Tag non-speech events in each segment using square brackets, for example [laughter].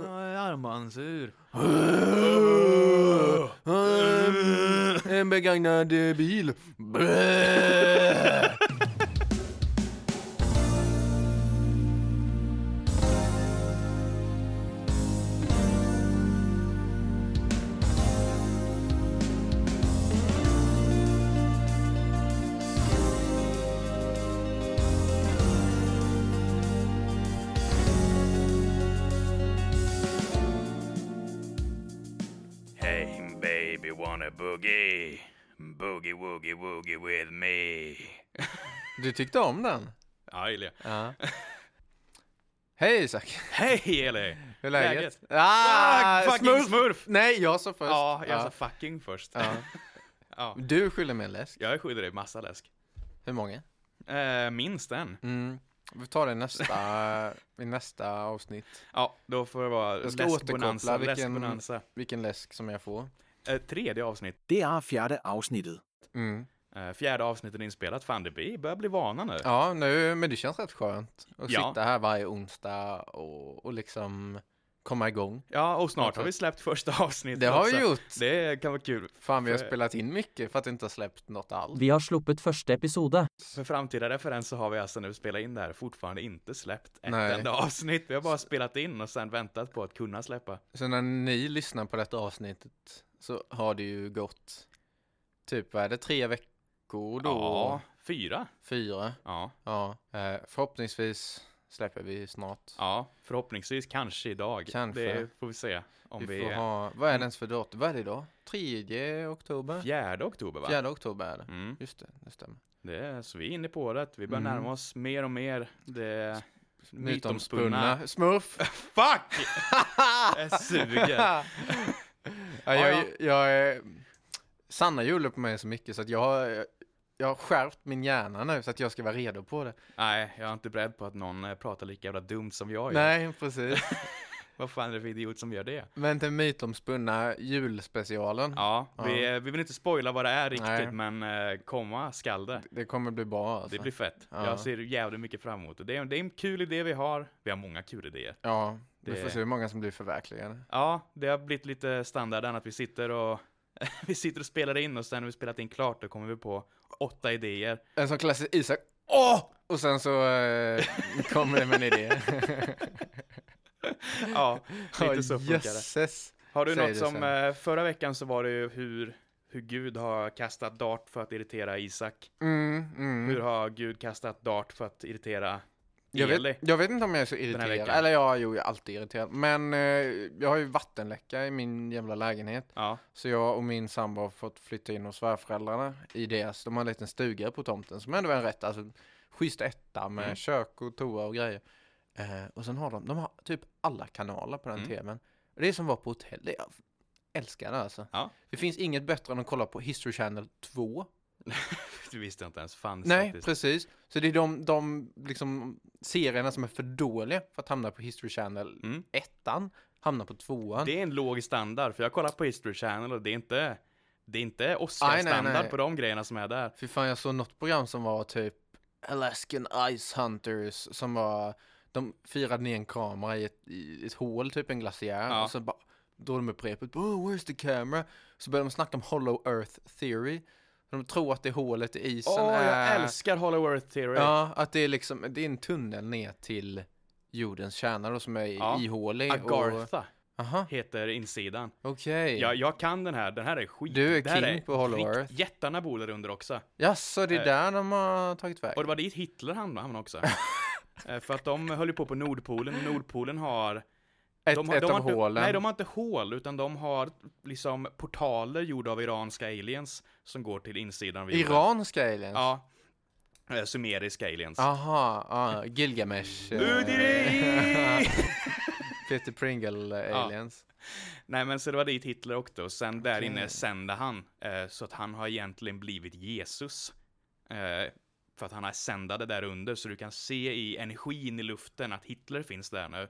här Mansur? Ehm, En begagnad eh, bil. [laughs] Hey baby wanna boogie? Boogie woogie woogie with me. Du tyckte om den? Ja, Eli. Ja. [laughs] Hej Isak! Hej Eli! Hur är läget? Läget? Ah, fucking smurf. smurf! Nej, jag sa först. Ja, jag sa fucking först. Ja. [laughs] Ja. Du skyller mig en läsk. Jag skyller dig massa läsk. Hur många? Eh, minst en. Mm. Vi tar det nästa, i nästa avsnitt. Ja, då får det vara Jag ska läskbonanza. återkoppla vilken- Läskbonanza. Vilken läsk som jag får. Eh, tredje avsnitt. Det er fjerde afsnittet. Mm. Eh, fjärde avsnittet inspelat. Fan, det blir- börjar bli vana nu. Ja, nu, men det känns rätt skönt att Ja. sitta här varje onsdag och, och liksom komma igång. Ja, och snart har vi släppt första avsnittet Det har vi också. gjort. Det kan vara kul. Fan, vi har För- spelat in mycket för att inte ha släppt något alls. Vi har sluppit första episode. För framtida referens så har vi alltså nu spelat in det här fortfarande inte släppt ett Nej. enda avsnitt. Vi har bara spelat in och sen väntat på att kunna släppa. Så när ni lyssnar på detta avsnittet så har det ju gått typ, vad är det, tre veckor då? Ja, fyra. Fyra. Ja, Ja, eh, förhoppningsvis släpper vi snart. ja, förhoppningsvis kanske idag. Kanske. Det får vi se om Vi vi, får är Mm. ha, vad är det ens för datum? Vad är det idag? 3 oktober? fjärde oktober va? 4 oktober är det. Mm, Just det, det stämmer. det är, så vi är inne på det. Vi börjar Mm. närma oss mer och mer det Mytomspunna. Smurf! [laughs] Fuck! [laughs] Det suger. [laughs] ja, jag, jag, är- Sanna gjorde på mig så mycket så att jag har, jag har skärpt min hjärna nu så att jag ska vara redo på det. Nej, jag är inte beredd på att någon eh, pratar lika jävla dumt som jag gör. [laughs] Nej, precis. Vad fan är det för idiot som gör det? Men till mytomspunna julspecialen. Ja, vi, Ja. vi vill inte spoila vad det är riktigt, Nej. men eh, komma skall det. Det kommer bli bra alltså. Det blir fett. Ja. Jag ser jävligt mycket fram emot det. Det är, det är en kul idé vi har. Vi har många kul idéer. Ja, vi Det- får se hur många som blir förverkligade. Ja, det har blivit lite standarden att vi sitter och [laughs] vi sitter och spelar in och sen när vi spelat in klart då kommer vi på åtta idéer. En sån klassisk Isak Åh! [laughs] och sen [laughs] så eh, kommer det med en idé. Ja, lite så funkar det. jösses. Har du Säg något det som, sen. eh, förra veckan så var det ju hur, hur Gud har kastat dart för att irritera Isak. Mm, mm. Hur har Gud kastat dart för att irritera jag, Eli? vet, jag vet inte om jag är så här irriterad. veckan. Eller ja, jo, jag är alltid irriterad. Men eh, jag har ju vattenläcka i min jävla lägenhet. [laughs] Ja, Så jag och min sambo har fått flytta in hos svärföräldrarna i deras. De har en liten stuga på tomten som ändå är en rätt, alltså schysst etta med Mm. kök och toa och grejer. Eh, och sen har de, de har typ alla kanaler på den Mm. tvn. Det är som var på hotell. Det, jag älskar det alltså. Ja. Det finns inget bättre än att kolla på History Channel 2. du visste jag inte ens fanns Nej, faktiskt. precis. Så det är de, de liksom serierna som är för dåliga för att hamna på History Channel Mm. ettan, hamnar på tvåan. Det är en låg standard, för jag kollar på History Channel och det är inte, det är inte Aj, nej, Oscar-standard nej. på de grejerna som är där. Fy fan, jag såg något program som var typ Alaskan Ice Hunters som var, de firade ner en kamera i ett, i ett hål, typ en glaciär, Ja. och så bara drog de upp repet, oh, where's the camera? Så började de snacka om Hollow Earth Theory. De tror att det hålet i isen Åh, jag är... älskar Hollow Earth Theory! Ja, att det är liksom, det är en tunnel ner till jordens kärna då som är Ja. ihålig. och- Agartha Aha, heter insidan. okej. Jag, jag kan den här, den här är skit. Du är Det här king på Hollow skit. Earth. Jättarna bor där under också. Jaså, det är Eh. där de har tagit Och vägen? det var dit Hitler hamnade hamnade [laughs] också. Eh, För att de höll ju på på Nordpolen, och Nordpolen har... Ett, de, har- ett de har av inte, hålen. Nej, de har inte hål, utan de har liksom portaler gjorda av iranska aliens som går till insidan av jorden. Iranska aliens? Ja. Eh, Sumeriska aliens. Aha, ja, Gilgamesh. eh, [laughs] Budiri! Peter Pringle eh, Ja. aliens. Nej men så det var dit Hitler åkte och sen där Okej. inne sände han. Eh, så att han har egentligen blivit Jesus. Eh, för att han har sändade där under så du kan se i energin i luften att Hitler finns där nu.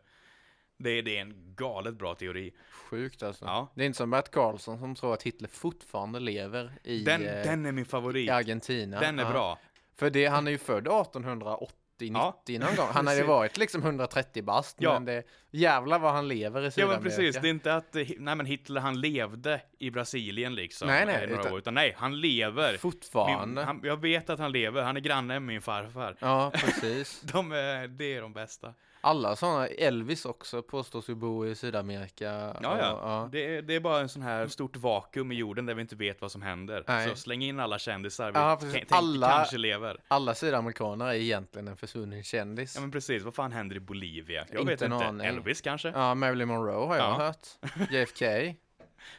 Det, det är en galet bra teori. Sjukt alltså. Ja. Det är inte som Bert Karlsson som tror att Hitler fortfarande lever i, Den, eh, den är min favorit. i Argentina. den är Ja. bra. För det, han är ju född 1880 80-90 Ja. någon gång. Han hade Precis. varit liksom 130 bast, Ja. men det, jävlar vad han lever i Ja Sydamerika. men precis, det är inte att eh, nej, men Hitler han levde i Brasilien liksom. Nej, nej, eh, några utan- år, utan nej, han lever. Min, Fortfarande. han, jag vet att han lever, han är granne med min farfar. [laughs] Ja, precis. De är, det är de bästa. Alla sådana, Elvis också påstås ju bo i Sydamerika. Ja, ja. och- ja. Det, är- det är bara en sån här stort vakuum i jorden där vi inte vet vad som händer. Nej. Så släng in alla kändisar vi Ja, t- precis. tänker Alla- kanske lever. Alla sydamerikaner är egentligen en försvunnen kändis. Ja men precis, vad fan händer i Bolivia? Jag Inte vet en inte. aning. Elvis kanske? Ja, Marilyn Monroe har jag Ja. hört. JFK. [laughs] Fattar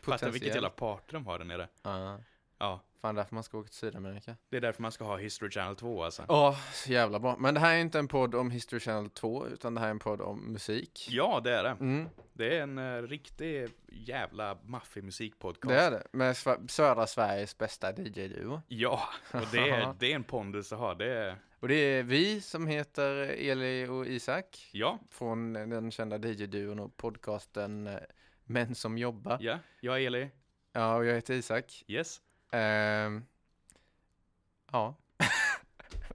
vilket potentiellt. jävla party de har där nere. Ja. Ja, Fan, därför man ska åka till Sydamerika. det är därför man ska ha History Channel 2 alltså. Ja, så jävla bra. Men det här är inte en podd om History Channel 2, utan det här är en podd om musik. Ja, det är det. Mm, Det är en eh, riktig jävla maffig musikpodcast. det är det. Med sva- södra Sveriges bästa DJ-duo. Ja, och det [laughs] är, det är en pondus att ha. Det är, Och det är vi som heter Eli och Isak ja, från den kända DJ-duon och podcasten eh, Män som jobbar. ja, jag är Eli. Ja, och jag heter Isak. Yes. Ehm, ja. [laughs]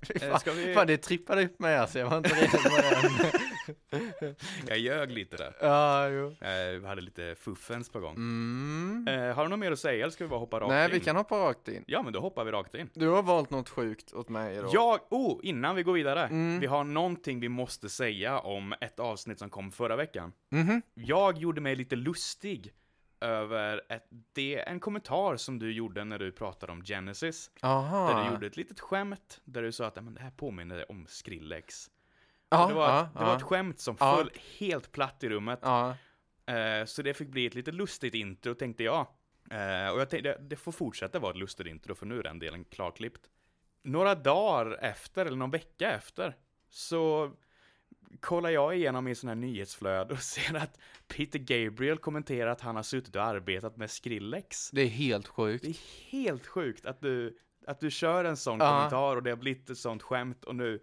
Fy Eh, fan, Ska vi... fan, det trippade upp mig alltså. Jag var inte redo på [laughs] den. Jag ljög lite där. ja, jo. Eh, Vi hade lite fuffens på gång. Mm. Eh, Har du något mer att säga eller ska vi bara hoppa rakt Nej, in? vi kan hoppa rakt in. Ja, men då hoppar vi rakt in. Du har valt något sjukt åt mig då. Jag, oh, innan vi går vidare. Mm. Vi har någonting vi måste säga om ett avsnitt som kom förra veckan. Mhm. Jag gjorde mig lite lustig över ett, det, en kommentar som du gjorde när du pratade om Genesis. Aha. Där du gjorde ett litet skämt där du sa att "Ja, men det här påminner om Skrillex. Ja, det var, ja, det var ja. ett skämt som Ja. föll helt platt i rummet. Ja. Eh, så det fick bli ett lite lustigt intro tänkte jag. Eh, och jag tänkte, det får fortsätta vara ett lustigt intro för nu är den delen klarklippt. Några dagar efter, eller någon vecka efter, så kollar jag igenom min sån här nyhetsflöde och [laughs] ser att Peter Gabriel kommenterar att han har suttit och arbetat med Skrillex. Det är helt sjukt. Det är helt sjukt att du, att du kör en sån Ja. kommentar och det har blivit ett sånt skämt och nu...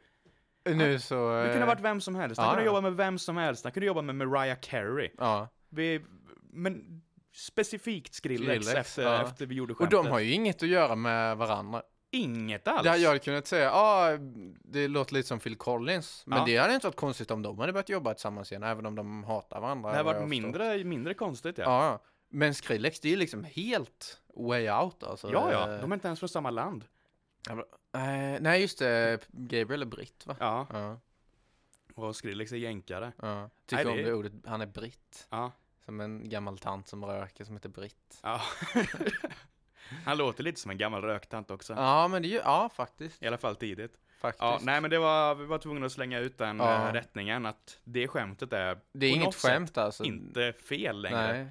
Nu så... Det kunde ha varit vem som helst, han Eh. ja, kunde ja. jobba med vem som helst, han kunde jobba med Mariah Carey. Ja. Vi, men specifikt Skrillex, Skrillex, efter, ja. efter vi gjorde Och skämtet. de har ju inget att göra med varandra. inget alls. Det hade jag kunnat säga, ah, det låter lite som Phil Collins. Men Ja. det hade inte varit konstigt om de hade börjat jobba tillsammans igen, även om de hatar varandra. det har vad jag varit förstår. mindre, mindre konstigt ja. Ja. Men Skrillex, det är ju liksom helt way out alltså. Ja, ja, Eh, de är inte ens från samma land. eh, nej, just det. Gabriel är britt, va? Ja, Ja. och Skrillex är jänkare. ja. Tycker Nej, om det är- det ordet, han är britt. Ja, Som en gammal tant som röker som heter Britt. ja. [laughs] Han låter lite som en gammal röktant också. Ja, men det är ju, ja faktiskt. I alla fall tidigt. faktiskt. Ja, nej men det var, vi var tvungna att slänga ut den Ja. eh, rättningen att det skämtet är det är på inget något sätt skämt alltså. inte fel längre. Nej,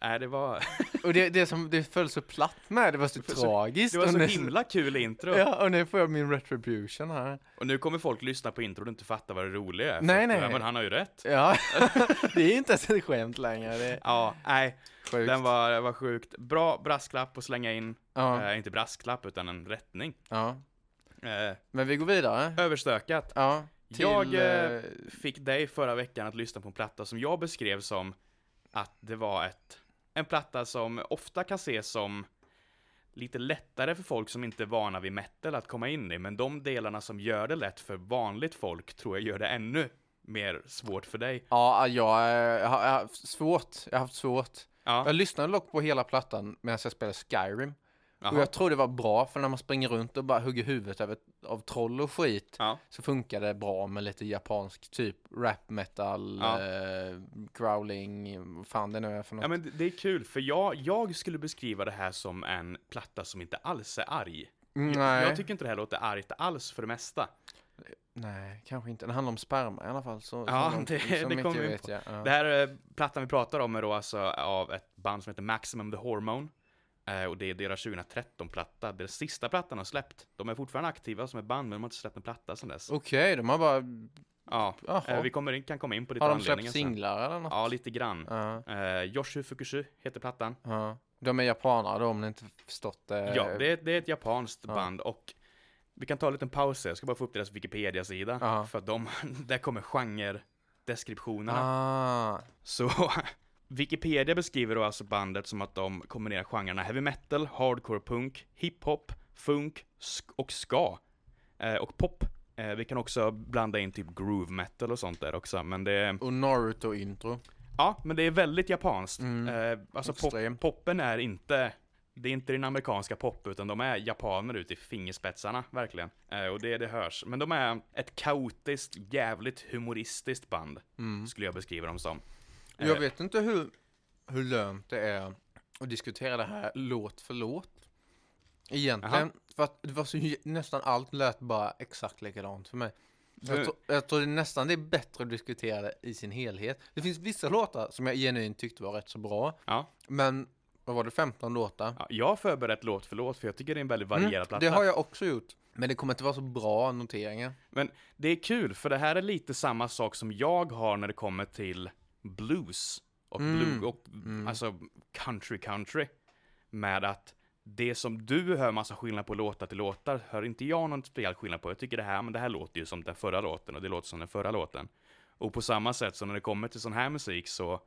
Nej. det [laughs] var, Och det, det som det föll så platt med, det var så Det var så- tragiskt. det var och så nu- himla kul intro. Ja, och nu får jag min retribution här. Och nu kommer folk lyssna på intro och inte fatta vad det roliga är. för Nej, att, nej. ja, Men han har ju rätt. Ja, [laughs] det är inte ens ett skämt längre. Det är Ja, nej, sjukt. den var, var sjukt. Bra brasklapp att slänga in. ja, Eh, inte brasklapp, utan en rättning. ja. Eh, Men vi går vidare. överstökat. Ja, till... Jag, eh, eh, Fick dig förra veckan att lyssna på en platta som jag beskrev som att det var ett, en platta som ofta kan ses som lite lättare för folk som inte är vana vid metal att komma in i, men de delarna som gör det lätt för vanligt folk tror jag gör det ännu mer svårt för dig. Ja, jag, eh, har, jag har haft svårt. Jag har haft svårt. Ja, Jag lyssnade dock på hela plattan medan jag spelade Skyrim. jaha. Och jag tror det var bra, för när man springer runt och bara hugger huvudet av, ett, av troll och skit Ja. så funkar det bra med lite japansk typ rap metal, Ja. eh, growling, vad fan det nu är för något. Ja men det- det är kul, för jag, jag skulle beskriva det här som en platta som inte alls är arg. Mm, Jag, nej, jag tycker inte det här låter argt alls för det mesta. nej, kanske inte. Det handlar om sperma i alla fall. Så, Ja, så långt- det- så det mycket kommer vi in vet på. jag. Ja. Det här eh, plattan vi pratar om är då alltså av ett band som heter Maximum the Hormone. Eh, Och det är deras 2013-platta, den sista plattan de släppt. De är fortfarande aktiva som ett band, men de har inte släppt en platta sedan dess. Okej, de har bara... Ja, Jaha. eh, vi kommer in, kan komma in på lite har de anledningar sen. släppt singlar eller något? Ja, lite grann. Ja. Eh, Yoshu Fukushu heter plattan. ja. De är japanare då, om ni inte förstått det. Ja, det är, det är ett japanskt Eh. ja. band och vi kan ta en liten paus här. Jag ska bara få upp deras Wikipedia-sida. Ja. För att de, [laughs] där kommer genre-deskriptionerna. Ah, Så [laughs] Wikipedia beskriver då alltså bandet som att de kombinerar genrerna heavy metal, hardcore punk, hiphop, funk sk- och ska. Eh, och pop. Eh, vi kan också blanda in typ groove metal och sånt där också, men det... Och Naruto-intro. Ja, men det är väldigt japanskt. Mm. Eh, alltså pop, Extremt. poppen är inte... Det är inte den amerikanska pop, utan de är japaner ut i fingerspetsarna, verkligen. Eh, och det, det hörs. Men de är ett kaotiskt, jävligt humoristiskt band, Mm. skulle jag beskriva dem som. Och Eh. Jag vet inte hur, hur lönt det är att diskutera det här låt för låt. Egentligen, för att det var så, j- nästan allt lät bara exakt likadant för mig. Så Nu- Jag, tror, jag tror det nästan det är bättre att diskutera det i sin helhet. Det finns vissa låtar som jag genuint tyckte var rätt så bra, Ja, men vad var det, 15 låtar? ja, jag har förberett låt för låt, för jag tycker det är en väldigt varierad Mm, platta. det har jag också gjort, men det kommer inte vara så bra noteringar. Men det är kul, för det här är lite samma sak som jag har när det kommer till blues. Och Mm. blue, och alltså country country. Med att det som du hör massa skillnad på låtar till låtar, hör inte jag någon speciell skillnad på. Jag tycker det här, men det här låter ju som den förra låten och det låter som den förra låten. Och på samma sätt som när det kommer till sån här musik så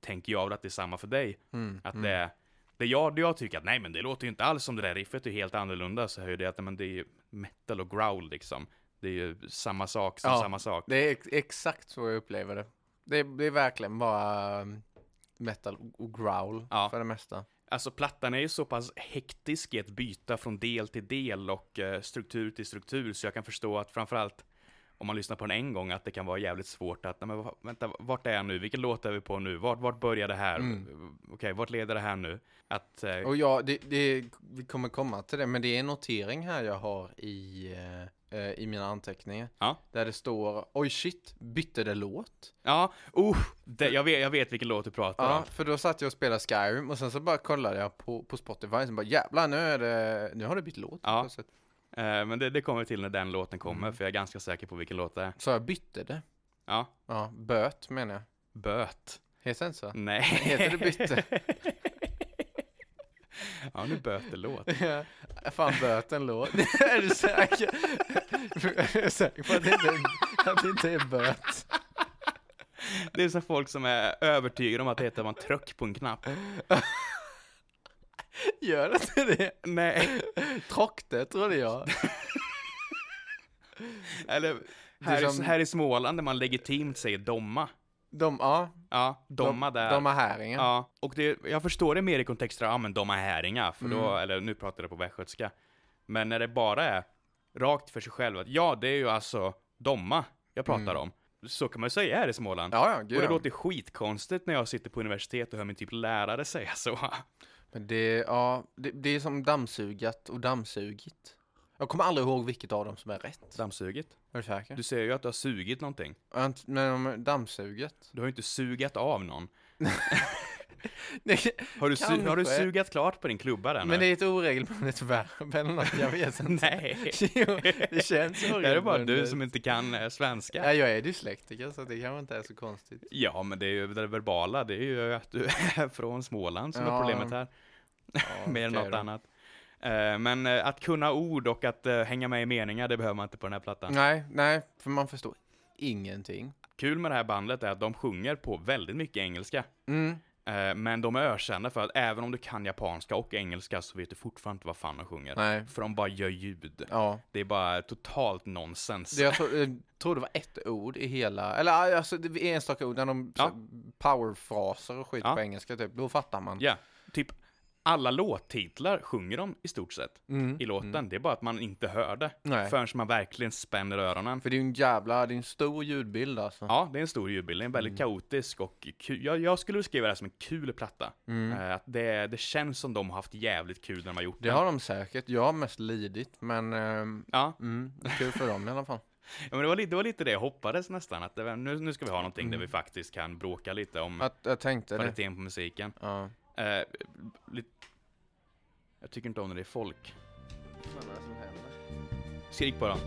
tänker jag väl att det är samma för dig. Mm, Att det, det jag, det jag tycker att nej men det låter ju inte alls som det där riffet, det är helt annorlunda. Så hör ju det att nej, men det är ju metal och growl liksom. Det är ju samma sak som Ja. samma sak. Det är ex- exakt så jag upplever det. Det är, det är verkligen bara um, metal och growl Ja. för det mesta. Alltså plattan är ju så pass hektisk i att byta från del till del och eh, struktur till struktur så jag kan förstå att framförallt om man lyssnar på den en gång att det kan vara jävligt svårt att, nej men va- vänta, vart är jag nu? Vilken låt är vi på nu? Vart, vart börjar det här? Okej, vart leder det här nu? Att, eh, Mm. Och ja, det, det, vi kommer komma till det, men det är en notering här jag har i, eh, eh, i mina anteckningar. Ja. Där det står, oj shit, bytte det låt? ja, oh, det, jag, vet, jag vet vilken låt du pratar om. Ja, för då satt jag och spelade Skyrim och sen så bara kollade jag på, på Spotify och bara jävlar nu är det, nu har det bytt låt. Ja. plötsligt." Eh, men det, det kommer till när den låten kommer, Mm. för jag är ganska säker på vilken låt det är. Så jag bytte det. Ja, Ja, böt menar jag. Böt. Heter det inte så? Nej. Heter det [laughs] bytte? ja, nu bötelåt. Ja, Fan böt en låt. [laughs] är du säker? [laughs] är du säker på att det inte är, att det inte är böt? Det är så folk som är övertygade om att det heter man tryck på en knapp. [laughs] Gör det inte det? Nej. Tråkte trodde jag. Eller, Det är här, i, som- här i Småland där man legitimt säger domma. De, ja. Ja, domma de, där. De har häringen. Ja, och det, jag förstår det mer i kontexter av, ja men de är häringar, för då, Mm. eller nu pratar jag på västgötska. Men när det bara är rakt för sig själv, att ja det är ju alltså domma jag pratar om. Så kan man ju säga här i Småland. Mm. Ja, ja, gud. och det ja. låter skitkonstigt när jag sitter på universitet och hör min typ lärare säga så. [laughs] Men det, ja, det, det är som dammsugat och dammsugit. Jag kommer aldrig ihåg vilket av dem som är rätt. Dammsugit. Är du säker? Du säger ju att du har sugit någonting. Jag har inte- Men om- [laughs] dammsuget? Du har ju inte sugat av någon. Nej, Har du, su- har du Kanske. sugat klart på din klubba där nu? men det är ett oregelbundet verb eller något, jag vet inte. [laughs] Nej. Jo, det [laughs] känns det är det bara du oregelbundet. som inte kan eh, svenska? Ja, jag är dyslektiker så det kanske inte är så konstigt. Ja, men det är ju det verbala, det är ju att du är från Småland som är Ja, problemet här, Ja, [laughs] mer än okej något då. annat. Eh, Men eh, att kunna ord och att eh, hänga med i meningar, det behöver man inte på den här plattan. Nej, nej, för man förstår ingenting. Kul med det här bandet är att de sjunger på väldigt mycket engelska. Mm. Eh, Men de är ökända för att även om du kan japanska och engelska så vet du fortfarande inte vad fan de sjunger. Nej, För de bara gör ljud. ja. Det är bara totalt nonsens. Det jag, tror, jag tror det var ett ord i hela, eller aj, alltså det var enstaka ord, när de Ja. ja. powerfraser och skit Ja. på engelska typ, då fattar man. Ja, typ alla låttitlar sjunger de i stort sett Mm. i låten. Det är bara att man inte hör det Nej. förrän man verkligen spänner öronen. För det är ju en jävla, det är en stor ljudbild alltså. Ja, det är en stor ljudbild. Den är Mm. väldigt kaotisk och kul. Jag, jag skulle beskriva det här som en kul platta. Eh, Att det, det känns som de har haft jävligt kul när de har gjort Mm. Det har de säkert, jag har mest lidit, men ehm, Ja, mm, kul för dem i alla fall. ja, men det var, lite, det var lite det jag hoppades nästan. Att det, nu, nu ska vi ha någonting där vi faktiskt kan bråka lite om Att, jag tänkte Mm. det. kvaliteten på musiken. Ja. Eh, lite... Jag tycker inte om när det är folk. Skrik på dem.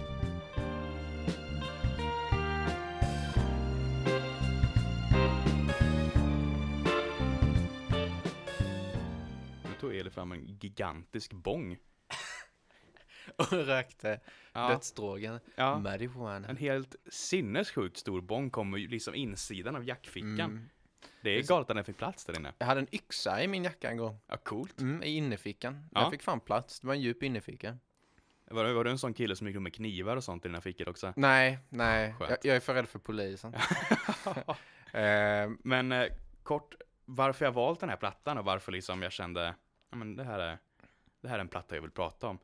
Nu tog Eli fram en gigantisk bong. [laughs] Och rökte Ja. dödsdrogen, Ja. marijuana. En helt sinnessjukt stor bong kommer ju liksom insidan av jackfickan. Mm. Det är galet att den fick plats där inne. Jag hade en yxa i min jacka en gång. Ja, coolt. Mm, I innefickan. Ja. Jag fick fan plats. Det var en djup inneficka. Var, var du en sån kille som gick runt med knivar och sånt i dina fickor [laughs] också? Nej, nej. Skönt. Jag, jag är för rädd för polisen. [laughs] Eh, Men eh, kort, varför jag valt den här plattan och varför liksom jag kände, ja men det här är, det här är en platta jag vill prata om.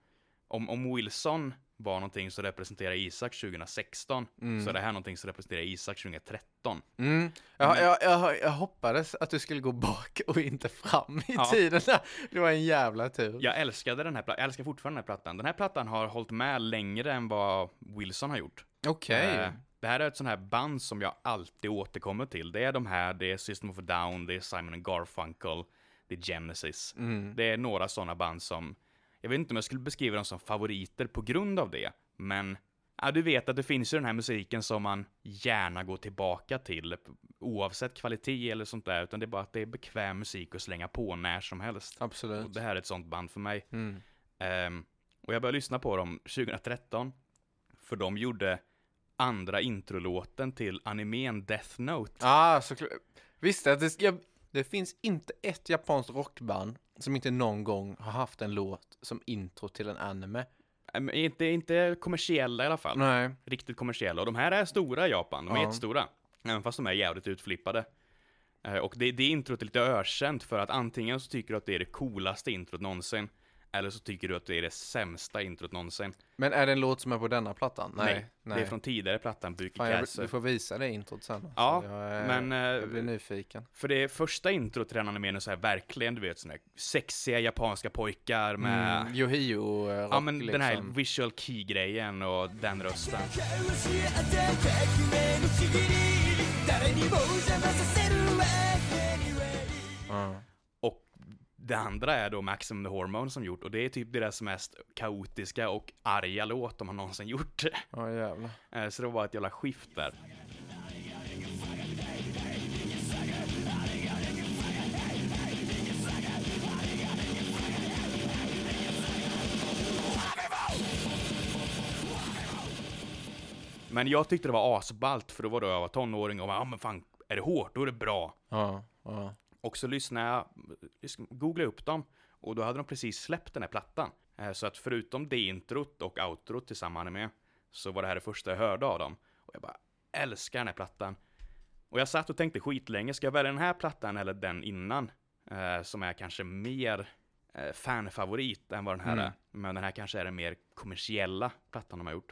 Om, om Wilson var någonting som representerar Isak 2016, Mm. så är det här någonting som representerar Isak 2013. Mm. Jag, Men- jag, jag, jag hoppades att du skulle gå bak och inte fram i Ja. tiden. där. Det var en jävla tur. Jag älskade den här plattan, jag älskar fortfarande den här plattan. Den här plattan har hållit med längre än vad Wilson har gjort. Okej. Eh, Det här är ett sånt här band som jag alltid återkommer till. Det är de här, det är System of a Down, det är Simon and Garfunkel, det är Genesis. Mm. Det är några sådana band som, jag vet inte om jag skulle beskriva dem som favoriter på grund av det, men ja, du vet att det finns ju den här musiken som man gärna går tillbaka till, oavsett kvalitet eller sånt där, utan det är bara att det är bekväm musik att slänga på när som helst. Och Absolut. det här är ett sånt band för mig. Mm. Ehm, och jag började lyssna på dem 2013. För de gjorde andra introlåten till animen Death Note. Ah, såklart. Visst, att det, jag, det finns inte ett japanskt rockband som inte någon gång har haft en låt som intro till en anime. Ehm, inte, inte kommersiella i alla fall. Nej. Riktigt kommersiella. Och de här är stora i Japan. De är Ja. jättestora. Även fast de är jävligt utflippade. Eh, och det, det introt är lite ökänt för att antingen så tycker du att det är det coolaste introt någonsin. Eller så tycker du att det är det sämsta introt någonsin. Men är det en låt som är på denna plattan? Nej. Det är från tidigare plattan, Buki Fan, jag, Castle. du får visa det introt sen. Ja, Så jag, eh, men, eh, jag blir nyfiken. För det första introt till den animen är så här verkligen, du vet, såna här sexiga japanska pojkar med... Mm, Yohio eh, rock, ja, men liksom. den här visual key-grejen och den rösten. 教え合って革命のちぎり誰にも邪魔させるわけにはいい Ja. Och det andra är då Maximum the Hormone som gjort, och det är typ deras mest kaotiska och arga låt de har någonsin gjort. [laughs] Ja, jävlar. Eh, Så det var ett jävla skift där. Men jag tyckte det var asballt, för då var då jag var tonåring och bara, ja men fan, är det hårt, då är det bra. Ja, ja. Och så lyssnade jag, lyssn- googlade upp dem, och då hade de precis släppt den här plattan. Eh, Så att förutom det introt och outrot till samma anime, så var det här det första jag hörde av dem. Och jag bara älskar den här plattan. Och jag satt och tänkte skitlänge, ska jag välja den här plattan eller den innan? Eh, Som är kanske mer eh, fanfavorit än vad den här Mm. är. Men den här kanske är den mer kommersiella plattan de har gjort.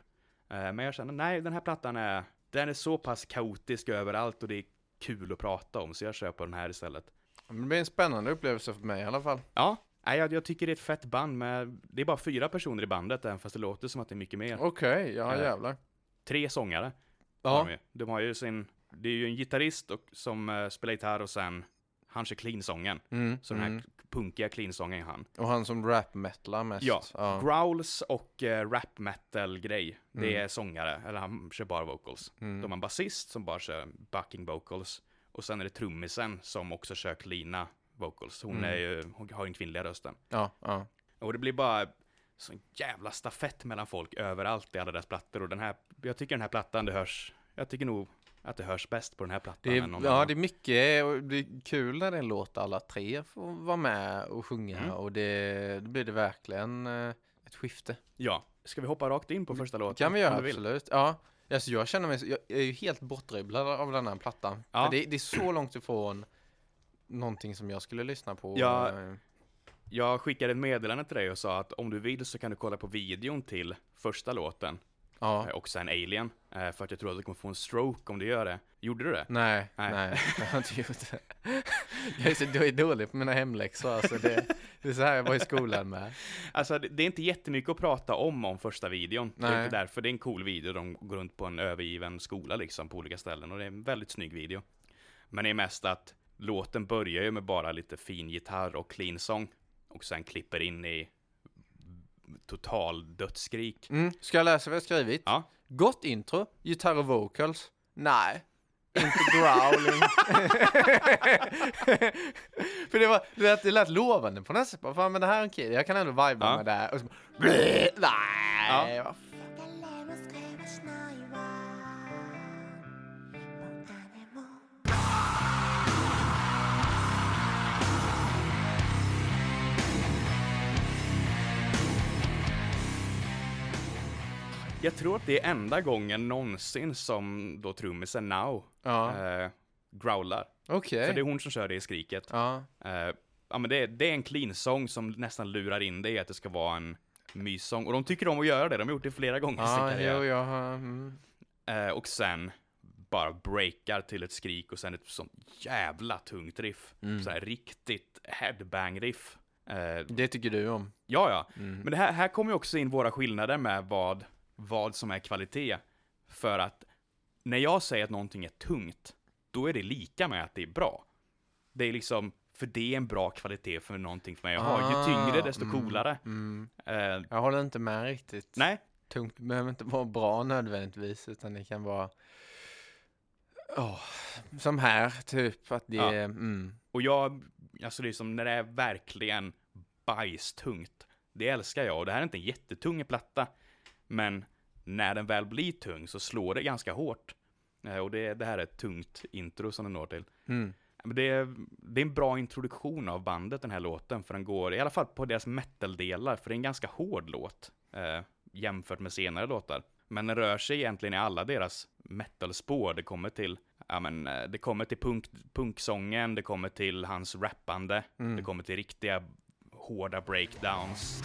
Eh, Men jag kände, nej den här plattan är, den är så pass kaotisk överallt och det är kul att prata om, så jag köper den här istället. Men Det blir en spännande upplevelse för mig i alla fall. Ja, nej, jag, jag tycker det är ett fett band med, det är bara fyra personer i bandet även fast det låter som att det är mycket mer. Okej, ja Eh, jävlar. Tre sångare har Ja, de, ju. de har ju sin, det är ju en gitarrist och, som eh, spelar gitarr och sen han kör clean-sången. mm, Så den här mm. punkiga clean-sången är han. Och han som rap-metalar mest. Ja, ja. growls och eh, rap metal-grej. Det Mm. är sångare, eller han kör bara vocals. Mm. De har en basist som bara kör backing vocals. Och sen är det trummisen som också kör cleana vocals. Hon, Mm. är ju, hon har ju den kvinnliga rösten. ja, ja. Och det blir bara sån jävla stafett mellan folk överallt i alla deras plattor. Och den här, jag tycker den här plattan, det hörs, jag tycker nog att det hörs bäst på den här plattan. Det än någon är, ja, annan. det är mycket och det är kul när det är en låt alla tre får vara med och sjunga Mm. och det, då blir det verkligen eh, ett skifte. ja. Ska vi hoppa rakt in på första låten? Det Mm, kan vi göra, om du vill? absolut. Ja. Alltså, jag känner mig, så- jag är ju helt bortdribblad av den här plattan. Ja. För det, det är så långt ifrån någonting som jag skulle lyssna på. Ja. Eh, Jag skickade ett meddelande till dig och sa att om du vill så kan du kolla på videon till första låten ja. eh, och sen Alien. eh, För att jag tror att du kommer få en stroke om du gör det. Gjorde du det? Nej, Nej. nej, jag har inte gjort det. Jag är så jag är dålig på mina hemläxor, alltså det, det är så här [laughs] jag var i skolan med. Alltså det det är inte jättemycket att prata om om första videon. Det är Nej. inte därför det är en cool video. De går runt på en övergiven skola liksom på olika ställen och det är en väldigt snygg video. Men det är mest att låten börjar ju med bara lite fin gitarr och clean sång och sen klipper in i total dödsskrik. Mm, ska jag läsa vad jag skrivit? Ja. Gott intro, gitarr och vocals. Nej, inte growling. [laughs] För det, var, det, lät, det lät lovande på något sätt. Bara, Fan, men det här är en kille, jag kan ändå vibea Ja. med det här. Och så, bara, "Bleh, nej, vad fan. 誰も救いはしないわもう誰も Jag tror att det är enda gången någonsin som då trummisen Now Ja, Eh. eh, growlar. okej. För det är hon som kör det i skriket. Ja, Eh, ja, men det, är- det är en clean sång som nästan lurar in dig att det ska vara en myssång. Och de tycker om att göra det, de har gjort det flera gånger i sin ja karriär. jo, jag har... Mm. Eh, och sen bara breakar till ett skrik och sen ett sånt jävla tungt riff. Mm. Så här riktigt headbang-riff. Eh, Det tycker du om. Ja, ja. Men det här, här kommer ju också in våra skillnader med vad, vad som är kvalitet. För att när jag säger att någonting är tungt, då är det lika med att det är bra. Det är liksom, för det är en bra kvalitet för någonting för mig att ha. Ju tyngre, desto coolare. Ah, Mm. Eh, Jag håller inte med riktigt. nej, Tungt behöver inte vara bra nödvändigtvis, utan det kan vara... Åh, som här, typ. Att det Ja. är... Mm. och jag, alltså det är som när det är verkligen bajstungt. Det älskar jag och det här är inte en jättetung platta. Men när den väl blir tung så slår det ganska hårt. Eh, och det, det här är ett tungt intro som den når till. Mm. Men det, är, det är en bra introduktion av bandet den här låten, för den går, i alla fall på deras metal-delar, för det är en ganska hård låt eh, jämfört med senare låtar. Men den rör sig egentligen i alla deras metal-spår. Det kommer till, ja men, eh, det kommer till punk, punksången, det kommer till hans rappande, det kommer till riktiga hårda breakdowns.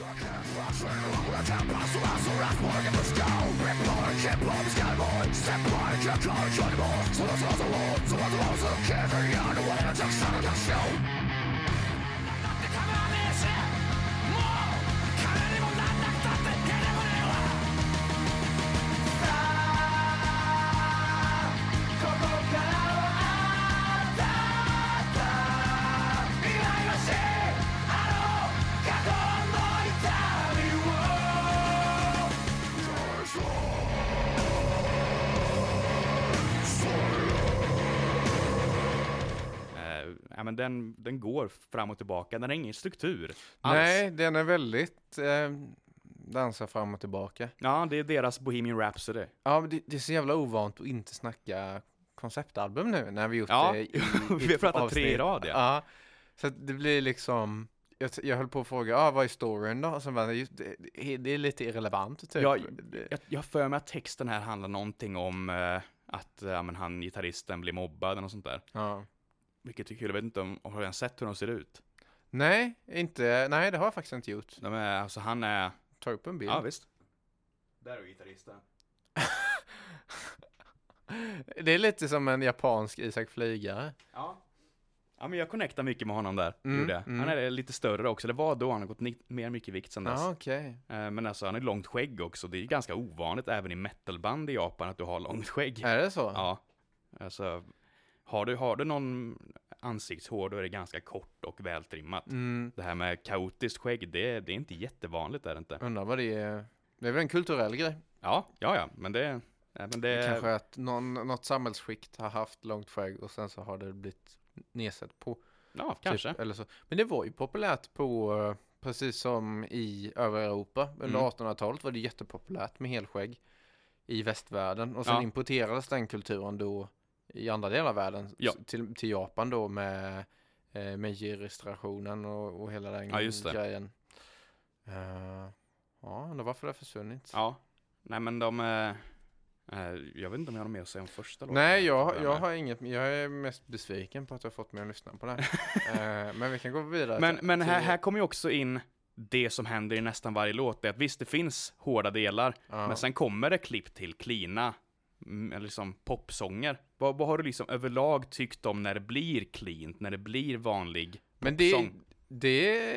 Eh, ja men den, den går fram och tillbaka, den har ingen struktur alls. Nej, den är väldigt... Eh, ehm, dansa fram och tillbaka. Ja, det är deras Bohemian Rhapsody. Ja, men det, det är så jävla ovant att inte snacka konceptalbum nu när vi gjort Ja, det i, [laughs] vi i har ett pratat tre i avsnitt. rad, ja. så att det blir liksom... Jag, jag höll på att fråga, ah, vad är storyn då? Och sen bara, just, det, det, det är lite irrelevant typ. Jag- Det- Jag, jag har för mig att texten här handlar någonting om eh, att eh, ja, men han, gitarristen, blir mobbad eller något sånt där. ja. Vilket är kul, jag vet inte om, har du ens sett hur de ser ut? Nej, inte, nej det har jag faktiskt inte gjort. De är, alltså han är, Ta upp en bild. ja visst. Där är gitarristen. det är lite som en japansk Isak Flygare. Ja. Ja men jag connectar mycket med honom där, Mm, gjorde jag. Han är lite större också, det var då, han har gått ni- mer mycket i vikt sen dess. Ja, okej. Eh, Men alltså han har långt skägg också, det är ju ganska ovanligt även i metalband i Japan att du har långt skägg. Är det så? Ja, alltså har du, har du någon ansiktshår då är det ganska kort och vältrimmat. Mm, Det här med kaotiskt skägg, det, det är inte jättevanligt är det inte. undrar vad det är. Det är väl en kulturell grej. Ja, ja, ja, men det... Nej, men det Kanske att någon, något samhällsskikt har haft långt skägg och sen så har det blivit nedsett på. typ, ja, kanske. eller så. Men det var ju populärt på, eh, precis som i övriga Europa. Under Mm. 1800-talet var det jättepopulärt med helskägg i västvärlden. Och sen Ja. importerades den kulturen då i andra delar av världen. Ja. s- Till, till Japan då med, eh, med J-registrationen och, och hela den Ja, just det. grejen. Eh, ja, undrar varför det har försvunnit. Ja. Nej, men de... eh, eh, jag vet inte om jag har något mer att säga om första låten. Nej, jag, tror jag har inget. Jag är mest besviken på att jag har fått mig att lyssna på det. [laughs] här. Eh, men vi kan gå vidare. Men, till- men här, till- här kommer ju också in det som händer i nästan varje låt. Det är att visst, det finns hårda delar, Ja. men sen kommer det klipp till cleana, mm, eller liksom popsånger. Vad, vad har du liksom överlag tyckt om när det blir cleant, när det blir vanlig men det, sång. det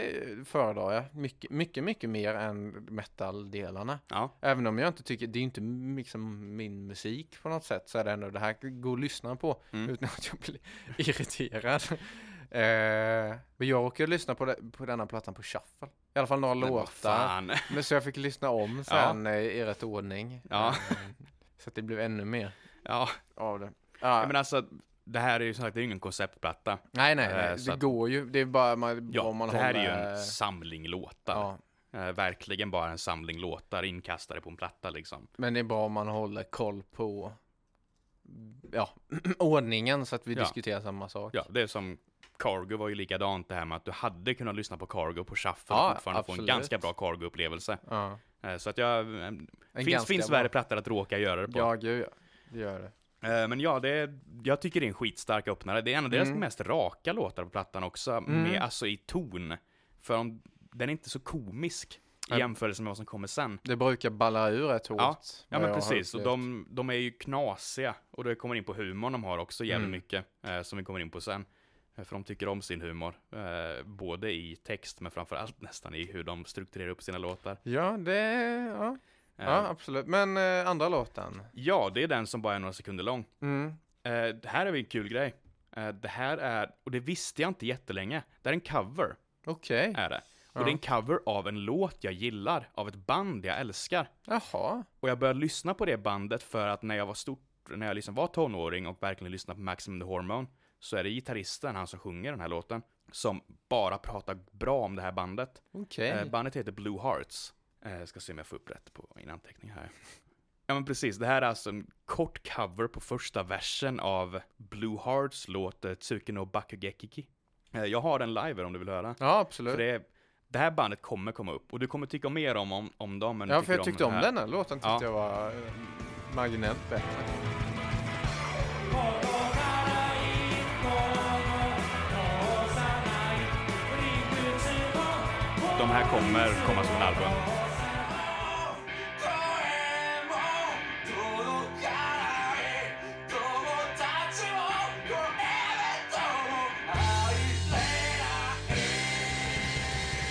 föredrar jag mycket, mycket, mycket mer än metal-delarna. Ja. Även om jag inte tycker, det är inte m- liksom min musik på något sätt, så är det ändå det här går att lyssna på Mm. utan att jag blir [laughs] irriterad. Eh, men jag råkade lyssna på, det, på denna plattan på shuffle. I alla fall några Men vad låtar. Fan. [laughs] Men så jag fick lyssna om sen eh, i rätt ordning. Ja. Eh, Så att det blev ännu mer Ja, av det. Ja. men alltså, det här är ju som sagt, det är ju ingen konceptplatta. nej, nej, eh, nej. så det att- går ju. Det är bara man, Ja, vad man det här håller... är ju en samling låtar. Ja, Eh, verkligen bara en samling låtar inkastade på en platta liksom. men det är bra om man håller koll på ja, [clears throat] ordningen så att vi Ja. diskuterar samma sak. Ja, det är som Cargo var ju likadant det här med att du hade kunnat lyssna på Cargo på shuffle Ja, och fortfarande få en absolut. ganska bra Cargo-upplevelse. Ja. Eh, Eh, Så att jag... eh, Finns, ganska finns bra- värre plattor att råka göra det på. Ja, gud ja. Det gör det. Eh, Men ja, det är, jag tycker det är en skitstark öppnare. Det är en av deras Mm. mest raka låtar på plattan också, med, alltså i ton. För om, den är inte så komisk i Nej. jämförelse med vad som kommer sen. Det brukar balla ur rätt hårt. Ja, ja vad men jag har precis. Och upplevt. de, de är ju knasiga. Och det kommer in på humorn de har också jävligt Mm. mycket. Eh, som vi kommer in på sen. Eh, För de tycker om sin humor. Eh, både i text men framförallt nästan i hur de strukturerar upp sina låtar. Ja, det... Ja, Eh, ja absolut. Men eh, andra låten? ja, det är den som bara är några sekunder lång. Mm. Eh, det här är väl en kul grej. Eh, det här är, och det visste jag inte jättelänge. Det här är en cover, Okej. är det. Och Ja. det är en cover av en låt jag gillar, av ett band jag älskar. Jaha. Och jag började lyssna på det bandet för att när jag var stort, när jag liksom var tonåring och verkligen lyssnade på Maximum the Hormone, så är det gitarristen, han som sjunger den här låten, som bara pratar bra om det här bandet. Okej. Eh, bandet heter Blue Hearts. Eh, jag ska se om jag får upp rätt på min anteckning här. Ja men precis, det här är alltså en kort cover på första versen av Blue Hearts låt eh, Tsuke no Bakugekiki. Eh, jag har den live här om du vill höra. ja, absolut. För det, det här bandet kommer komma upp och du kommer tycka mer om, om, om dem än du ja, för jag tycker tyckte om här. den här låten. Tyckte Ja. jag var eh, marginellt bättre. De här kommer komma som en album.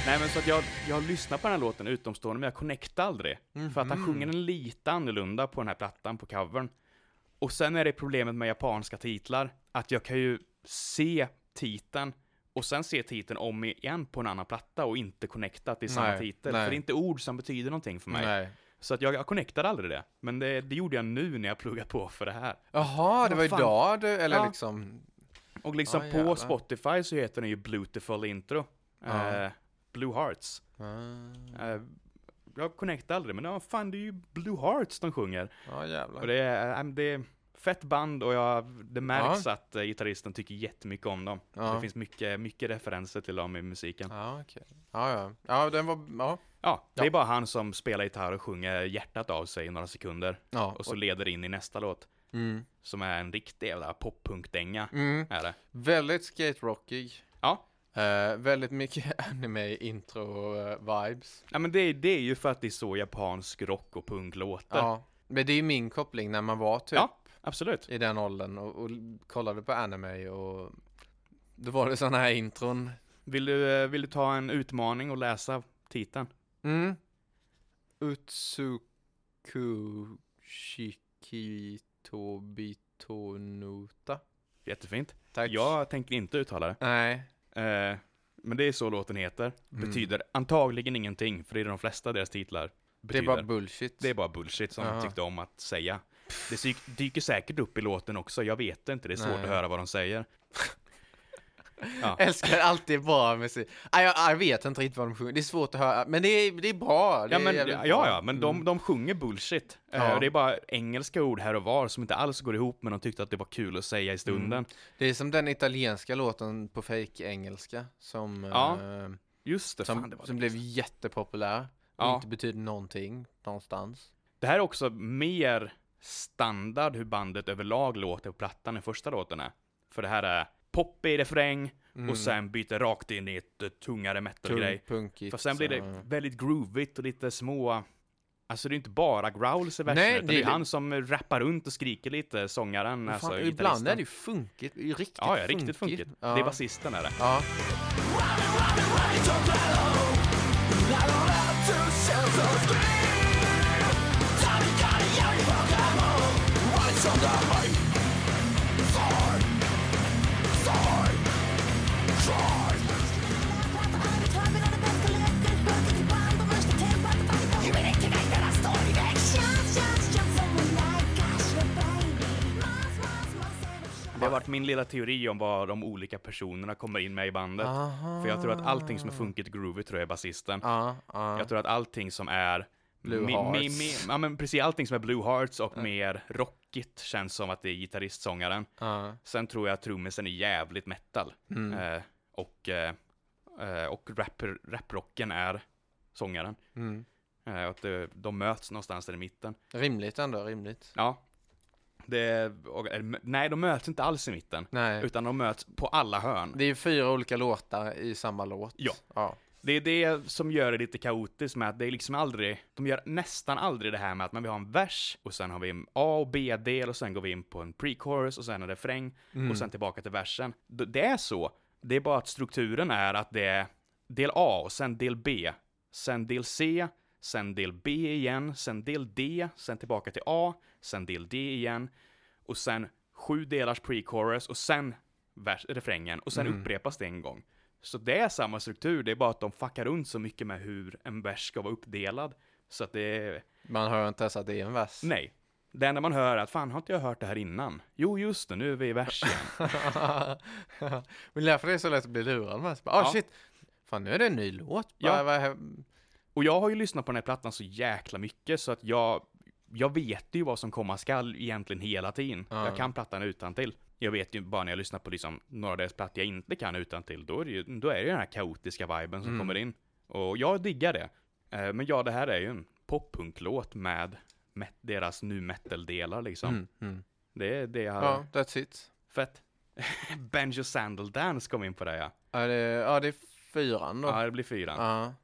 Nej men så att jag, jag lyssnar på den här låten utomstående men jag connectar aldrig. För att han sjunger den lite annorlunda på den här plattan, på covern. Och sen är det problemet med japanska titlar, att jag kan ju se titeln och sen se titeln om igen på en annan platta och inte connecta att det är samma Nej, titel. nej. För det är inte ord som betyder någonting för mig. Nej. Så att jag, jag connectade aldrig det. Men det, det gjorde jag nu när jag pluggade på för det här. Jaha, det Vad var fan? idag du, eller Ja. liksom... Och liksom Ah, på jävlar. Spotify så heter den ju Blutiful Intro. Ja. Eh, Blue Hearts. Ah, Eh, jag connectade aldrig, men ja, fan det är ju Blue Hearts de sjunger. Ja, Och jävlar. det är, eh, det är fett band och jag, det märks att eh, gitarristen tycker jättemycket om dem. Ja. Det finns mycket, mycket referenser till dem i musiken. Ja, Ja, okej. Ja, ja. Ja, den var... Ja. det Ja. är bara han som spelar gitarr och sjunger hjärtat av sig i några sekunder. ja. Och så leder det in i nästa låt, mm. som är en riktig jävla poppunkdänga. Mm. Är det. Väldigt skate-rockig. Ja. Eh, väldigt mycket [laughs] anime-intro-vibes. ja, men det, det är ju för att det är så japansk rock och punk låter. Ja, men det är ju min koppling när man var typ Ja, absolut. i den åldern och, och kollade på anime och då var det sådana här intron. Vill du, eh, vill du ta en utmaning och läsa titeln? Mm. Utsuku Shikitobitonota. Jättefint. Tack. Jag tänker inte uttala det. Nej. Mm. Eh, men det är så låten heter. Betyder antagligen ingenting, för det är de flesta av deras titlar. Det Betyder. är bara bullshit. det är bara bullshit som Ja. de tyckte om att säga. Det dyk- dyker säkert upp i låten också, jag vet inte. Det är svårt Nej. att höra vad de säger. Älskar alltid bra musik. Ah, jag, ah, jag vet inte riktigt vad de sjunger. Det är svårt att höra, men det är, det är bra. Det Ja, är men, jävligt ja, bra. Mm. ja, men de, de sjunger bullshit. Eh, Ja. och det är bara engelska ord här och var som inte alls går ihop, men de tyckte att det var kul att säga i stunden. Det är som den italienska låten på fake engelska som... Ja. eh, Just det, Som, fan, det var som det. blev jättepopulär och Ja. inte betyder någonting någonstans. Det här är också mer standard hur bandet överlag låter på plattan än första låten är. För det här är pop i refräng Mm. och sen byter rakt in i ett eh, tungare metal-grej. Tung, punkigt. För sen blir så- det väldigt groovigt och lite små... Alltså det är inte bara growls i versen, Nej, utan det det är är- han som rappar runt och skriker lite, sångaren, Fan, alltså ibland gitarristen. är det ju funkigt. det är Riktigt Ja, ja, riktigt funkigt. Ja. Det är basisten är det. Ja. Det har varit min lilla teori om vad de olika personerna kommer in med i bandet. Aha. För jag tror att allting som är funkigt groovigt tror jag är basisten. Ja, ja. Jag tror att allting som är Blue Hearts. ja, men precis, allting som är Blue Hearts och mer rockigt känns som att det är gitarristsångaren. ja. Sen tror jag att trummisen är jävligt metal. Mm. Eh, och eh, eh, och rapper, raprocken är sångaren. Mm. Eh, att det, de möts någonstans där i mitten. Rimligt ändå, rimligt. Ja. Det, och, eller, nej, de möts inte alls i mitten. Nej. Utan de möts på alla hörn. Det är ju fyra olika låtar i samma låt. Ja. ja. Det är det som gör det lite kaotiskt med att det är liksom aldrig, de gör nästan aldrig det här med att man vill ha en vers och sen har vi en A och B-del och sen går vi in på en pre-chorus och sen en refräng och sen tillbaka till versen. D- Det är så, det är bara att strukturen är att det är del A och sen del B, sen del C, sen del B igen, sen del D, sen tillbaka till A, sen del D igen och sen sju delars pre-chorus och sen vers, refrängen och sen upprepas det en gång. Så det är samma struktur, det är bara att de fuckar runt så mycket med hur en vers ska vara uppdelad. Så att det är, Man hör inte ens att det är en vers. nej. Det enda man hör är att fan har inte jag hört det här innan? Jo just det, nu är vi i vers igen. [laughs] Men därför är det så lätt att bli lurad med. Bara, Ah Ja. shit, fan nu är det en ny låt. Ja. Bara, vad he- Och jag har ju lyssnat på den här plattan så jäkla mycket så att jag, jag vet ju vad som komma skall egentligen hela tiden. Ja. Jag kan plattan utan till. Jag vet ju bara när jag lyssnar på liksom några av deras plattor jag inte kan utan till. Då är det ju, då är det ju den här kaotiska viben Mm. som kommer in. Och jag diggar det. Eh, Men ja, det här är ju en poppunklåt med met- deras nu metal-delar liksom. mm, mm. Det är det jag har. Ja, that's it. Fett. [laughs] Benjo Sandal Dance kom in på det ja. Ja, det, ja, det är fyran då. Ja, det blir fyran. Ja.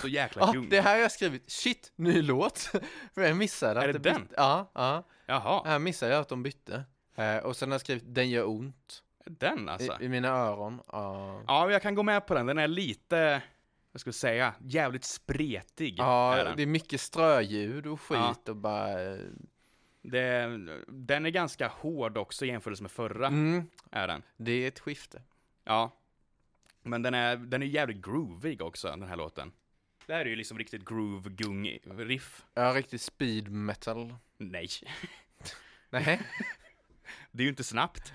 Så jäkla Ah, kung. det här har jag skrivit. Shit, ny låt. [laughs] För jag missade att Är det bytte. den? Ja, ja. Jaha, Här missade jag att de bytte. Eh, och sen har jag skrivit Den gör ont. den alltså. I, I mina öron. Ja, Ja, jag kan gå med på den. Den är lite, vad ska jag säga, jävligt spretig. är ja den. det är mycket ströljud och skit Ja. och bara... eh, Det, den är ganska hård också i jämförelse med förra, Mm, är den. det är ett skifte. Ja. Men den är, den är jävligt groovig också, den här låten. Det här är ju liksom riktigt groove-gung-riff. Ja, riktigt speed metal. Nej, Nej, det är ju inte snabbt.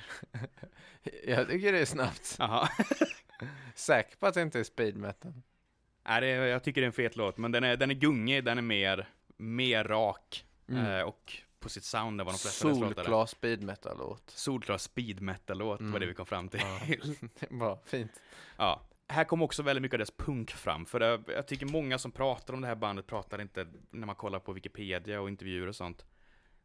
[laughs] jag tycker det är snabbt. Jaha. Säker på att det inte är speed metal. [laughs] Nej, det, jag tycker det är en fet låt, men den är, den är gungig, den är mer, mer rak. Eh, och på sitt sound än vad de flesta av deras låtar är. Mm. Solklar Mm. speed metal-låt. Solklar speed metal-låt var det vi kom fram till. [laughs] [laughs] Bra, fint. Ja. Här kom också väldigt mycket av dess punk fram, för det, jag tycker många som pratar om det här bandet pratar inte, när man kollar på Wikipedia och intervjuer och sånt,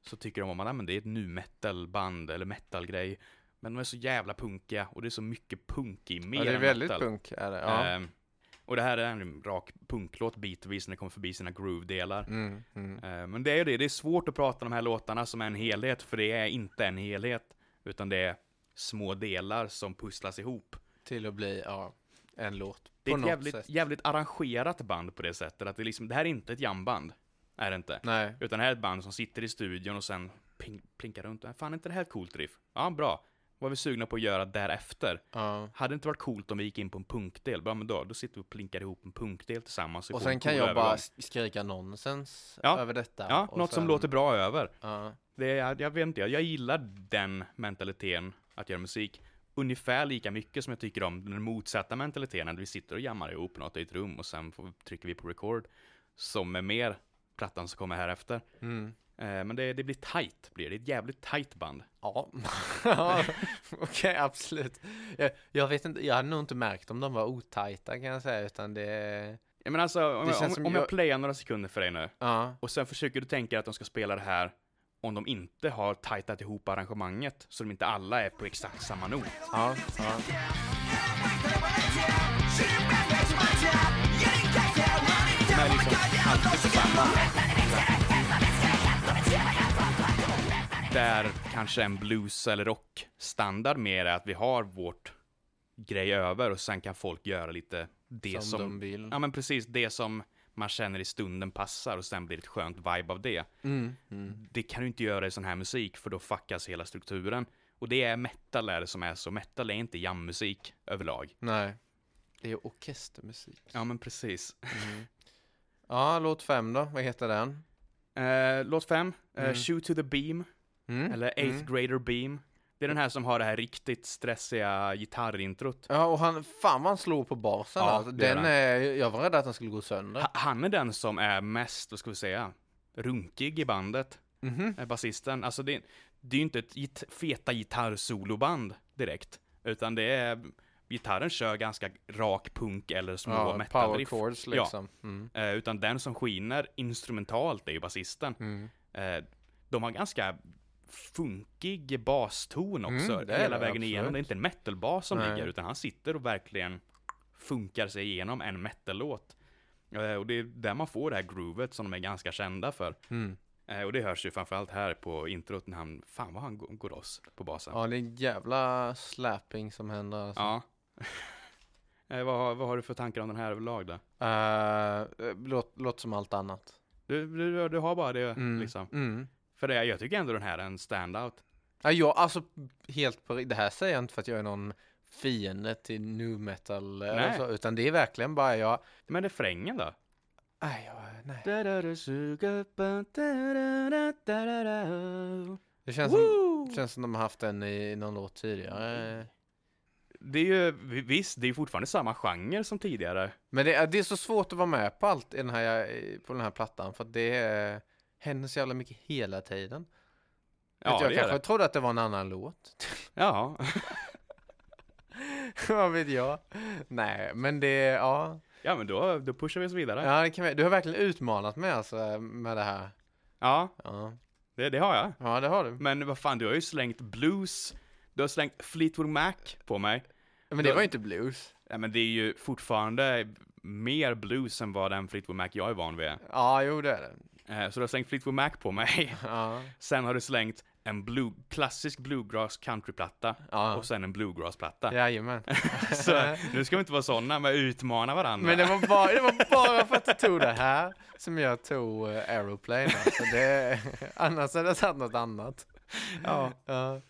så tycker de om att "Ah, men det är ett nu metal-band eller metal-grej. Men de är så jävla punkiga och det är så mycket punk i mer Ja, det är än väldigt metal. punk. Är det? Ja. Ehm, och det här är en rak punklåt bitvis när det kommer förbi sina groove-delar. Mm, mm. Ehm, men det är ju det, det är svårt att prata om de här låtarna som en helhet, för det är inte en helhet, utan det är små delar som pusslas ihop. Till att bli, ja, en låt. Det på är ett något jävligt, sätt. jävligt arrangerat band på det sättet. Att det, är liksom, det här är inte ett jamband. Är det inte. Nej. Utan det här är ett band som sitter i studion och sen ping, plinkar runt. "Äh, Fan, är inte det här ett coolt riff? Ja, bra. Vad är vi sugna på att göra därefter? Ja. Hade det inte varit coolt om vi gick in på en punkdel? Bra, men då, då sitter vi och plinkar ihop en punkdel tillsammans. så vi Och får en sen kan cool jag bara övergång. sk- skrika nonsens Ja. över detta. Ja, och något som sen- låter bra över. Ja. Det är, jag vet inte, jag, jag gillar den mentaliteten att göra musik ungefär lika mycket som jag tycker om den motsatta mentaliteten, att vi sitter och jammar ihop något i ett rum och sen får, trycker vi på record, som är mer plattan som kommer här efter. Mm. Eh, men det, det blir tight, blir det. det är ett jävligt tight band. Ja, Ja, [laughs] okej, absolut. Jag, jag vet inte, jag hade nog inte märkt om de var otajta kan jag säga, utan det... Jag menar alltså, om, Det känns jag, om, som om jag jag- playar några sekunder för dig nu, Ja, och sen försöker du tänka att de ska spela det här om de inte har tajtat ihop arrangemanget, så de inte alla är på exakt samma not. ja, ja. Men liksom, allt är samma. Där kanske en blues eller rockstandard mer är att vi har vårt grej över och sen kan folk göra lite det Som som... de vill. Ja, men precis. Det som man känner i stunden passar och sen blir det ett skönt vibe av det. Mm, mm. Det kan du inte göra i sån här musik för då fuckas hela strukturen. Och det är metal är det som är så. Metal är inte jammusik överlag. Nej. Det är orkestermusik. Ja, men precis. Ja, låt fem då, vad heter den? [laughs] Eh, låt fem, eh, Shoot to the beam. Mm. Eller Eighth Grader Beam. Det är den här som har det här riktigt stressiga gitarrintrot. Ja, och han, fan vad han slår på basen. Ja, alltså. det gör Den han. är, jag var rädd att den skulle gå sönder. Ha- Han är den som är mest, vad ska vi säga, runkig i bandet. Mhm. Eh, Basisten. Alltså det, det är ju inte ett git feta gitarrsoloband direkt. Utan det är gitarren kör ganska rak punk eller små Ja, power metalriff. chords Ja. liksom. Mm. Eh, utan den som skiner instrumentalt är ju basisten. Mm. Eh, de har ganska funkig baston också Mm, det är hela det, vägen absolut. igenom. Det är inte en metalbas som Nej. ligger utan han sitter och verkligen funkar sig igenom en metallåt. Eh, och det är där man får det här groovet som de är ganska kända för. Mm. Eh, och det hörs ju framförallt här på introt när han, fan vad han går går loss på basen. Ja, det är en jävla slapping som händer. Alltså. Ja. [laughs] eh, vad, har- vad har du för tankar om den här överlag då? Eh, låt, låt som allt annat. Du, du, du har bara det Mm. liksom. Mm. För det, jag tycker ändå den här är en standout. Ja, jag, alltså helt på ri- Det här säger jag inte för att jag är någon fiende till nu metal. eh, Nej. Så, utan det är verkligen bara jag. Men refrängen då? Aj, jag nej. Det känns som, det känns som de har haft den i någon låt tidigare. Det är ju, visst, det är ju fortfarande samma genre som tidigare. Men det, är- det är så svårt att vara med på allt i den här, eh, på den här plattan. För att det eh, händer så jävla mycket hela tiden. Ja, Vet jag det är kanske det. trodde att det var en annan låt. Ja. [laughs] Vad vet jag? Nej, men det, ja. ja, men då, då pushar vi oss vidare. Ja, ja det kan, vi- du har verkligen utmanat mig alltså eh, med det här. Ja, det, det har jag. ja det har du. Men vad fan, du har ju slängt blues, du har slängt Fleetwood Mac på mig. Men det var ju inte blues. Ja, men det är ju fortfarande mer blues än vad den Fleetwood Mac jag är van vid. Ja, jo det är det. Eh, Så du har slängt Fleetwood Mac på mig. [laughs] Ja. Sen har du slängt en blue, klassisk bluegrass countryplatta Ja. och sen en bluegrassplatta. Jajamän. [laughs] Så nu ska vi inte vara sådana, men utmana varandra. Men det var, bara, det var bara för att du tog det här som jag tog eh, Aeroplane. Alltså det, [laughs] annars hade jag satt något annat. ja. Ja.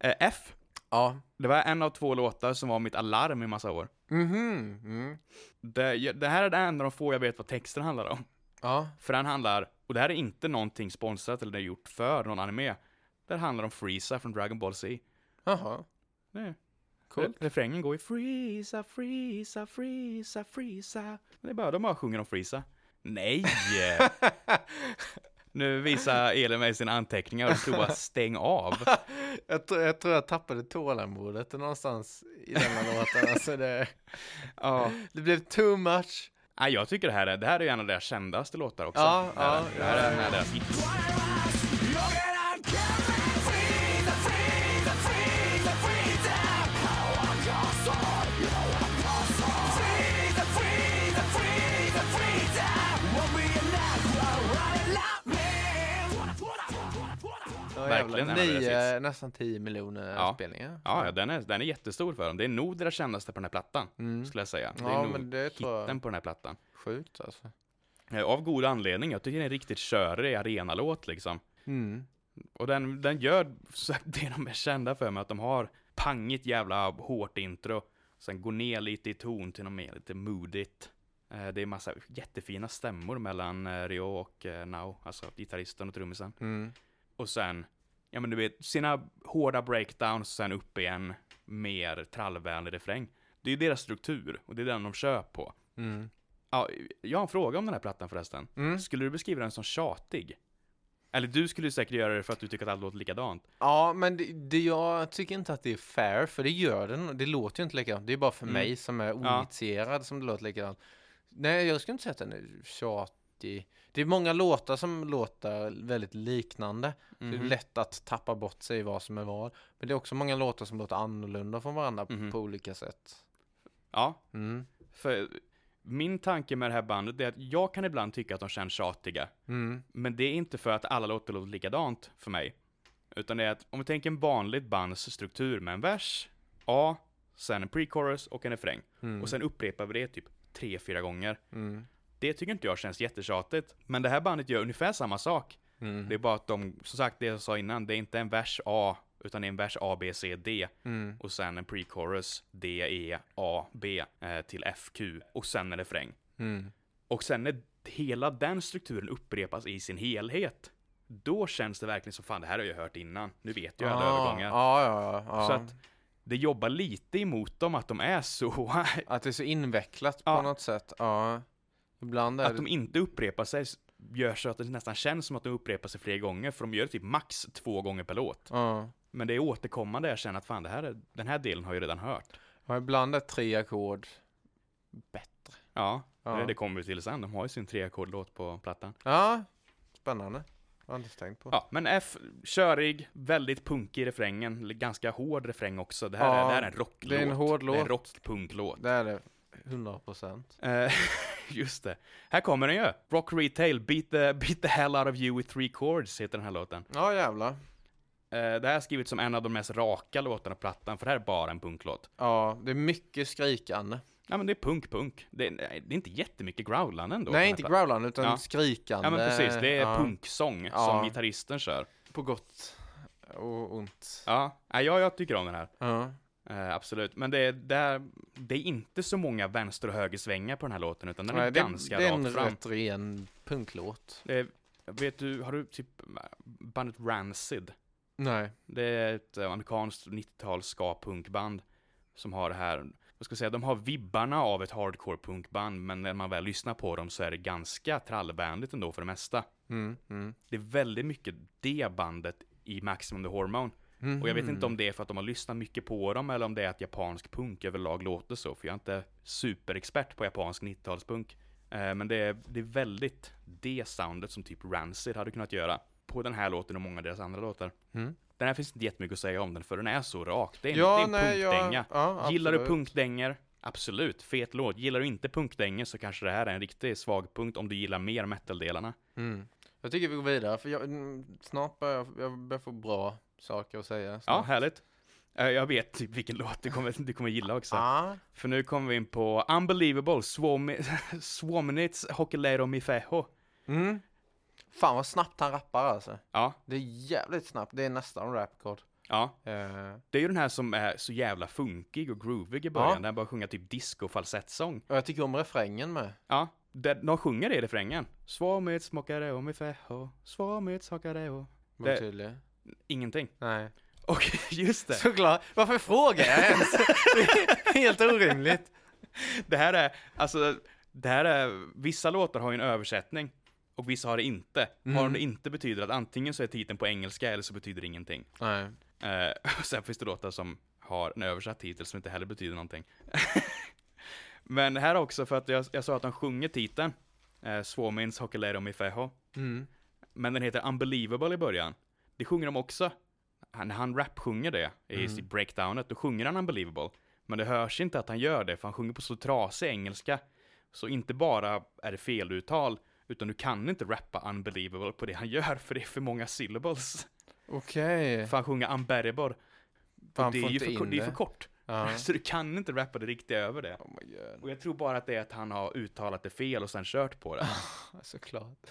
Eh, F. Ja. Det var en av två låtar som var mitt alarm i massa år. Mhm. Mm. Det, jag- det här är det enda av de få jag vet vad texten handlar om. Ja. För den handlar, och det här är inte någonting sponsrat eller gjort för någon anime. Det handlar om Freeza från Dragon Ball Z. Jaha. Nej. Coolt. Refrängen går ju Freeza, Freeza, Freeza, Freeza. Det är bara de bara sjunger om Freeza. [laughs] Nej! nu visar Elin mig sina anteckningar och det stod bara stäng [laughs] av. Jag, tror- jag tror jag tappade tålamodet någonstans i den här låten. Alltså det, Ja. det blev too much. Nej, jag tycker det här är, det här är ju en av deras kändaste låtar också. Ja, det, här, ja, det här är en av deras hits. Ja, Verkligen jävlar. en av deras Nio, nästan 10 miljoner Ja. spelningar. Ja, ja, den är, den är jättestor för dem. Det är nog deras kändaste på den här plattan, skulle jag säga. Det är Mm. Ja, nog men det tror jag. hitten på den här plattan. Sjukt alltså. Eh, Av god anledning. Jag tycker det är en riktigt körig arenalåt liksom. Mm. Och den, den gör så- det de är kända för med att de har pangigt jävla hårt intro. Sen går ner lite i ton till något mer lite moodigt. Eh, Det är massa jättefina stämmor mellan eh, Rio och eh, Nao, alltså gitarristen och trummisen. Mm. Och sen, ja men du vet, sina hårda breakdowns, sen upp igen, mer trallvänlig refräng. Det är ju deras struktur, och det är den de kör på. Mm. Ja, jag har en fråga om den här plattan förresten. Mm. Skulle du beskriva den som tjatig? Eller du skulle ju säkert göra det för att du tycker att allt låter likadant. Ja, men det, det, jag tycker inte att det är fair, för det gör den. Det låter ju inte likadant. Det är bara för Mm. mig som är Ja. oinitierad som det låter likadant. Nej, jag skulle inte säga att den är tjatig. Det är många låtar som låter väldigt liknande. Det Mhm. är lätt att tappa bort sig i vad som är vad. Men det är också många låtar som låter annorlunda från varandra Mhm. på olika sätt. Ja, Mm. för min tanke med det här bandet är att jag kan ibland tycka att de känns tjatiga. Mm. Men det är inte för att alla låter låter likadant för mig. Utan det är att om vi tänker en vanlig bands struktur med en vers, A, sen en pre-chorus och en refräng. Mm. Och sen upprepar vi det typ tre, fyra gånger. Mm. Det tycker inte jag känns jättetjatigt. Men det här bandet gör ungefär samma sak. Mm. Det är bara att de, som sagt det jag sa innan, det är inte en vers A, utan det är en vers A, B, C, D. Mm. Och sen en pre-chorus, D, E, A, B eh, till F, Q. Och sen en refräng. Mm. Och sen när hela den strukturen upprepas i sin helhet, då känns det verkligen som fan det här har jag hört innan. Nu vet jag alla Ah, övergångar. Ja, ja, ja. Så att det jobbar lite emot dem att de är så, [laughs] Att det är så invecklat Ja. på något sätt. Ja. Ibland är att det... de inte upprepar sig gör så att det nästan känns som att de upprepar sig fler gånger, för de gör det typ max två gånger per låt. Ja. Men det är återkommande jag känner att fan, det här är, den här delen har jag ju redan hört. Ja, ibland är tre ackord bättre. Ja, Ja. Det, det kommer vi till sen. De har ju sin treackordlåt på plattan. Ja, spännande. Jag har inte tänkt på. Ja, men F, körig, väldigt punkig i refrängen, eller ganska hård refräng också. Det här, är, Ja, det här är en rocklåt. det är en hård Det är låt. en rockpunklåt. Det är det. 100 procent. Eh, [laughs] Just det. Här kommer den ju! Rock Retail, beat the, beat the hell out of you with three chords heter den här låten. Ja, jävlar. Eh, det här är skrivet som en av de mest raka låtarna på plattan, för det här är bara en punklåt. Ja, det är mycket skrikande. Ja men det är punk, punk. Det är, det är inte jättemycket growlande ändå. på den Nej, här inte plattan. growlande, utan Ja. skrikande. Ja men precis, det är Ja. punksång Ja. som gitarristen kör. På gott och ont. Ja, nej, jag, jag tycker om den här. Ja. Eh, absolut, men det är, det, är, det är inte så många vänster och högersvängar på den här låten, utan den är Nej, det, ganska det är en rakt fram. rätt ren punklåt. Det är, vet du, har du typ bandet Rancid? Nej. Det är ett eh, amerikanskt 90-tals ska-punkband som har det här, vad ska jag säga, de har vibbarna av ett hardcore-punkband, men när man väl lyssnar på dem så är det ganska trallvänligt ändå för det mesta. Mm, mm. Det är väldigt mycket det bandet i Maximum the Hormone. Mm. Och jag vet inte om det är för att de har lyssnat mycket på dem eller om det är att japansk punk överlag låter så, för jag är inte superexpert på japansk 90-talspunk. Eh, Men det är, det är väldigt det soundet som typ Rancid hade kunnat göra på den här låten och många av deras andra låtar. Mm. Den här finns inte jättemycket att säga om den, för den är så rak. Det är en, Ja, det är en nej, jag- punkdänga. ja, Gillar du absolut. punkdänger? Absolut, fet låt. Gillar du inte punkdänger så kanske det här är en riktig svagpunkt om du gillar mer metal-delarna. Mm. Jag tycker vi går vidare, för jag, mm, snart börjar jag, jag börjar få bra saker att säga. Ja, snart. härligt. Eh, Jag vet typ vilken [laughs] låt du kommer, du kommer gilla också. Ah, För nu kommer vi in på Unbelievable, Swami- [laughs] Swamnitz Hokulero Mifeho. Mm. Fan vad snabbt han rappar alltså. Ja, Det är jävligt snabbt, det är nästan rapcord. ja. Eh, Det är ju den här som är så jävla funkig och groovig i början, där han bara sjunger typ disco-falsettsång. och jag tycker om refrängen med. Ja, där de sjunger det i refrängen. Swamnitz Hokulero Mifeho, Swamnitz Hokulero. Var Det- tydlig. Ingenting. [laughs] Nej. Och just det, Såklart, varför frågar jag ens? [laughs] Det är Helt orimligt. det här är, alltså, det här är, vissa låtar har ju en översättning. Och vissa har det inte. Har det inte betyder att antingen så är titeln på engelska eller så betyder det ingenting. Nej. Eh, [laughs] och sen finns det låtar som har en översatt titel som inte heller betyder någonting. [laughs] Men här också för att jag, jag sa att de sjunger titeln. Eh, Swamins Hokulero Mifeho. Mm. Men den heter Unbelievable i början. Det sjunger de också. Han, när han rap-sjunger det i Mm. sitt breakdownet, då sjunger han Unbelievable. Men det hörs inte att han gör det, för han sjunger på så trasig engelska. Så inte bara är det feluttal, utan du kan inte rappa Unbelievable på det han gör, för det är för många syllables. Okej. För han sjunger Unbearable. Fan, Och det, är får ju för, ko- inte Alltså. in det är det. för kort. Ja. [laughs] Så du kan inte rappa det riktigt över det. Oh my god. Och jag tror bara att det är att han har uttalat det fel och sen kört på det. Såklart.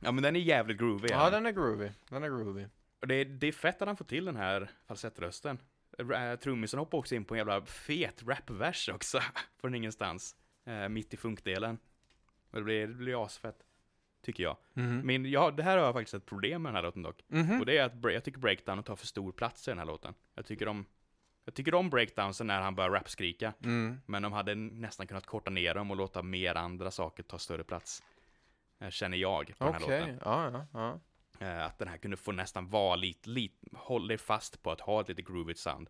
Ja men den är jävligt groovy. Ja, den är groovy. Den är groovy. Och det, är, det är fett att han får till den här falsettrösten. Ra- eh, Trummisen hoppar också in på en jävla fet rapvers också. [laughs] Från ingenstans. Eh, mitt i funkdelen. Och det blir, det blir asfett. Tycker jag. Mhm. Men ja, det här har jag faktiskt ett problem med den här låten dock. Mhm. Och det är att bre- jag tycker breakdown tar för stor plats i den här låten. Jag tycker om, jag tycker om breakdownsen när han börjar rapskrika. Mm. Men de hade nästan kunnat korta ner dem och låta mer andra saker ta större plats. Eh, Känner jag på den här Okej, låten. ja, ja, ja. Eh, Att den här kunde få nästan vara lite, lite håller fast på att ha ett lite groovigt sound.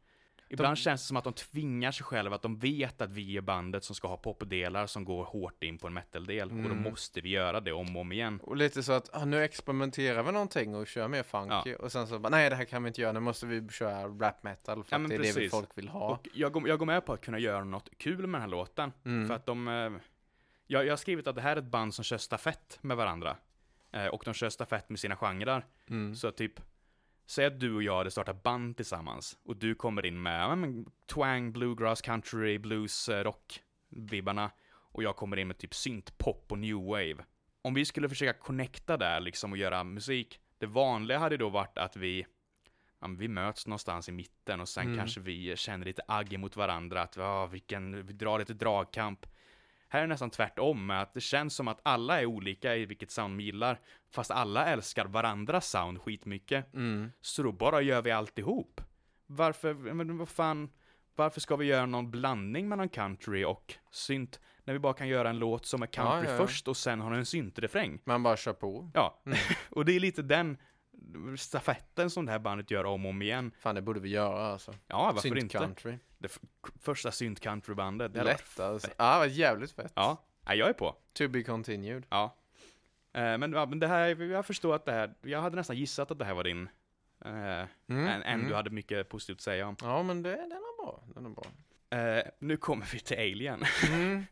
Ibland känns det som att de tvingar sig själva, att de vet att vi är bandet som ska ha popdelar som går hårt in på en metal-del. Och då måste vi göra det om och om igen. Och lite så att ah, nu experimenterar vi någonting och kör mer funky och sen så bara nej det här kan vi inte göra, nu måste vi köra rap metal för Ja, att men det är det vi precis. folk vill ha. Och jag, går- jag går med på att kunna göra något kul med den här låten. För att de... eh, Jag, jag har skrivit att det här är ett band som kör stafett med varandra. Eh, Och de kör stafett med sina genrer. Så typ, säg att du och jag hade startat band tillsammans. Och du kommer in med ja, men, twang, bluegrass, country, blues, eh, rock, vibbarna. Och jag kommer in med typ synt, pop och new wave. Om vi skulle försöka connecta där liksom och göra musik. Det vanliga hade då varit att vi ja, men vi möts någonstans i mitten och sen Mm. kanske vi känner lite agg mot varandra, att "Ah, vilken, vi drar lite dragkamp. Här är det nästan tvärtom, med att det känns som att alla är olika i vilket sound de gillar, fast alla älskar varandras sound skitmycket. Mm. Så då bara gör vi alltihop. Varför, men vad fan, varför ska vi göra någon blandning mellan country och synt, när vi bara kan göra en låt som är country ja, Mm. ja. först [laughs] och sen har den en syntrefräng? Man bara kör på. Ja, och det är lite den stafetten som det här bandet gör om och om igen. Fan, det borde vi göra alltså. Ja, varför Synt inte? country. Det f- första synt-countrybandet. det hade varit- Lätt alltså. Ja, det var jävligt fett. Ja, Nej, jag är på. To be continued. Ja. Eh, Men, ja, men det här, jag förstår att det här, jag hade nästan gissat att det här var din. eh, Mm, än, än mm. du hade mycket positivt att säga om. Ja, men det, den är bra. Den är bra. Eh, nu kommer vi till Alien. [laughs] Mm.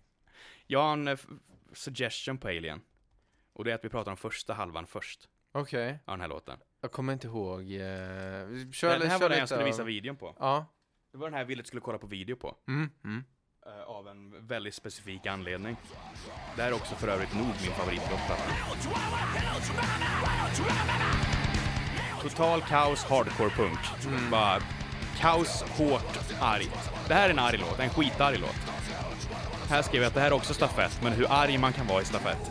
Jag har en eh, f- suggestion på Alien. Och det är att vi pratar om första halvan först, Okej, av den här låten. jag kommer inte ihåg. eh, vi- Kör, Den, den här var den kör lite jag skulle av- visa videon på. Ja. Det var den här jag ville att du skulle kolla på video på. Mm. Mm. eh, Av en väldigt specifik anledning. Det här är också för övrigt nog min favoritlåt. Total kaos, hardcore punk. Bara kaos, hårt, argt. Det här är en arg låt, en skitarg låt. Här skrev jag att det här är också stafett, men hur arg man kan vara i stafett.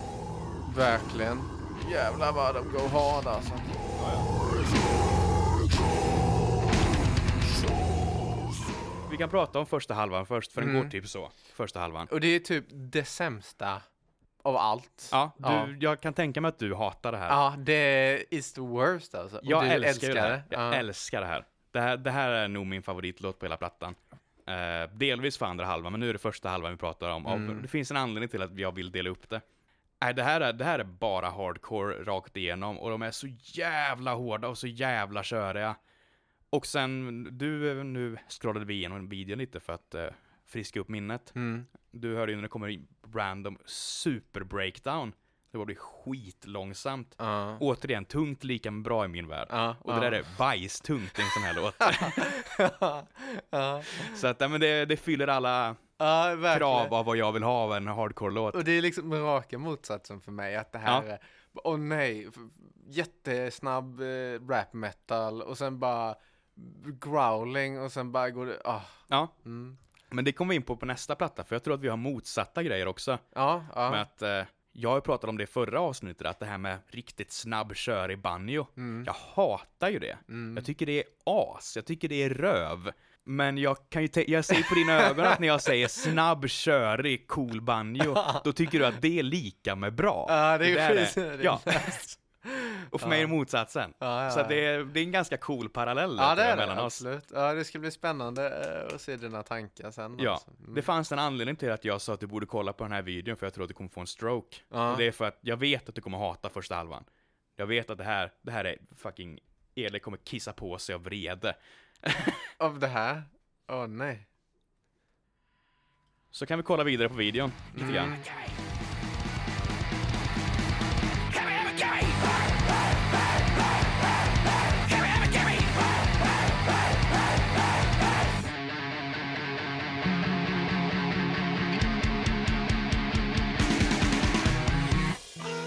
Verkligen. Jävlar vad de går hard alltså. Vi kan prata om första halvan först, för den går typ så. Första halvan. Och det är typ det sämsta av allt. Ja, du, Ja. jag kan tänka mig att du hatar det här. Ja, det is the worst alltså. Och Jag du älskar, ju det här. Jag Ja. älskar det här. Det här. Det här är nog min favoritlåt på hela plattan. Eh, delvis för andra halvan, men nu är det första halvan vi pratar om. Och Mm. Det finns en anledning till att jag vill dela upp det. Nej, det, här är, det här är bara hardcore rakt igenom och de är så jävla hårda och så jävla köriga. Och sen, du, eh, nu scrollade vi igenom videon lite för att eh, friska upp minnet. Mm. Du hörde ju när det kommer in random super-breakdown. Det var det skitlångsamt. Ja. Återigen, tungt lika med bra i min värld. Ja, och det där är bajstungt i en sån här [laughs] låt. Ja. [laughs] [laughs] Så att, nej, men det, det fyller alla Ja, verkligen. krav av vad jag vill ha av en hardcore-låt. Och det är liksom raka motsatsen för mig att det här Ja. är, åh nej, f- jättesnabb eh, rap metal och sen bara growling och sen bara går det, ah, Ja. mm. Men det kommer vi in på på nästa platta, för jag tror att vi har motsatta grejer också. ja, ja. Med att, eh, jag har ju pratat om det i förra avsnittet, att det här med riktigt snabb kör i banjo. Mm. Jag hatar ju det. Jag tycker det är as, jag tycker det är röv. Men jag kan ju te- jag ser på dina ögon att när jag säger snabb, körig, cool banjo, då tycker du att det är lika med bra. Ja, det är där precis- [laughs] det är Ja. [laughs] Och för mig är det motsatsen. Ja, ja, Så att det ja. är, det är en ganska cool parallell ja, det tror jag, är det, mellan oss. absolut. Ja, det ska bli spännande eh, att se dina tankar sen. Ja, alltså. Mm. det fanns en anledning till att jag sa att du borde kolla på den här videon för jag tror att du kommer få en stroke. Ja. Och det är för att jag vet att du kommer hata första halvan. Jag vet att det här, det här är fucking, Eli kommer kissa på sig av vrede. Av det här? Åh nej. Så kan vi kolla vidare på videon lite grann.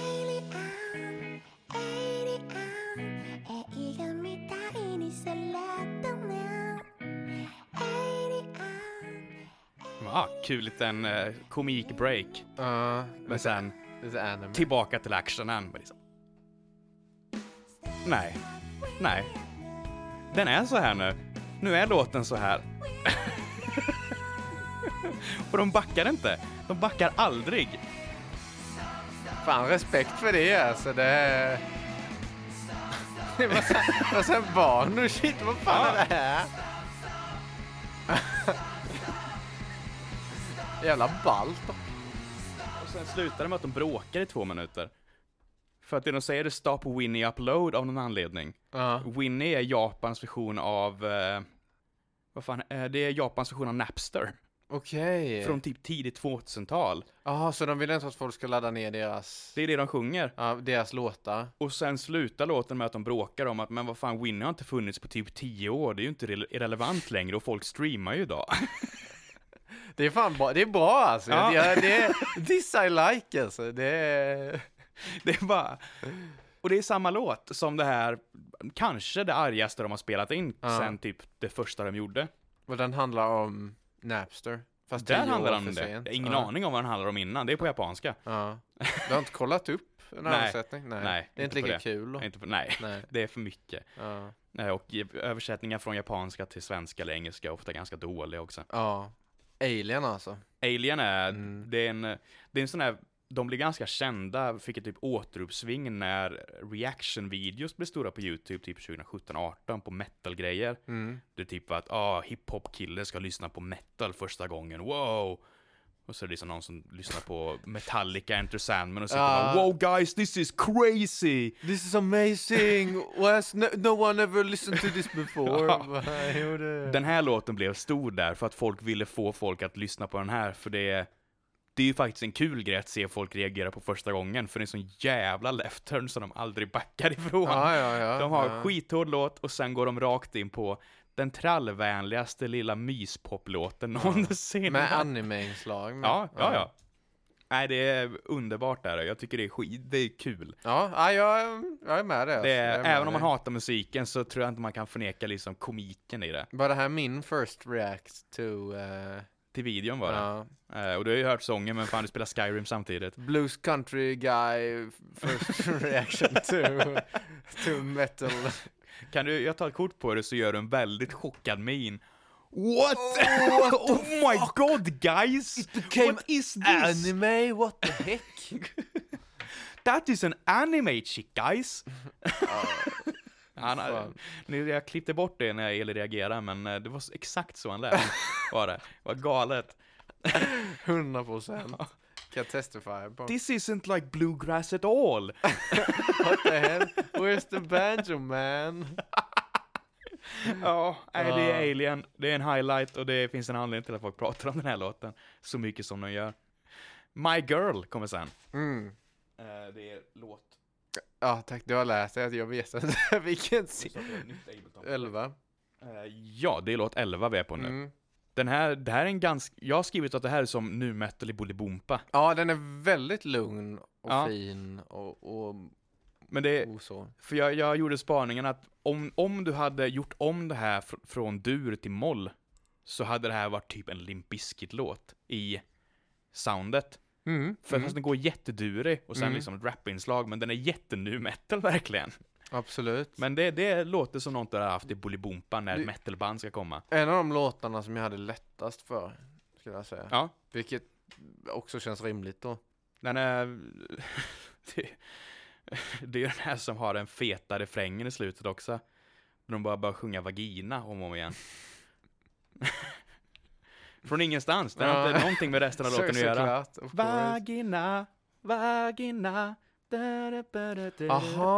Alien, alien 映画みたいにされたね Alien Ja, Ah, kul liten eh, komik-break. Ja, Men sen det är anime. tillbaka till actionen. men Liksom. Nej, nej. Den är så här nu. Nu är låten så här. [laughs] Och de backar inte. De backar aldrig. Fan, respekt för det alltså. Det är... [laughs] Det var så- var sen barn nu. Shit, vad fan är det här? [laughs] Jävla ballt. då. Och sen slutar det med att de bråkar i två minuter. För att det de säger är stop Winnie Upload av någon anledning. Ja. Winnie är Japans version av... Eh, vad fan, eh, det är Japans version av Napster. Okej. Från typ tidigt 2000-tal. Jaha, så de vill inte att folk ska ladda ner deras, Det är det de sjunger. ja, deras låtar? Och sen slutar låten med att de bråkar om att men vad fan, Winnie har inte funnits på typ 10 år, det är ju inte rele- irrelevant längre och folk streamar ju idag. [laughs] Det är fan bra. Det är bra alltså. Ja. Ja. det [laughs] är, this I like alltså. Det är... Det är bara... Och det är samma låt som det här, kanske det argaste de har spelat in Ja. sen typ det första de gjorde. Och den handlar om Napster. Fast Där tio handlar år det om för det. Jag sent. har ingen Ja. aning om vad den handlar om innan, det är på japanska. Ja. Du har inte kollat upp [laughs] en Nej. översättning? Nej. Nej, det är inte inte på lika det. kul. Då. Inte på, nej, Nej. [laughs] det är för mycket. Ja. Nej, Och i- översättningar från japanska till svenska eller engelska är ofta ganska dåliga också. ja. Alien alltså. Mm. Alien är, det, är en, det är en sån här de blev ganska kända, fick ett typ återuppsving när reaction-videos blev stora på YouTube typ 2017-18 på metal-grejer. Mm. Det typ var att ah, hiphop-kille ska lyssna på metal första gången, wow! Och så är det liksom någon som lyssnar på Metallica, Enter Sandman och så Ah. bara wow guys this is crazy! This is amazing! Was no, no one ever listened to this before? [laughs] Ja. Bara, jo, det- Den här låten blev stor där för att folk ville få folk att lyssna på den här för det det är ju faktiskt en kul grej att se folk reagera på första gången för det är en sån jävla left turn som de aldrig backar [laughs] ifrån. ja, ja, ja, De har ja. en skithård låt och sen går de rakt in på den trallvänligaste lilla myspop-låten [laughs] någonsin. Med anime-inslag. men- ja, ja, ja. Nej, det är underbart där. Jag tycker det är skit, det är kul. Ja, ja jag, jag är med det. Det är, även om man har hatar musiken så tror jag inte man kan förneka liksom komiken i det. Var det här min first react to... eh, Till videon var det. ja, Eh, och du har ju hört sången, men fan du spelar Skyrim samtidigt. blues country guy first [laughs] reaction to, to metal. Kan du, jag tar ett kort på det så gör du en väldigt chockad min. What? [laughs] Oh, my god guys! What is this? Anime, what the heck? [laughs] That is an anime chick [laughs] guys! han, fan. nu, jag klippte bort det när jag reagerade, men eh, det var s- exakt så han [laughs] lät. var det. Vad galet. 100 procent. Kan jag testify på. This isn't like bluegrass at all! What the hell? Where's the banjo man? Ja, nej, det är Alien, det är en highlight och det finns en anledning till att folk pratar om den här låten så mycket som de gör. My Girl kommer sen. Mm. Eh, det är låt. Ja, tack. Du har läst det. Jag vet inte [laughs] vilken si- 11. Eh, ja, det är låt 11 vi är på nu. Mm. Den här, det här är en ganska, jag har skrivit att det här är som nu metal i Bolibompa. Ja, den är väldigt lugn och Ja. fin och, och, Men det är, och så. för jag, jag gjorde spaningen att om, om du hade gjort om det här fr, från dur till moll så hade det här varit typ en Limp Bizkit-låt i soundet. Mm. För fast den går jättedurig och sen Mm. liksom ett rapinslag, men den är jättenu metal [laughs] verkligen. Absolut. Men det, det låter som något du har haft i Bolibompa när Du- ett metalband ska komma. En av de låtarna som jag hade lättast för, skulle jag säga. Ja, Vilket också känns rimligt då. den är... [laughs] det, det är ju den här som har den feta refrängen i slutet också. De bara börjar sjunga vagina om och om igen. [laughs] Från ingenstans, den har Ja. inte någonting med [laughs] resten av låten att göra. Såklart, of course. Vagina, vagina, Aha.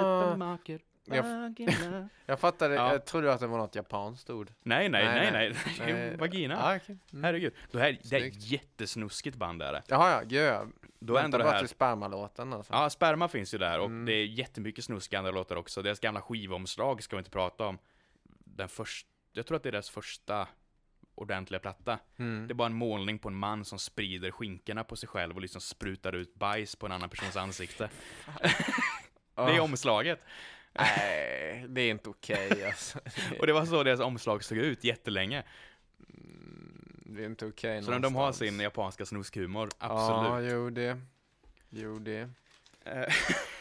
supermarket, Jag- vagina. Jag fattade, Ja. jag trodde att det var något japanskt ord. [laughs] Nej, nej, nej, Nej, nej. Det är Nej. [laughs] Vagina. Ah, okay. mm. Herregud. Det här det är Snyggt. ett jättesnuskigt band där. Jaha, ja, gud ja. Då är ändå Vänta det bara Mm. här. till spermalåten alltså. Ja, sperma finns ju där och det är jättemycket snusk i andra låtar också. Deras gamla skivomslag ska vi inte prata om. Den första, jag tror att det är deras första ordentliga platta. Mm. Det är bara en målning på en man som sprider skinkorna på sig själv och liksom sprutar ut bajs på en annan persons ansikte. det är Ah. omslaget. [laughs] Nej, det är inte okej [laughs] alltså. Och det var så deras omslag såg ut jättelänge. mm, Det är inte okej Så de, de har någonstans. sin japanska snuskhumor, Ja, [laughs] absolut. jo det. Jo det. Eh,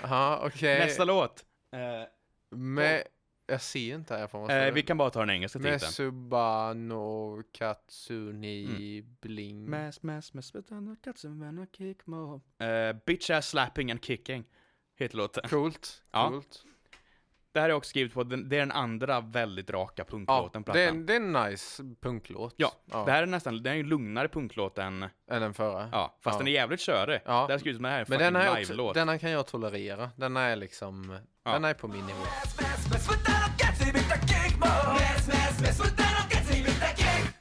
Ja, okej. Nästa låt! eh, Med, jag ser inte här, jag får Eh, vi kan bara ta den engelska titeln. Mesubano Katsuni Mm. Bling. Mass, mass, mass, but I'm not got some man, I kick more. Eh, bitch ass slapping and kicking. Heter låten. Coolt, Ja. coolt. Det här är också skrivet på, den, det är den andra väldigt raka Ja, punklåten på det är, plattan. en- det är en nice punklåt. Ja, det här är nästan, den är ju en lugnare punklåt än, Än den förra. ja, fast Ja. den är jävligt körig. Ja. Det här skrivs som det här är en Men den här, fucking är också, live-låt. den här kan jag tolerera. Den här är liksom, Ja. den här är på min nivå. [laughs]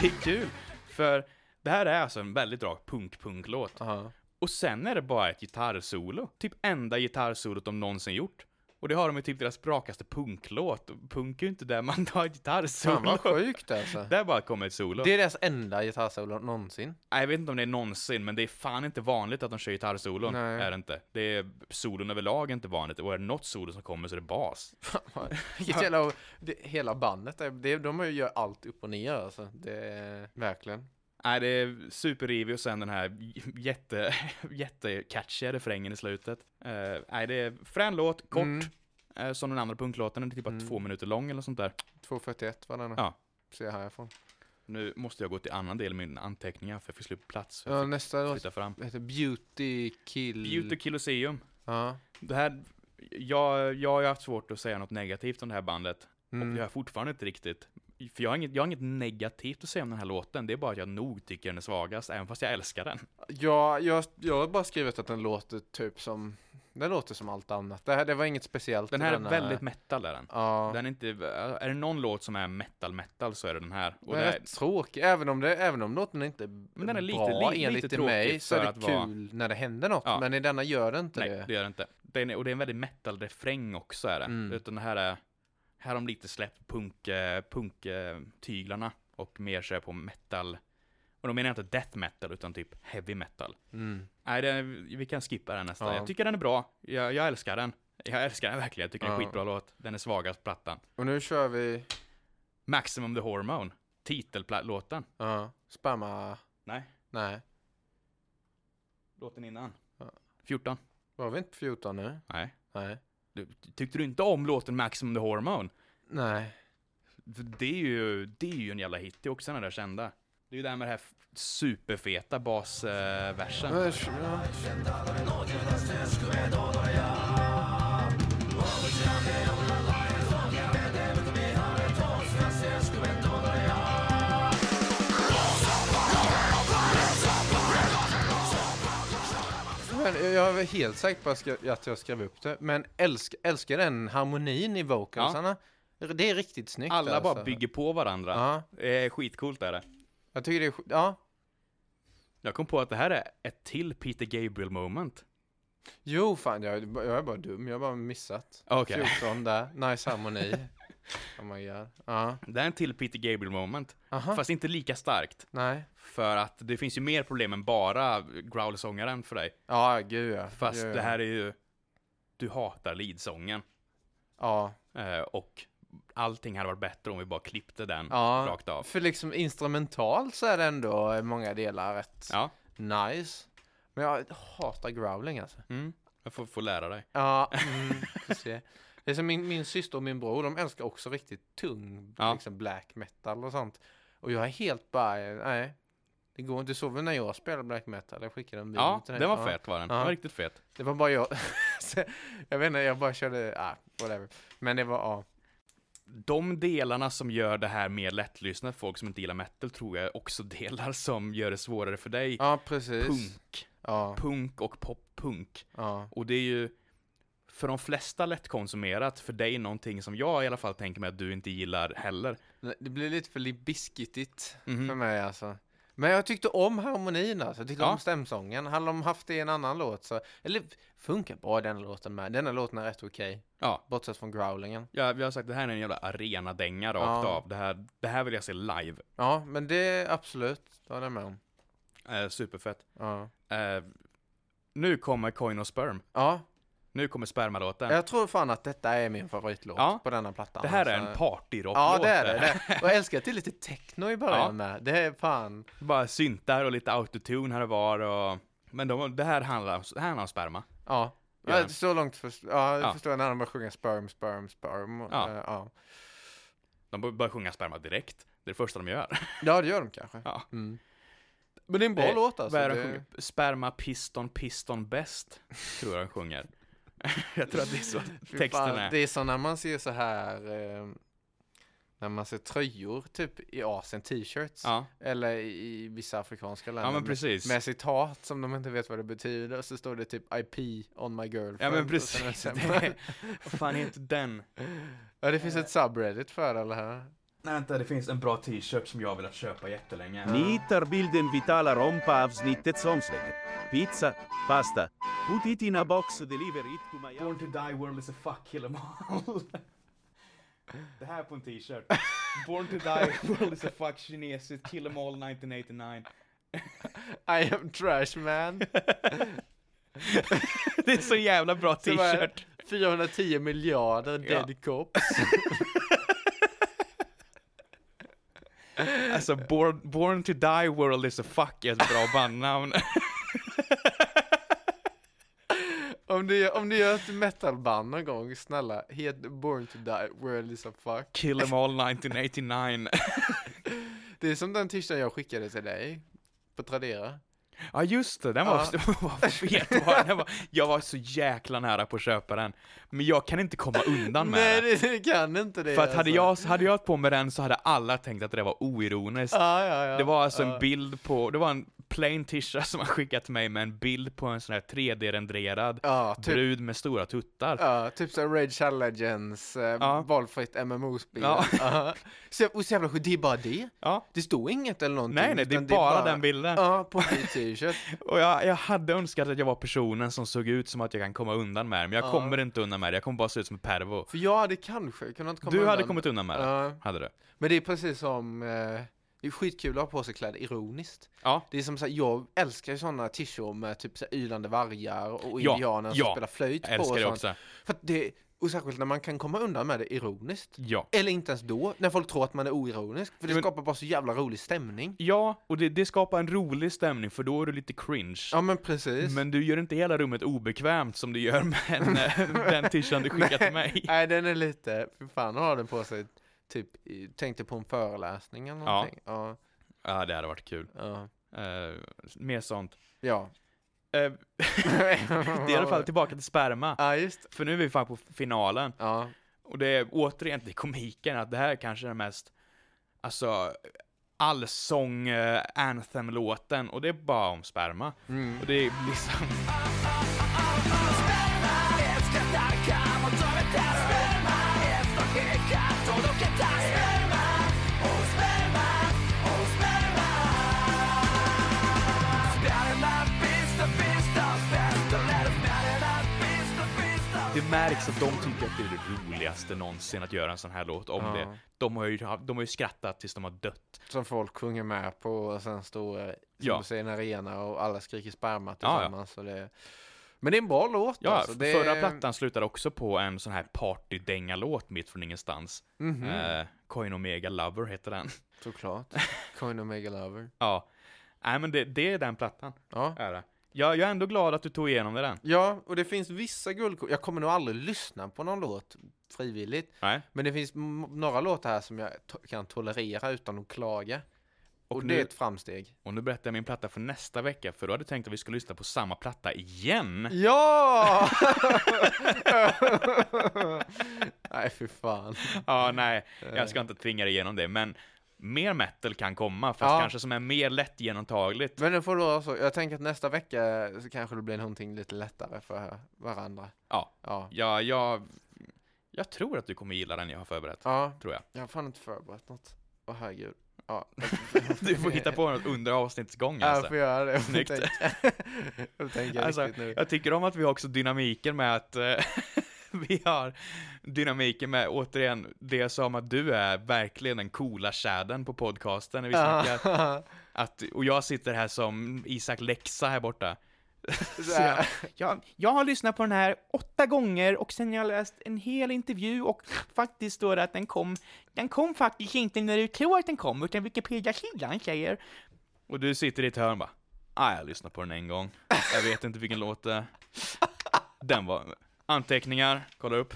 det är kul, för det här är alltså en väldigt rak punk-punklåt. Aha. Och sen är det bara ett gitarrsolo. Typ enda gitarrsolot de någonsin gjort. Och det har de i typ deras rakaste punklåt. Och Punk är ju inte där man tar ett gitarrsolo. Fan vad sjukt alltså. Där bara kommer ett solo. Det är deras enda gitarrsolo någonsin. [laughs] Nej, Jag vet inte om det är någonsin, men det är fan inte vanligt att de kör gitarrsolon. Nej. Är det inte. Det är solon överlag är inte vanligt. Och är det något solo som kommer så är det bas. Vilket jävla, det, hela bandet, är- det, de har ju gör allt upp och ner alltså. Det är, verkligen. Nej, det är superrivig och sen den här j- [laughs] jätte, jättecatchiga refrängen i slutet. Eh, nej, det är frän låt, kort. Mm. eh, som den andra punklåten. Den är typ bara Mm. två minuter lång eller sånt där. 2.41 var den. Ja. Ser jag härifrån. Nu måste jag gå till annan del i mina anteckningar för jag fick slut på plats. så Ja, Jag nästa fick låt flytta fram. heter Beauty Kill. Beauty Colosseum. Ja. Det här, jag, jag har ju haft svårt att säga något negativt om det här bandet. Mm. Och jag har fortfarande inte riktigt. För jag har, inget, jag har inget negativt att säga om den här låten. Det är bara att jag nog tycker den är svagast, även fast jag älskar den. Ja, jag, jag har bara skrivit att den låter typ som, den låter som allt annat. Det, här, det var inget speciellt. Den i här är denna- väldigt metal är den. Ja, den, Den är inte, är det någon låt som är metal metal så är det den här. Och är det rätt tråkig, även om, det, även om låten inte är Men den är lite- bra li- enligt lite mig tråkig så är för det att vara- kul när det händer något. Ja. Men i denna gör det inte nej, det. det gör det inte. Den är, och det är en väldigt metal refräng också är det. Mm. Utan det här är, här har de lite släppt punk, eh, punk eh, tyglarna och mer kör på metal. Och då menar jag inte death metal utan typ heavy metal. Mm. Nej, det, vi kan skippa den nästan. Ja. Jag tycker den är bra. Jag, jag älskar den. Jag älskar den verkligen. Jag tycker det är Ja. en skitbra låt. Den är svagast på plattan. Och nu kör vi, Maximum the Hormone. Titellåten. ja, spamma, Nej, nej, låten innan. Ja. 14. var vi inte på 14 nu? Nej. Nej. Du, tyckte du inte om låten Maximum the Hormone? Nej. För Det är ju, det är ju en jävla hit. Det är också den där kända. Det är ju det här med den här f- superfeta basversen. Men, ja. Men jag är helt säker på att jag skrev- att jag skrev upp det. Men älsk, älskar den harmonin i vocalsarna. Det är riktigt snyggt. Alla bara alltså. bygger på varandra. Ja, Det är skitcoolt är det. jag tycker det är... sk- Ja, Jag kom på att det här är ett till Peter Gabriel moment. Jo, fan, jag, jag är bara dum. Jag har bara missat. Okej. 14 där. [laughs] Nice harmoni. oh my god. Ja. Det här är en till Peter Gabriel moment. Aha. Fast inte lika starkt. Nej. För att det finns ju mer problem än bara growlsångaren för dig. Ja, gud ja. Fast gud, ja. det här är ju... Du hatar leadsången. Ja. Eh, och allting hade varit bättre om vi bara klippte den ja. rakt av. För liksom instrumentalt så är det ändå i många delar rätt Ja. nice. Men jag hatar growling alltså. Mm. Jag får, får lära dig. Ja, mm, får se. Det är som min, min syster och min bror, de älskar också riktigt tung Ja. liksom black metal och sånt. Och jag är helt bara, nej. Det går inte. Du såg väl när jag spelade black metal? Jag skickade en video Ja, till dig. den Ja. var fet var den. Den Ja. var riktigt fet. Det var bara jag. [laughs] Så, jag vet inte, jag bara körde, ah, whatever. Men det var, ja. De delarna som gör det här mer lättlyssnat, folk som inte gillar metal, tror jag också [laughs] delar som gör det svårare för dig. Ja, precis. Punk. Ja, Punk och poppunk. ja. Och det är ju för de flesta lättkonsumerat, för dig någonting som jag i alla fall tänker mig att du inte gillar heller. Det blir lite för libiskitigt Mhm. för mig alltså. Men jag tyckte om harmonin alltså, jag tyckte Ja. om stämsången. Hade de haft det i en annan låt så, eller funkar bra den låten med. Denna låten är rätt okej, Ja, bortsett från growlingen. jag, jag har sagt det här är en jävla arenadänga rakt Ja. av. Det här, det här vill jag se live. Ja, men det absolut, det håller jag med om. Eh, superfett. Ja. Eh, nu kommer Coin och Sperm. ja, Nu kommer spermalåten. jag tror fan att detta är min favoritlåt Ja. på denna plattan. Det här är alltså. en partyrocklåt. Ja, det är det. det. är- Och jag älskar att det är lite techno i början Ja. med. Det är fan... Bara syntar och lite autotune här och var. Och... Men de, det här handlar, om- det här handlar om sperma. Ja. Ja. Ja, Så långt förstår ja, jag Ja. förstår när de börjar sjunga sperm, sperm, sperm. och, Ja. eh, ja. De bör- börjar sjunga sperma direkt. Det är det första de gör. ja, det gör de kanske. Ja. Mm. Men det är en bra Eh, låt alltså. Vad är det det... de sjunger? Sperma, piston, piston bäst. Tror jag de sjunger. [laughs] jag tror att det är så [laughs] Fy texten fan, är. Det är som när man ser så här... Eh, när man ser tröjor typ i Asien, t-shirts. Ja. Eller i vissa afrikanska länder. ja, men med- precis. Med citat som de inte vet vad det betyder. Så står det typ IP on my girlfriend. Ja, men och sen är det precis. så Det [laughs] här- är- Vad fan heter den? Ja, det finns ett Eh. subreddit för alla här. Nej, vänta. Det finns en bra t-shirt som jag har velat köpa jättelänge. Ni hittar bilden vi talar om på avsnittets omslag. Pizza, pasta. Put it in a box, deliver it to my house. Born to die world is a fuck kill em all. [laughs] Det här på en [laughs] t-shirt. Born to die world is a fuck kinesiskt kill em all 1989. I am [laughs] trash man. Det är så jävla bra Det var t-shirt. 410 miljarder Ja. dead cops. Alltså born, born to die world is a fuck är ett bra bandnamn. Och Om du, gör- om du gör ett metalband någon gång, snälla, het Born to Die, World is a fuck. Kill 'em all 1989. Det är som den t-shirten jag skickade till dig på Tradera. Ja just det, [laughs] den var, Ja. vad fet var den? den var, jag var så jäkla nära på att köpa den. Men jag kan inte komma undan med Nej, det. det, det kan inte det. För att hade jag, alltså. hade jag haft på mig den så hade alla tänkt att det där var oironiskt. Ja, ja, ja. Det var alltså ja. en bild på, det var en plain t-shirt som han skickat till mig med en bild på en sån här 3D-renderad Ja, typ, brud med stora tuttar. ja, typ såhär Rage Shadow Legends, eh, Ja. valfritt MMO-spel. Ja. [laughs] Ja. Så, och så jävla sjukt, det är bara det. Ja. Det står inget eller någonting. Nej, nej, det är utan bara den bilden. Ja, på en t-shirt. [laughs] Och jag, jag hade önskat att jag var personen som såg ut som att jag kan komma undan med det, men jag Ja. kommer inte undan med det, jag kommer bara se ut som en pervo. För jag hade kanske kunnat komma Du undan. hade kommit undan med det, Ja. hade du? Men det är precis som, eh, det är skitkul att ha på sig kläder ironiskt. Ja. Det är som såhär, jag älskar ju sådana t-shirts med typ såhär ylande vargar och Ja, indianer som ja. spelar flöjt Jag på och älskar det sånt. också. För att det, och särskilt när man kan komma undan med det ironiskt. Ja. Eller inte ens då, när folk tror att man är oironisk. För det Men- skapar bara så jävla rolig stämning. Ja, och det, det skapar en rolig stämning för då är du lite cringe. Ja men precis. Men du gör inte hela rummet obekvämt som du gör med [laughs] en, eh, [laughs] den tishan du skickar till mig. Nej den är lite, för fan har den på sig typ, i- tänkte på en föreläsning eller Ja. någonting. Ja. Ja, det hade varit kul. Ja. Eh, mer sånt. ja. Eh, [laughs] det är [laughs] i alla fall tillbaka till sperma. Ja just För nu är vi fan på finalen. Ja. Och det är återigen till komiken att det här kanske är den mest, alltså, allsång eh, anthem-låten. Och det är bara om sperma. Mm. Och det är liksom... Det märks att de tycker att det är det roligaste någonsin att göra en sån här låt om Ja. det. De har, ju, de har ju skrattat tills de har dött. Som folk sjunger med på och sen står eh, som Ja. du säger, en arena och alla skriker sperma Ja, ja. tillsammans. Och det... Men det är en bra låt Ja, alltså. f- Det... förra plattan slutade också på en sån här partydänga-låt mitt från ingenstans. Mhm, Eh, Coin Omega Lover heter den. [laughs] Såklart. Coin Omega Lover. ja. Nej men det, det är den plattan. Ja. Är det. Jag, jag är ändå glad att du tog igenom det den. ja, och det finns vissa guldkorn. Jag kommer nog aldrig lyssna på någon låt frivilligt. Nej. Men det finns m- några låtar här som jag to- kan tolerera utan att klaga. Och, Och det nu- är ett framsteg. Och nu berättar jag min platta för nästa vecka, för då hade jag tänkt att vi skulle lyssna på samma platta igen. Ja! [laughs] Nej, för fan. Ja, nej, jag Eh. ska inte tvinga dig igenom det, men mer metal kan komma, fast Ja. kanske som är mer lättgenomtagligt. Men det får vara så. Jag tänker att nästa vecka så kanske det blir någonting lite lättare för varandra. Ja. Ja. Ja, jag, jag tror att du kommer gilla den jag har förberett. Ja, Tror jag. jag har fan inte förberett något. Åh herregud. Ja. [laughs] Du får hitta på något under avsnittsgången Ja, jag alltså. får göra det. Jag får Snyggt. tänka, jag får tänka alltså. riktigt nu. Jag tycker om att vi har också dynamiken med att eh, [laughs] vi har dynamiken med, återigen, det jag sa om att du är verkligen den coola tjädern på podcasten när vi snackar. Ja. Att, och jag sitter här som Isak Lexa här borta. Så här. Jag, jag har lyssnat på den här åtta gånger och sen har jag läst en hel intervju och faktiskt står det att den kom, den kom faktiskt inte när du tror att den kom, utan Wikipedia-sidan säger. Och du sitter i ett hörn och bara, ah, jag lyssnade på den en gång, jag vet inte vilken låt det är." Den var, anteckningar, kolla upp.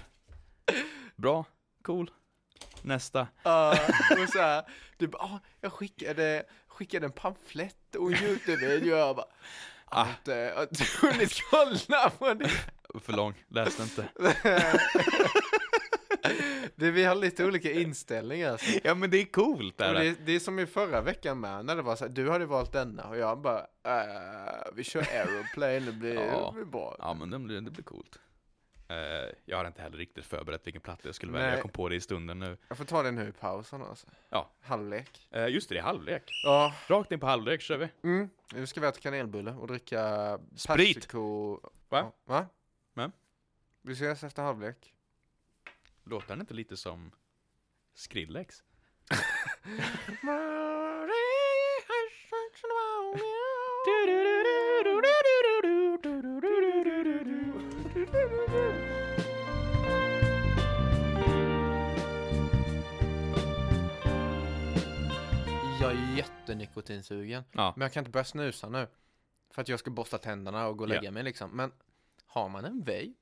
Bra, cool. Nästa. Ja, och så här, du bara, "Ah, jag skickade, skickade en pamflett och en YouTube-video och jag bara, Ah. ah. att, eh, att hunnit kolla på det. För lång, läste inte. det. Vi har lite olika inställningar. Alltså. Ja men det är coolt Och är det, det är som i förra veckan med, när det var så här, du hade valt denna och jag bara, "Eh, vi kör Aeroplane, det blir, Ja. det blir bra. Ja, men det blir, det blir coolt. Eh, jag har inte heller riktigt förberett vilken platta jag skulle Nej. välja. Jag kom på det i stunden nu. Jag får ta det nu i pausen alltså. Ja. Halvlek. Eh, just det, det är halvlek. Ja, Rakt in på halvlek kör vi. mm. nu ska vi äta kanelbulle och dricka Sprit. Persico... Va? Ja, va? Men? Vi ses efter halvlek. Låter den inte lite som Skrillex? Jag är jättenikotinsugen. Ja. Men jag kan inte börja snusa nu. För att jag ska borsta tänderna och gå och lägga Ja. mig liksom. Men Har man en vape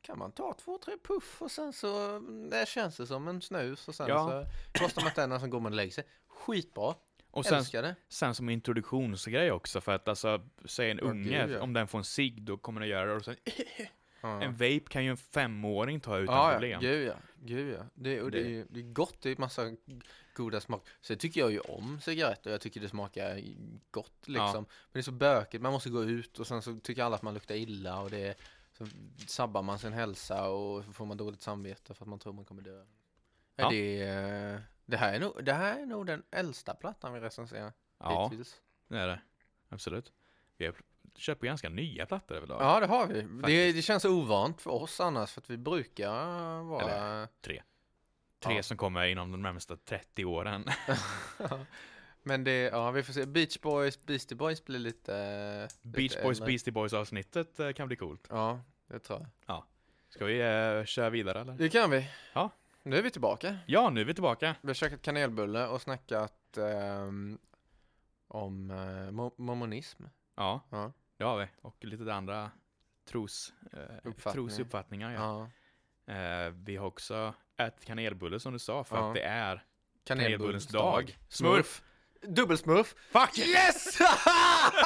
kan man ta två, tre puff och sen så mm, det känns det som en snus och sen Ja. så borstar man tänderna så går man och lägger sig. Skitbra, Och sen, älskar det. sen som introduktionsgrej också, för att alltså, säg en Ja, unge, gud, ja. om den får en cigg, då kommer den göra det. Och sen, Ja. En vape kan ju en femåring ta utan ja, problem. Ja, gud ja. Gud ja. Det, och det, är ju det är gott, det är massa goda smak. Sen tycker jag ju om cigaretter, jag tycker det smakar gott liksom. Men det är så bökigt, man måste gå ut och sen så tycker alla att man luktar illa och det är, så sabbar man sin hälsa och så får man dåligt samvete för att man tror man kommer dö. Ja. Ja. Det, är- det, här är nog, det här är nog den äldsta plattan vi recenserar Ja, hittills. det är det. Absolut. Vi har köpt på ganska nya plattor överlag. Ja, det har vi. Det, Faktiskt. det känns ovant för oss annars för att vi brukar vara... Tre. Tre Ja. som kommer inom de närmsta 30 åren. [laughs] Men det, ja vi får se. Beach Boys, Beastie Boys blir lite... eh, Beach lite Boys, äldre. Beastie Boys avsnittet eh, kan bli coolt. Ja, det tror jag. Ska vi eh, köra vidare eller? Det kan vi. Ja. Nu är vi tillbaka. Ja, nu är vi tillbaka. Vi har käkat kanelbulle och snackat ehm, om eh, mo- mormonism. Ja, Ja. det har vi. Och lite andra tros, eh, Uppfattningar. trosuppfattningar. Ja. Ja. Eh, vi har också ätit kanelbulle som du sa, för Ja. att det är Kanelbullens kanelbullens dag. Smurf. Smurf! Dubbelsmurf. Fuck! Yes! [laughs]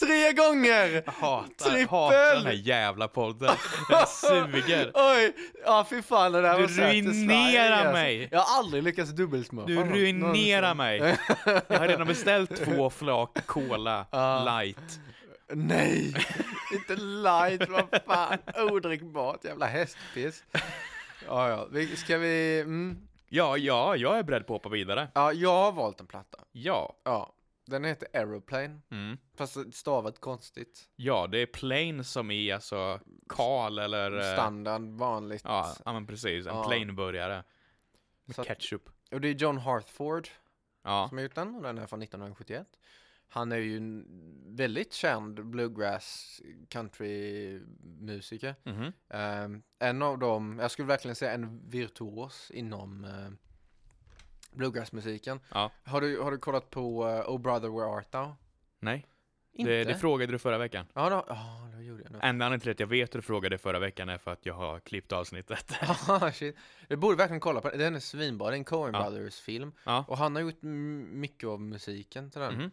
Tre gånger! Jag hatar, Trippel! hatar den här jävla podden. Den [laughs] suger. Oj! Ja, fy fan. Det där Du var säkert Sverige, ruinerar alltså. mig. Jag har aldrig lyckats dubbelsmurfa. Du någon- ruinerar någonsin. mig. Jag har redan beställt två flak cola Ja. light. Nej! [laughs] inte light, vad fan. Odrickbart, jävla hästpiss. Ja, ja. Vi- Ska vi... Mm. Ja, ja, jag är beredd på att hoppa vidare. Ja, jag har valt en platta. Ja. Ja. Den heter Aeroplane. Mm. Fast stavat konstigt. Ja, det är plain som är alltså kal eller... eh, Standard, vanligt. Ja, ja men precis. En Ja. plainburgare. Med Så att- ketchup. Och det är John Hartford Ja. som har gjort den. Och den är från 1971. Han är ju en väldigt känd bluegrass country musiker. Mhm. Eh, en av dem, jag skulle verkligen säga en virtuos inom eh, bluegrassmusiken. Ja. Har, du, har du kollat på eh, Oh Brother Where Art Thou? Nej, det, det frågade du förra veckan. Ja, då, ja, då gjorde jag nog. [laughs] Enda anledningen till att jag vet hur du frågade förra veckan är för att jag har klippt avsnittet. [laughs] Ah, shit. Du borde verkligen kolla på den, den är svinbra. Det är en Coen Ja. Brothers-film. Ja. Och han har gjort m- mycket av musiken till den. Mhm.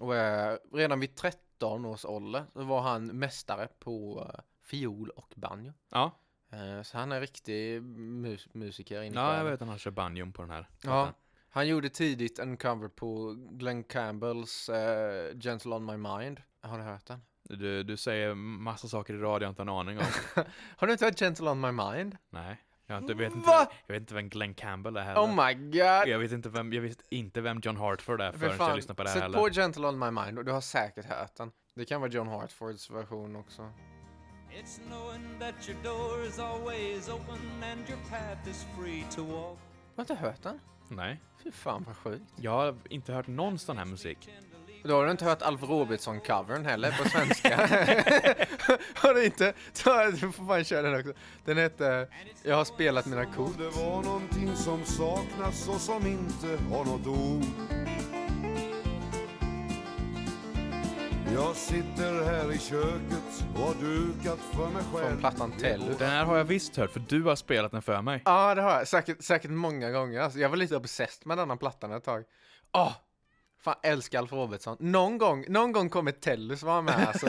Och eh, redan vid 13 års ålder så var han mästare på eh, fiol och banjo. Ja. Eh, så han är en riktig mus- musiker. in i ja, jag själen. vet att han kör banjon på den här. Ja, han gjorde tidigt en cover på Glenn Campbells eh, Gentle on my mind. Har du hört den? Du, du säger massa saker i radio jag inte har en [laughs] aning om. Har du inte hört Gentle on my mind? Nej, jag, har inte, vet inte, Va? jag vet inte vem Glenn Campbell är heller. Oh my god! jag vet inte vem, jag visste inte vem John Hartford är För förrän fan, jag lyssnade på det här Sätt heller. på Gentle on my mind och du har säkert hört den. Det kan vara John Hartfords version också. It's knowing that your door is always open and your path is free to walk. Har du inte hört den? Nej, Fy fan vad sjukt. jag har inte hört någon sån här musik. Då har du inte hört Alf Robertson-covern heller på svenska. har du inte? Ta, du får fan köra den också. Den heter Jag har spelat mina kort. Det var någonting som saknas och som inte har något ord Jag sitter här i köket och har dukat för mig själv Från plattan Tell. Den här har jag visst hört, för du har spelat den för mig. Ja, det har jag. Säkert, säkert många gånger. Alltså, jag var lite obsessed med den här plattan ett tag. Åh! fan, älskar Alf Robertson. Någon gång, någon gång kommer Tellus vara med alltså.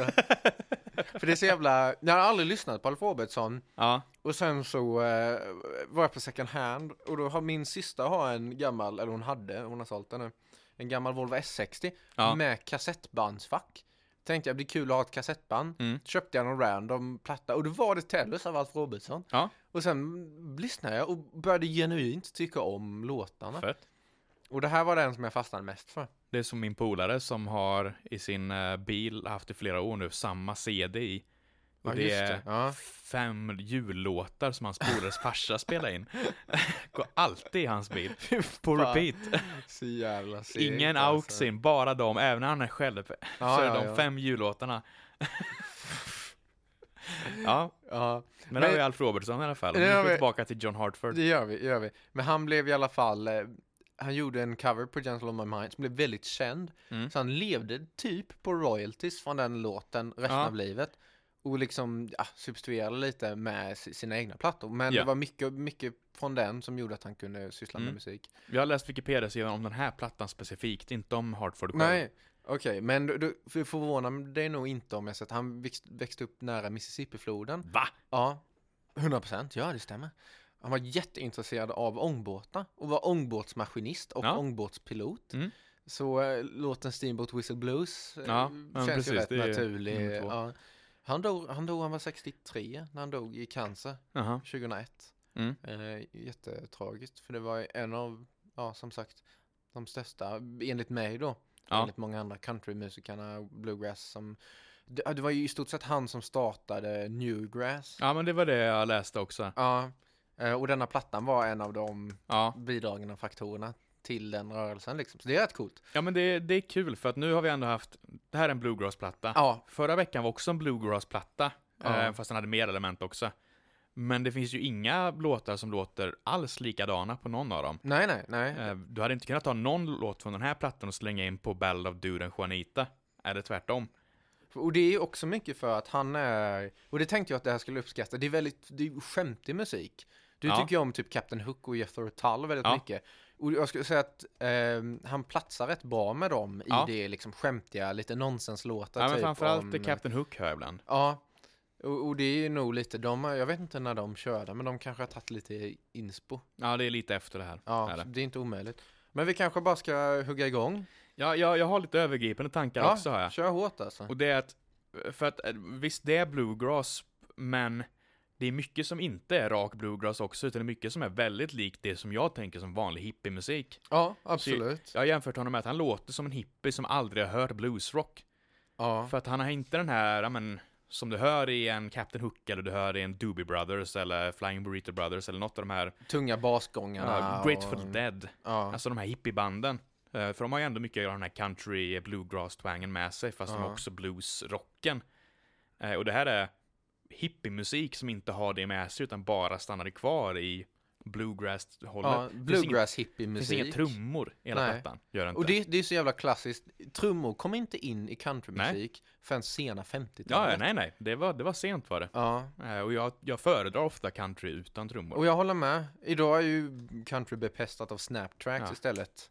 För det är så jävla... Jag har aldrig lyssnat på Alf Robertson. Ja, Och sen så eh, var jag på second hand och då har min syster har en gammal, eller hon hade, hon har sålt den nu, en gammal Volvo S60 Ja. med kassettbandsfack. Tänkte jag, det blir kul att ha ett kassettband. Mm. Köpte jag någon random platta och då var det Tellus av Alf Robertson. Ja. Och sen lyssnade jag och började genuint tycka om låtarna. fett. Och det här var den som jag fastnade mest för. Det är som min polare som har i sin eh, bil haft i flera år nu samma CD i. Och Ja, det just är det. Ja. fem jullåtar som hans polares farsa spelar in. [laughs] Går alltid i hans bil. På repeat. Så jävla segt, Ingen alltså. auxin, bara de, även när han är själv. så är det ja, de ja. fem [laughs] jullåtarna. ja, Ja. men det var Men- ju Alf Robertson i alla fall. Det Nu har går vi vi- tillbaka till John Hartford. Det gör vi, det gör vi. Men han blev i alla fall, eh, han gjorde en cover på Gentle on my mind som blev väldigt känd. Mm. Så han levde typ på royalties från den låten resten Ja. av livet. och liksom ja, substituerade lite med si- sina egna plattor. Men Ja. det var mycket, mycket från den som gjorde att han kunde syssla Mm. med musik. Jag har läst Wikipedia-sidan om den här plattan specifikt, inte om Hartford själv. Nej, okej, men du, du för- förvånar dig nog inte om jag säger att han växt, växte upp nära Mississippifloden. Va? Ja, 100 procent, ja det stämmer. Han var jätteintresserad av ångbåtar och var ångbåtsmaskinist och Ja. ångbåtspilot. Mm. Så äh, låten Steamboat Whistle Blues eh, Ja, men känns precis, ju rätt det är naturlig. nummer två. Ja. Han, dog, han dog, han var 63 när han dog i cancer Jaha. 2001. Mm. Eh, jättetragiskt, för det var en av, ja som sagt, de största, enligt mig då, Ja. enligt många andra countrymusikerna, bluegrass som, det, ja, det var ju i stort sett han som startade newgrass. Ja, men det var det jag läste också. Ja, eh, och denna plattan var en av de Ja, bidragande faktorerna till den rörelsen liksom, så det är rätt coolt. ja men det, det är kul för att nu har vi ändå haft, det här är en bluegrass-platta. Ja, Förra veckan var också en bluegrass-platta, Ja. eh, fast den hade mer element också. Men det finns ju inga låtar som låter alls likadana på någon av dem. nej nej, nej. Eh, Du hade inte kunnat ta någon låt från den här plattan och slänga in på Ballad of Duden Juanita. Eller tvärtom. Och det är ju också mycket för att han är, och det tänkte jag att det här skulle uppskatta, det är väldigt, det är ju skämtig musik. Du Ja. tycker ju om typ Captain Hook och Jethro Tull väldigt Ja. mycket. Och jag skulle säga att ehm, han platsar rätt bra med dem i Ja. det liksom skämtiga, lite nonsenslåtar Ja, men typ framförallt om- om... Captain Hook hör jag ibland. Ja, och, och det är ju nog lite, de, har- jag vet inte när de körde, men de kanske har tagit lite inspo. Ja, det är lite efter det här. Ja, är så det. det är inte omöjligt. Men vi kanske bara ska hugga igång. Ja, jag, jag har lite övergripande tankar också har jag. kör hårt alltså. Och det är att, för att eh, visst det är bluegrass, men det är mycket som inte är rak bluegrass också, utan det är mycket som är väldigt likt det som jag tänker som vanlig hippiemusik. Ja, absolut. Jag har jämfört honom med att han låter som en hippie som aldrig har hört bluesrock. Ja, För att han har inte den här, ja, men, som du hör i en Captain Hook eller du hör i en Doobie Brothers eller Flying Burrito Brothers eller något av de här tunga basgångarna. ja, Grateful Dead. Ja. Alltså de här hippiebanden. Eh, För de har ju ändå mycket av den här country eh, bluegrass-twangen med sig, fast de har Ja. också bluesrocken. Eh, Och det här är hippiemusik som inte har det med sig, utan bara stannar kvar i bluegrass-hållet. Ja, Finns inget- bluegrass hippie finns musik. inga trummor i hela Nej. plattan. Gör det inte. Och det, det är så jävla klassiskt. Trummor kom inte in i countrymusik förrän sena ja, 50-talet. ja, nej, nej. Det var, det var sent var det. Ja. Eh, Och jag, jag föredrar ofta country utan trummor. Och jag håller med. Idag är ju country bepestat av snaptracks Ja. istället.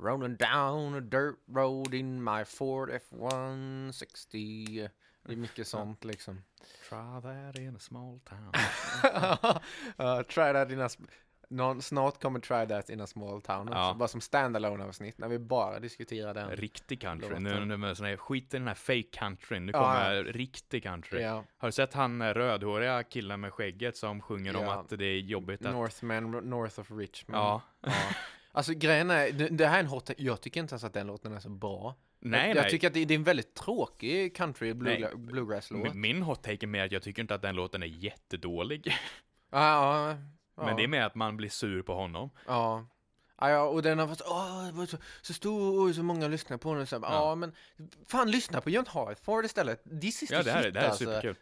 Rolling down a dirt road in my Ford F160. Det är mycket sånt liksom. Try that in a small town. [laughs] uh, try that in a... sm- Någon, snart kommer Try That in a Small Town också, Ja. bara som standalone avsnitt när vi bara diskuterar den. Riktig country. Låten. Nu, nu med sån här, skit i den här fake country. Nu Ja, kommer riktig country. Ja. Har du sett han eh, rödhåriga killen med skägget som sjunger om Ja. att det är jobbigt att... Northman, North of Richmond. Ja. Ja. Alltså grejen är, det- det här är en hot Jag tycker inte ens att den låten är så bra. Nej, jag, nej. jag tycker att det, det är en väldigt tråkig country blue, Nej. bluegrass-låt. Min- Min hot take är mer att jag tycker inte att den låten är jättedålig. [laughs] Ja, ja, ja. Men det är mer att man blir sur på honom. Ja. Ja, ja, och den har varit åh, det var så, så stor och så många lyssnar på den. Så, ja. Ja. ja, men fan lyssna på John Hartford istället. This is Ja, the det här, är- shit, det här är alltså. superkul.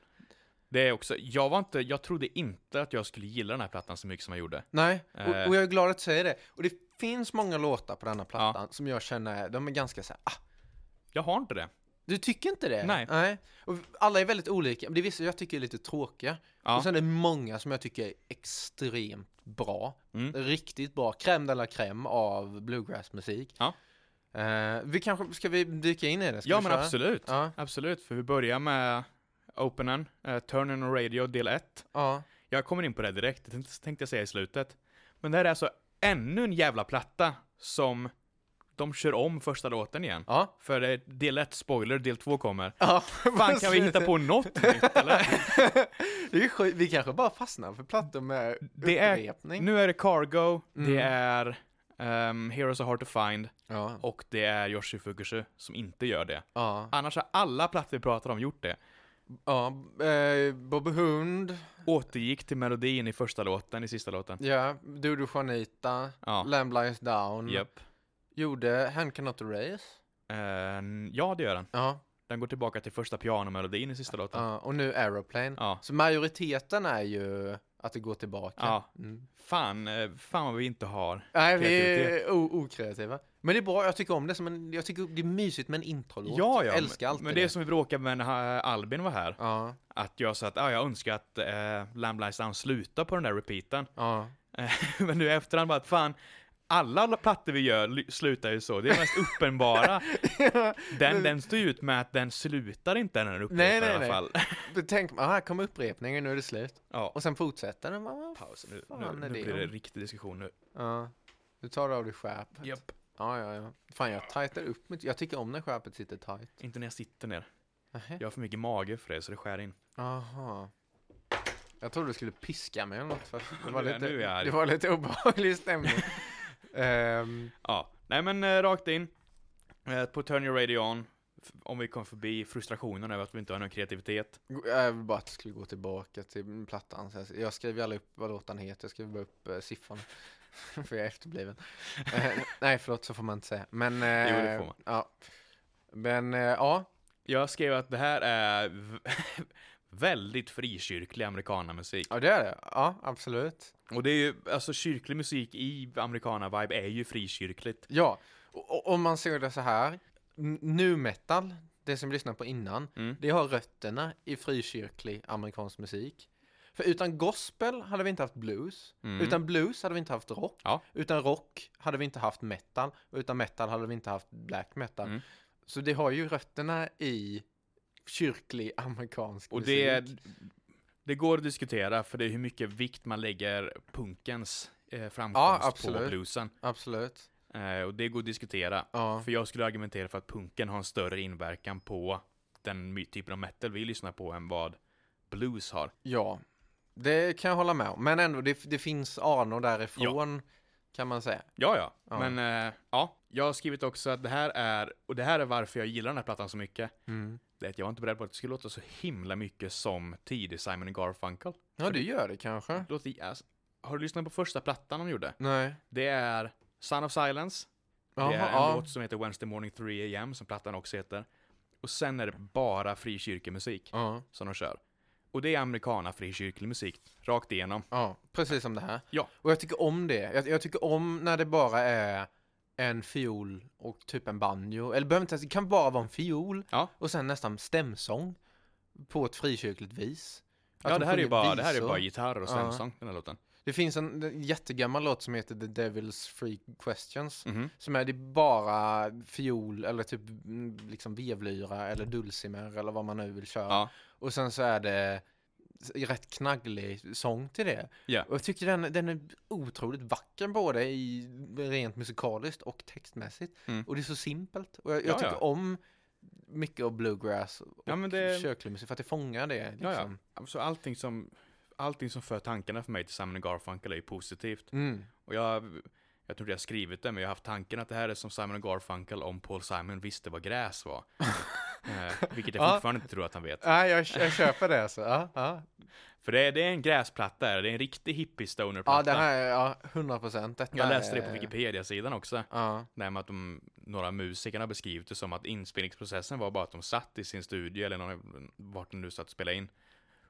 Det är också, jag var inte, jag trodde inte att jag skulle gilla den här plattan så mycket som jag gjorde. Nej, Eh. och, och jag är glad att du säger det. Och det finns många låtar på denna plattan som jag känner, de är ganska så här, ah, Jag har inte det. Du tycker inte det? Nej. Och alla är väldigt olika. Det är vissa jag tycker är lite tråkiga. Ja. Och sen är det många som jag tycker är extremt bra. Mm. Riktigt bra. Crème de la crème av bluegrassmusik. Ja. Eh, vi kanske, ska vi dyka in i det? Ska ja vi men köra? absolut. Ja. Absolut, för vi börjar med Openen, uh, Turn on Radio del 1. Ja. Jag kommer in på det direkt, det tänkte- tänkte jag säga i slutet. Men det här är alltså ännu en jävla platta som de kör om första låten igen. Ja. För det är del 1 spoiler, del 2 kommer. ja. [laughs] Fan, kan Alltså, vi hitta på [laughs] något nytt eller? Det är ju sjukt. Vi kanske bara fastnar för plattor med Det är, upprepning. nu är det Cargo, Mm. det är ehm, Heroes are hard to find Ja. och det är Yoshi Fukushu som inte gör det. Ja. Annars har alla plattor vi pratar om gjort det. ja. Eh, Bobby Hund. Återgick till melodin i första låten, i sista låten. Ja. Dodo Juanita. Ja. Lamb Lies Down. Japp. Gjorde Hand Cannot Erase. Ehm, ja, det gör den. Ja. Den går tillbaka till första pianomelodin i sista låten. Ja, och nu Aeroplane. Ja. Så majoriteten är ju Att det går tillbaka. Ja. Mm. Fan, eh, fan vad vi inte har. Nej, vi Kreativitet. är o- okreativa. Men det är bra, jag tycker om det. Som en, jag tycker det är mysigt med en introlåt. Ja, ja. Jag älskar men- alltid Men det är som vi bråkade med när eh, Albin var här. Ja, Att jag sa att ah, jag önskar att eh, Lamb Lies Down slutar på den där repeaten. [laughs] ja. Eh, Men nu i efterhand bara att fan, alla plattor vi gör ly- slutar ju så. Det är [laughs] det mest uppenbara. Den, den står ju ut med att den slutar inte när den upprepar Nej, nej, i alla nej. fall. [laughs] Då tänker man, ah, här kommer upprepningen, nu är det slut. Ja, Och sen fortsätter den. Man, vad paus. Nu, fan nu, är nu det blir det om? riktig diskussion nu. Ja. Du tar av dig skärpet. Japp. Ja, ja, ja. Fan, jag tajtar upp mitt... Jag tycker om när skärpet sitter tajt. Inte när jag sitter ner. Nähä. Jag har för mycket mage för det, så det skär in. Aha. Jag trodde du skulle piska mig eller något. För att det, var Nu är- lite, nu är jag arg. det var lite [laughs] obehaglig stämning. Ehm, Ja, nej men eh, rakt in. Eh, på Turn Your Radio On. F- Om vi kom förbi frustrationen över att vi inte har någon kreativitet. jag vill bara att det skulle gå tillbaka till plattan. Så jag- Jag skrev ju aldrig upp vad låten heter. Jag skrev bara upp eh, siffrorna. [laughs] för jag är efterbliven. Eh, nej, förlåt, så får man inte säga. Men, Jo, det eh, får man. Ja. Men, eh, ja. Jag skrev att det här är v- [laughs] väldigt frikyrklig amerikanamusik. Ja, det är det. Ja, absolut. Och det är ju, alltså kyrklig musik i americana-vibe är ju frikyrkligt. Ja, och, och om man ser det så här. n- Nu metal, det som vi lyssnade på innan, Mm. det har rötterna i frikyrklig amerikansk musik. För utan gospel hade vi inte haft blues. Mm. Utan blues hade vi inte haft rock. Ja. Utan rock hade vi inte haft metal. Utan metal hade vi inte haft black metal. Mm. Så det har ju rötterna i kyrklig amerikansk Och musik. det, det går att diskutera för det är hur mycket vikt man lägger punkens eh, Ja, framkomst på absolut. bluesen. Absolut. Eh, och det går att diskutera. Ja. För jag skulle argumentera för att punken har en större inverkan på den my- typen av metal vi lyssnar på än vad blues har. ja, det kan jag hålla med om. Men ändå, det, det finns anor därifrån kan man säga. Ja, ja. Ja. Men eh, ja, jag har skrivit också att det här är, och det här är varför jag gillar den här plattan så mycket. Mm. Det är att jag var inte beredd på att det skulle låta så himla mycket som tidig Simon Garfunkel. Ja, det gör det kanske. Det Låter, alltså, har du lyssnat på första plattan de gjorde? Nej. Det är Son of Silence. Jaha, det är en ja. låt som heter Wednesday Morning 3 AM, som plattan också heter. Och sen är det bara frikyrkemusik Ja, som de kör. Och det är amerikana frikyrklig musik, rakt igenom. ja, precis som det här. Ja. Och jag tycker om det. Jag, jag tycker om när det bara är en fiol och typ en banjo. Eller behöver inte ens, det kan bara vara en fiol Ja. och sen nästan stämsång på ett frikyrkligt vis. Att ja, de det här, är ju sjunger bara, det här är ju visor. bara gitarr och Ja. stämsång, den här låten. Det finns en en jättegammal låt som heter The Devil's Free Questions. Mhm. Som är det är bara fiol eller typ mm, liksom vevlyra eller dulcimer eller vad man nu vill köra. Ja. Och sen så är det s- rätt knagglig sång till det. Ja. Och jag tycker den, den är otroligt vacker både i rent musikaliskt och textmässigt. Mm. Och det är så simpelt. Och jag, jag Ja, tycker ja. om mycket av bluegrass och Ja, men det- kyrklig musik för att det fångar det. Liksom. Ja, ja. Så allting som, allting som för tankarna för mig till Simon Garfunkel är ju positivt. Mm. Och jag, jag tror inte jag har skrivit det, men jag har haft tanken att det här är som Simon Garfunkel om Paul Simon visste vad gräs [laughs] var. eh, vilket jag Ja. fortfarande inte tror att han vet. Nej, jag, jag köper det alltså. Ja, ja. För det, är- det är en gräsplatta, det är en riktig ja hippie-stoner-platta. den här, ja, 100 procent. jag läste det på Wikipedia-sidan också. Ja, Där med att de, några musikerna beskrivit det som att inspelningsprocessen var bara att de satt i sin studio eller någon, vart de nu satt och spelade in.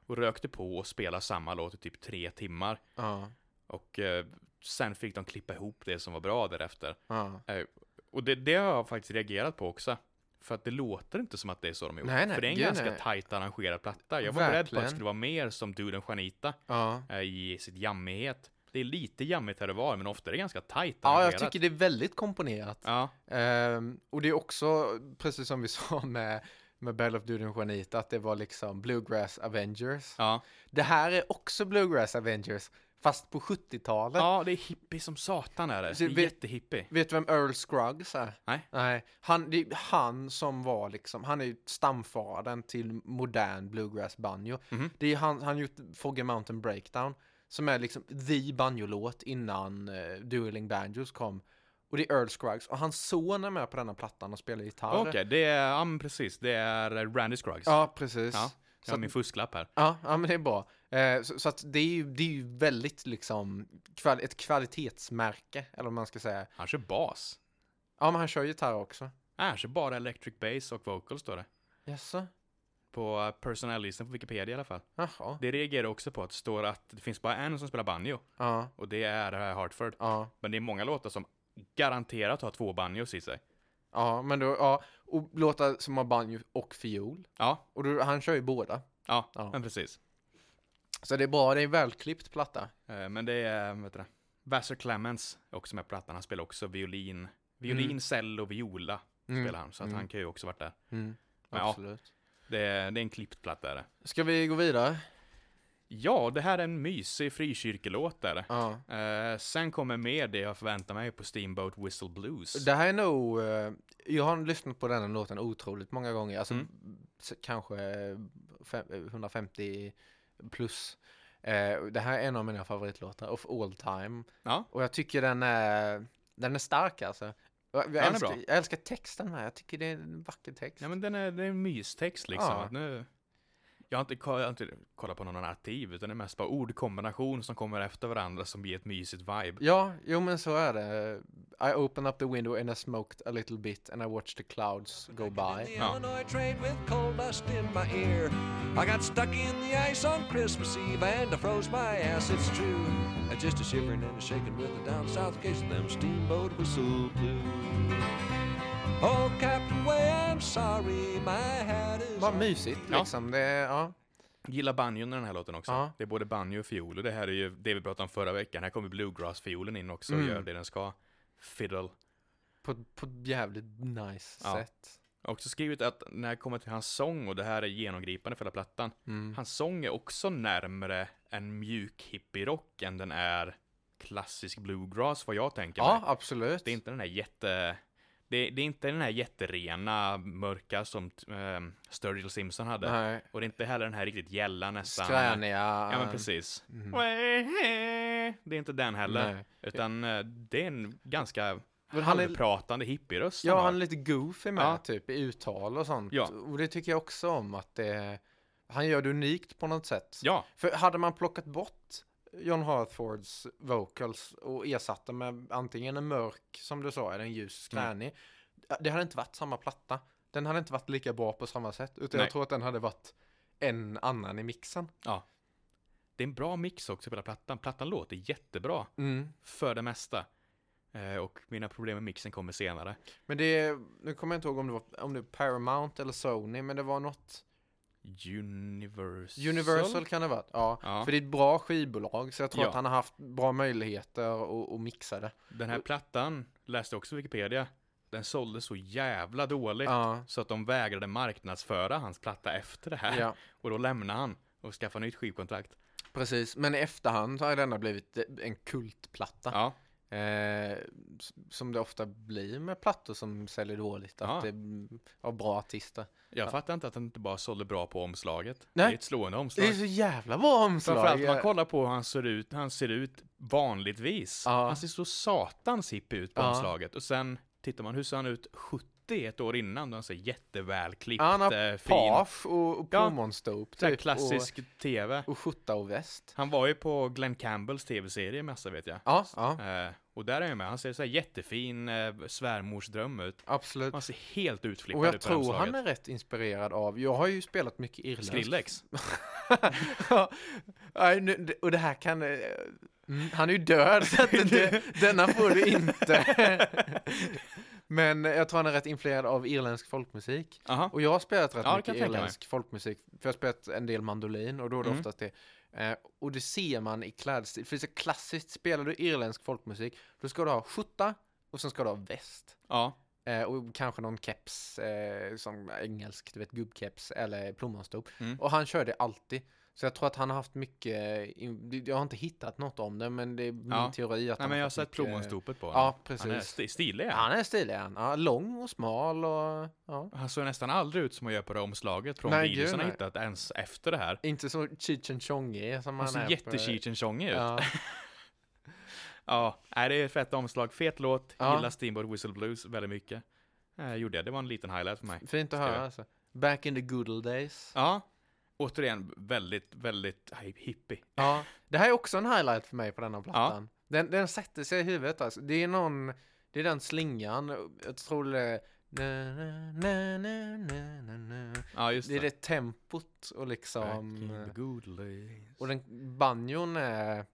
Och rökte på och spelade samma låt i typ tre timmar. ja, Och eh, sen fick de klippa ihop det som var bra därefter. ja. Eh, och det, det har jag faktiskt reagerat på också. För att det låter inte som att det är så de har gjort. Nej, nej, för det är en gud, ganska nej. tajt arrangerad platta. Jag var beredd på att det Verkligen. skulle vara mer som Duden Janita ja. eh, i sitt jammighet. Det är lite jammigt här och var, men ofta är det ganska tajt Ja, jag arrangerat. tycker det är väldigt komponerat. Ja, Ehm, och det är också, precis som vi [laughs] sa med, med Battle of Duden Juanita, att det var liksom Bluegrass Avengers. ja. Det här är också Bluegrass Avengers, fast på 70-talet. ja, det är hippie som satan är det. Så det är vi- jättehippie. Vet du vem Earl Scruggs är? Nej. Nej. Han, det är han som var liksom, han är ju stamfadern till modern bluegrass banjo. Mhm. Det är han, han har gjort Foggy Mountain Breakdown, som är liksom the banjolåt innan eh, Dueling Banjos kom. Och det är Earl Scruggs, och hans son är med på denna plattan och spelar gitarr. Okej, det är, ja men precis, det är eh, Randy Scruggs. Ja, Ja, precis. ja. så att- min fusklapp här. Ja, ja men det är bra. Eh, så så att det, är ju, det är ju väldigt liksom kval ett kvalitetsmärke, eller vad man ska säga. Han kör bas. Ja, men han kör gitarr också. Nej, han kör bara electric bass och vocals står det. Jaså? På eh, personallistan på Wikipedia i alla fall. Jaha. Det reagerar jag också på att det står att det finns bara en som spelar banjo. Ja. Och det är eh, Hartford. Ja. Men det är många låtar som garanterat har två banjos i sig. Ja, men då, ja. Och låtar som har banjo och fiol. Ja, Och då, han kör ju båda. ja, Ja. men precis. Så det är bra, det är en välklippt platta. Eh, Men det är, vad heter det? Vassar Clemens är också med på plattan. Han spelar också violin. Violin, Mm. cello, viola Mm. spelar han. Så att Mm. han kan ju också varit där. Mm, Ja. absolut. Det är, det är en klippt platta är det. Ska vi gå vidare? Ja, det här är en mysig frikyrkelåt där. Ja. Eh, sen kommer mer det jag förväntar mig på Steamboat Whistle Blues. Det här är nog, eh, jag har lyssnat på den här låten otroligt många gånger, alltså Mm. s- kanske fem, 150 plus. Eh, det här är en av mina favoritlåtar of all time. Ja. Och jag tycker den är, den är stark alltså. Jag, är jag, älskar, bra. jag älskar texten här, jag tycker det är en vacker text. Ja, men den är, det är en mystext liksom. Ja. Att Nu, jag, har inte, ko- jag har inte kollat på någon narrativ, utan det är mest bara ordkombination som kommer efter varandra som ger ett mysigt vibe. Ja, jo men så är det. I opened up the window and I smoked a little bit and I watched the clouds go by. Ja. Illinois train with coal dust in my ear. I got stuck in the ice on Christmas Eve and I froze my ass, it's true. I just a shivering and a shaking with the down south case of them steamboat whistle blues. Oh, Captain Way, I'm sorry, my hat is Vad on. mysigt Ja. liksom. Det, är- ja. Gillar banjon i den här låten också. Ja. Det är både banjo och fiol, och det här är ju det vi pratade om förra veckan. Här kommer bluegrass-fiolen in också och Mm. gör det den ska. Fiddle. På, på ett jävligt nice Ja. sätt. Jag har också skrivit att när jag kommer till hans sång, och det här är genomgripande för hela plattan, Mm. hans sång är också närmre en mjuk hippie-rock än den är klassisk bluegrass, vad jag tänker mig. Ja, absolut. Det är inte den här jätte... Det, det är inte den här jätterena mörka som um, Sturgill Simpson hade. Nej. Och det är inte heller den här riktigt gälla nästan. Skräniga. Ja Ehm, men precis. Det är inte den heller. mhm. Nej. Utan eh, det är en ganska Men han är- halvpratande hippieröst. Ja, har. han är lite goofy med Ja. typ i uttal och sånt. Ja. Och det tycker jag också om att det, han gör det unikt på något sätt. Ja, För hade man plockat bort John Hartfords vocals och ersatt dem med antingen en mörk, som du sa, eller en ljus skränig. eh, Det hade inte varit samma platta. Den hade inte varit lika bra på samma sätt. Utan Nej. jag tror att den hade varit en annan i mixen. det är en bra mix också på hela plattan. Plattan låter jättebra. Mm. För det mesta. Eh, Och mina problem med mixen kommer senare. Men det, nu kommer jag inte ihåg om det var om det var Paramount eller Sony, men det var något Universal. Universal kan det ha varit. Ja, Ja. för det är ett bra skivbolag så jag tror Ja. att han har haft bra möjligheter att att mixa det. Den här plattan, läste jag också Wikipedia, den sålde så jävla dåligt Ja. så att de vägrade marknadsföra hans platta efter det här. Ja. Och då lämnade han och skaffade nytt skivkontrakt. Precis, men i efterhand har denna blivit en kultplatta. Ja, Eh, s- som det ofta blir med plattor som säljer dåligt, Ja. att det är av bra artister. jag fattar inte att han inte bara sålde bra på omslaget. Det Nej. är ett slående Det omslag. är så jävla bra Framförallt omslag! om man kollar på hur han ser ut, han ser ut vanligtvis. Ja. Han ser så satans hippie ut på Ja. omslaget. Och sen tittar man, hur ser han ut 71 år innan? Då han ser jättevälklippt, Ja, han har eh, fin. page och, och Ja. plommonstop Så här typ, klassisk tv. och, och skjorta och väst. Han var ju på Glenn Campbells tv-serie massa vet jag. Ja, ja, Eh, och där är jag med. Han ser så här jättefin eh, svärmorsdröm ut. absolut. Han ser helt utflippad Och jag ut på tror omslaget. han är rätt inspirerad av, jag har ju spelat mycket irländskt. Skrillex. [laughs] Ja, nej, nu- det- och det här kan... eh, mm, Han är ju död, [laughs] så att det, denna får du inte. Men jag tror han är rätt influerad av irländsk folkmusik. Aha. Och jag har spelat rätt Ja, det kan mycket jag tänka mig. irländsk folkmusik. För jag har spelat en del mandolin och då är det Mm. oftast det. Eh, och det ser man i klädstil. För det är så klassiskt, spelar du irländsk folkmusik, då ska du ha skjorta och sen ska du ha väst. Ja. Eh, och kanske någon keps, eh, som engelsk, du vet gubbkeps eller plommonstop. Mm. Och han kör det alltid. Så jag tror att han har haft mycket, in- jag har inte hittat något om det, men det är min Ja. teori att Nej han men jag har haft sett mycket- plommonstopet på honom. Ja, Han är precis. sti- stilig är han. Han är stilig han. Ja, lång och smal och ja. Han såg nästan aldrig ut som han gör på det omslaget från Nej, videos gud, han har nej. hittat ens efter det här. Inte så Cheech and Chong som Han han ser är. jätte en tjongig ut. Ja. [laughs] Ja. nej, det är ett fett omslag. Fet låt. Ja. Gillar Steamboat Whistle Blues väldigt mycket. Eh, gjorde jag. Det var en liten highlight för mig. Fint [laughs] att Ska höra jag- alltså. Back in the good old days. Ja. Återigen, väldigt, väldigt hi- hippie. Ja, det här är också en highlight för mig på denna plattan. Den, den sätter sig i huvudet alltså. Det är någon, det är den slingan, jag tror det är Na, na, na, na, na, na, na. Ja, just Det är det. det tempot och liksom... Back in eh, the good days. Och den banjon är...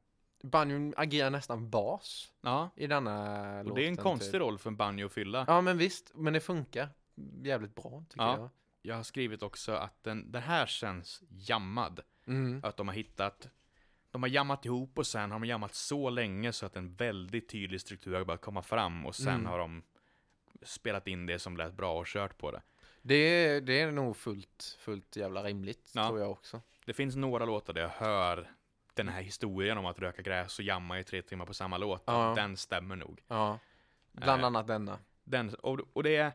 Banjon agerar nästan bas Ja, i denna och det är en låten, konstig typ. roll för en banjo att fylla. Ja, men visst. Men det funkar jävligt bra, tycker Ja. jag. Jag har skrivit också att den, den här känns jammad. Mm. Att de har hittat, de har jammat ihop och sen har de jammat så länge så att en väldigt tydlig struktur har börjat komma fram och sen Mm. har de spelat in det som lät bra och kört på det. Det, är, det är nog fullt, fullt jävla rimligt, Ja. tror jag också. Det finns några låtar där jag hör den här historien om att röka gräs och jamma i tre timmar på samma låt. Ja. Den stämmer nog. Ja. Bland Eh. annat denna. Den, och, och det är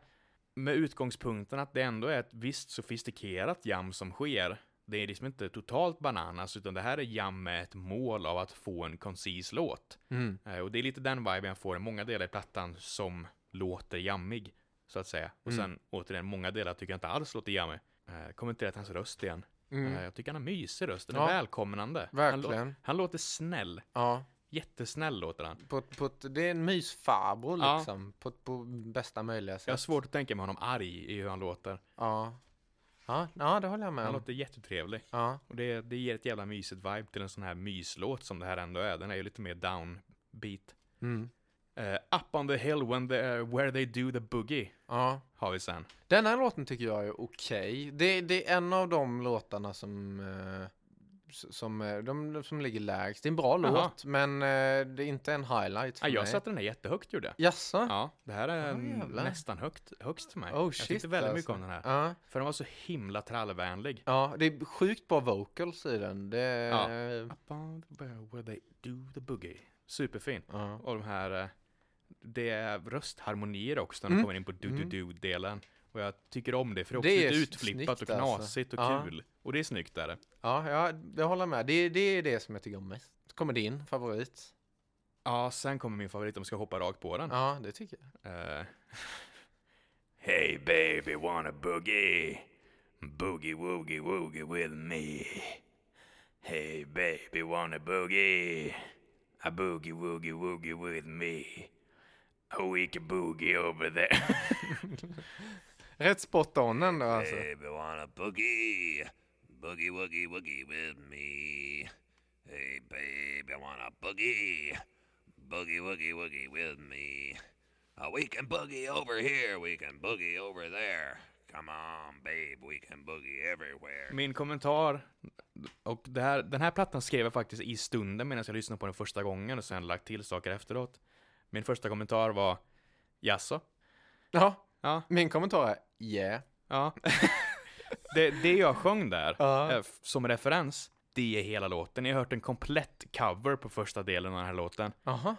med utgångspunkten att det ändå är ett visst sofistikerat jam som sker. Det är liksom inte totalt bananas, utan det här är jam med ett mål av att få en koncis låt. Mm. Eh, Och det är lite den viben jag får i många delar i plattan som låter jammig, så att säga. Och Mm. sen återigen, många delar tycker jag inte alls låter jammig. Eh, Kommenterar till hans röst igen. Mm. Eh, Jag tycker han har mysig röst, den är Ja. välkomnande. Han, lå- Verkligen. han låter snäll, Ja. jättesnäll låter han. På, ett- på ett, det är en mysfarbror, Ja. liksom. På, ett- på bästa möjliga sätt. Jag har svårt att tänka mig honom arg i hur han låter. Ja. Ja, ja, det håller jag med Han om. låter jättetrevlig. Ja. Och det, det ger ett jävla mysigt vibe till en sån här myslåt som det här ändå är. Den är ju lite mer downbeat. Mm. Eh, up on the hill when the, where they do the boogie Ja. har vi sen. Den här låten tycker jag är okej. Det, det är en av de låtarna som, eh, s- som, eh, de, som ligger lägst. Det är en bra Jaha. låt, men eh, det är inte en highlight för Ah, jag mig. satte den här jättehögt gjorde jag. Jaså? Ja, det här är Ah, jävlar. nästan högt, högst för mig. Oh jag shit tyckte väldigt mycket alltså. om den här. Ja. För den var så himla trallvänlig. ja, det är sjukt bra vocals i den. Det Ja. är... Ja. Up on the hill where they do the boogie. Superfin. Och de här, eh, det är röstharmonier också när de Mm. kommer in på du-du-du-delen. Och jag tycker om det för det är också Det lite är utflippat snyggt, och alltså. knasigt Ja. och kul. Och det är snyggt där. Ja, ja, jag håller med. Det, det är det som jag tycker om mest. Kommer din favorit? Ja, sen kommer min favorit om vi ska hoppa rakt på den. Ja, det tycker jag. Eh. hey baby wanna boogie? Boogie woogie woogie with me. Hey baby wanna boogie? A boogie woogie woogie with me. A week boogie over there. [laughs] Rätt spot on ändå alltså. Eh. Baby wanna boogie, boogie woogie woogie with me. Hey baby wanna boogie, boogie woogie woogie with me. Uh, we can boogie over here, we can boogie over there. Come on, babe, we can boogie everywhere. Min kommentar, och det här, den här plattan skrev jag faktiskt i stunden medan jag lyssnade på den första gången och sen lagt till saker efteråt. Min första kommentar var Jaså? Ja, Ja. min kommentar är yeah. Ja. [laughs] det, det jag sjöng där, Ja. eh, f- som referens, det är hela låten. Jag har hört en komplett cover på första delen av den här låten. Aha.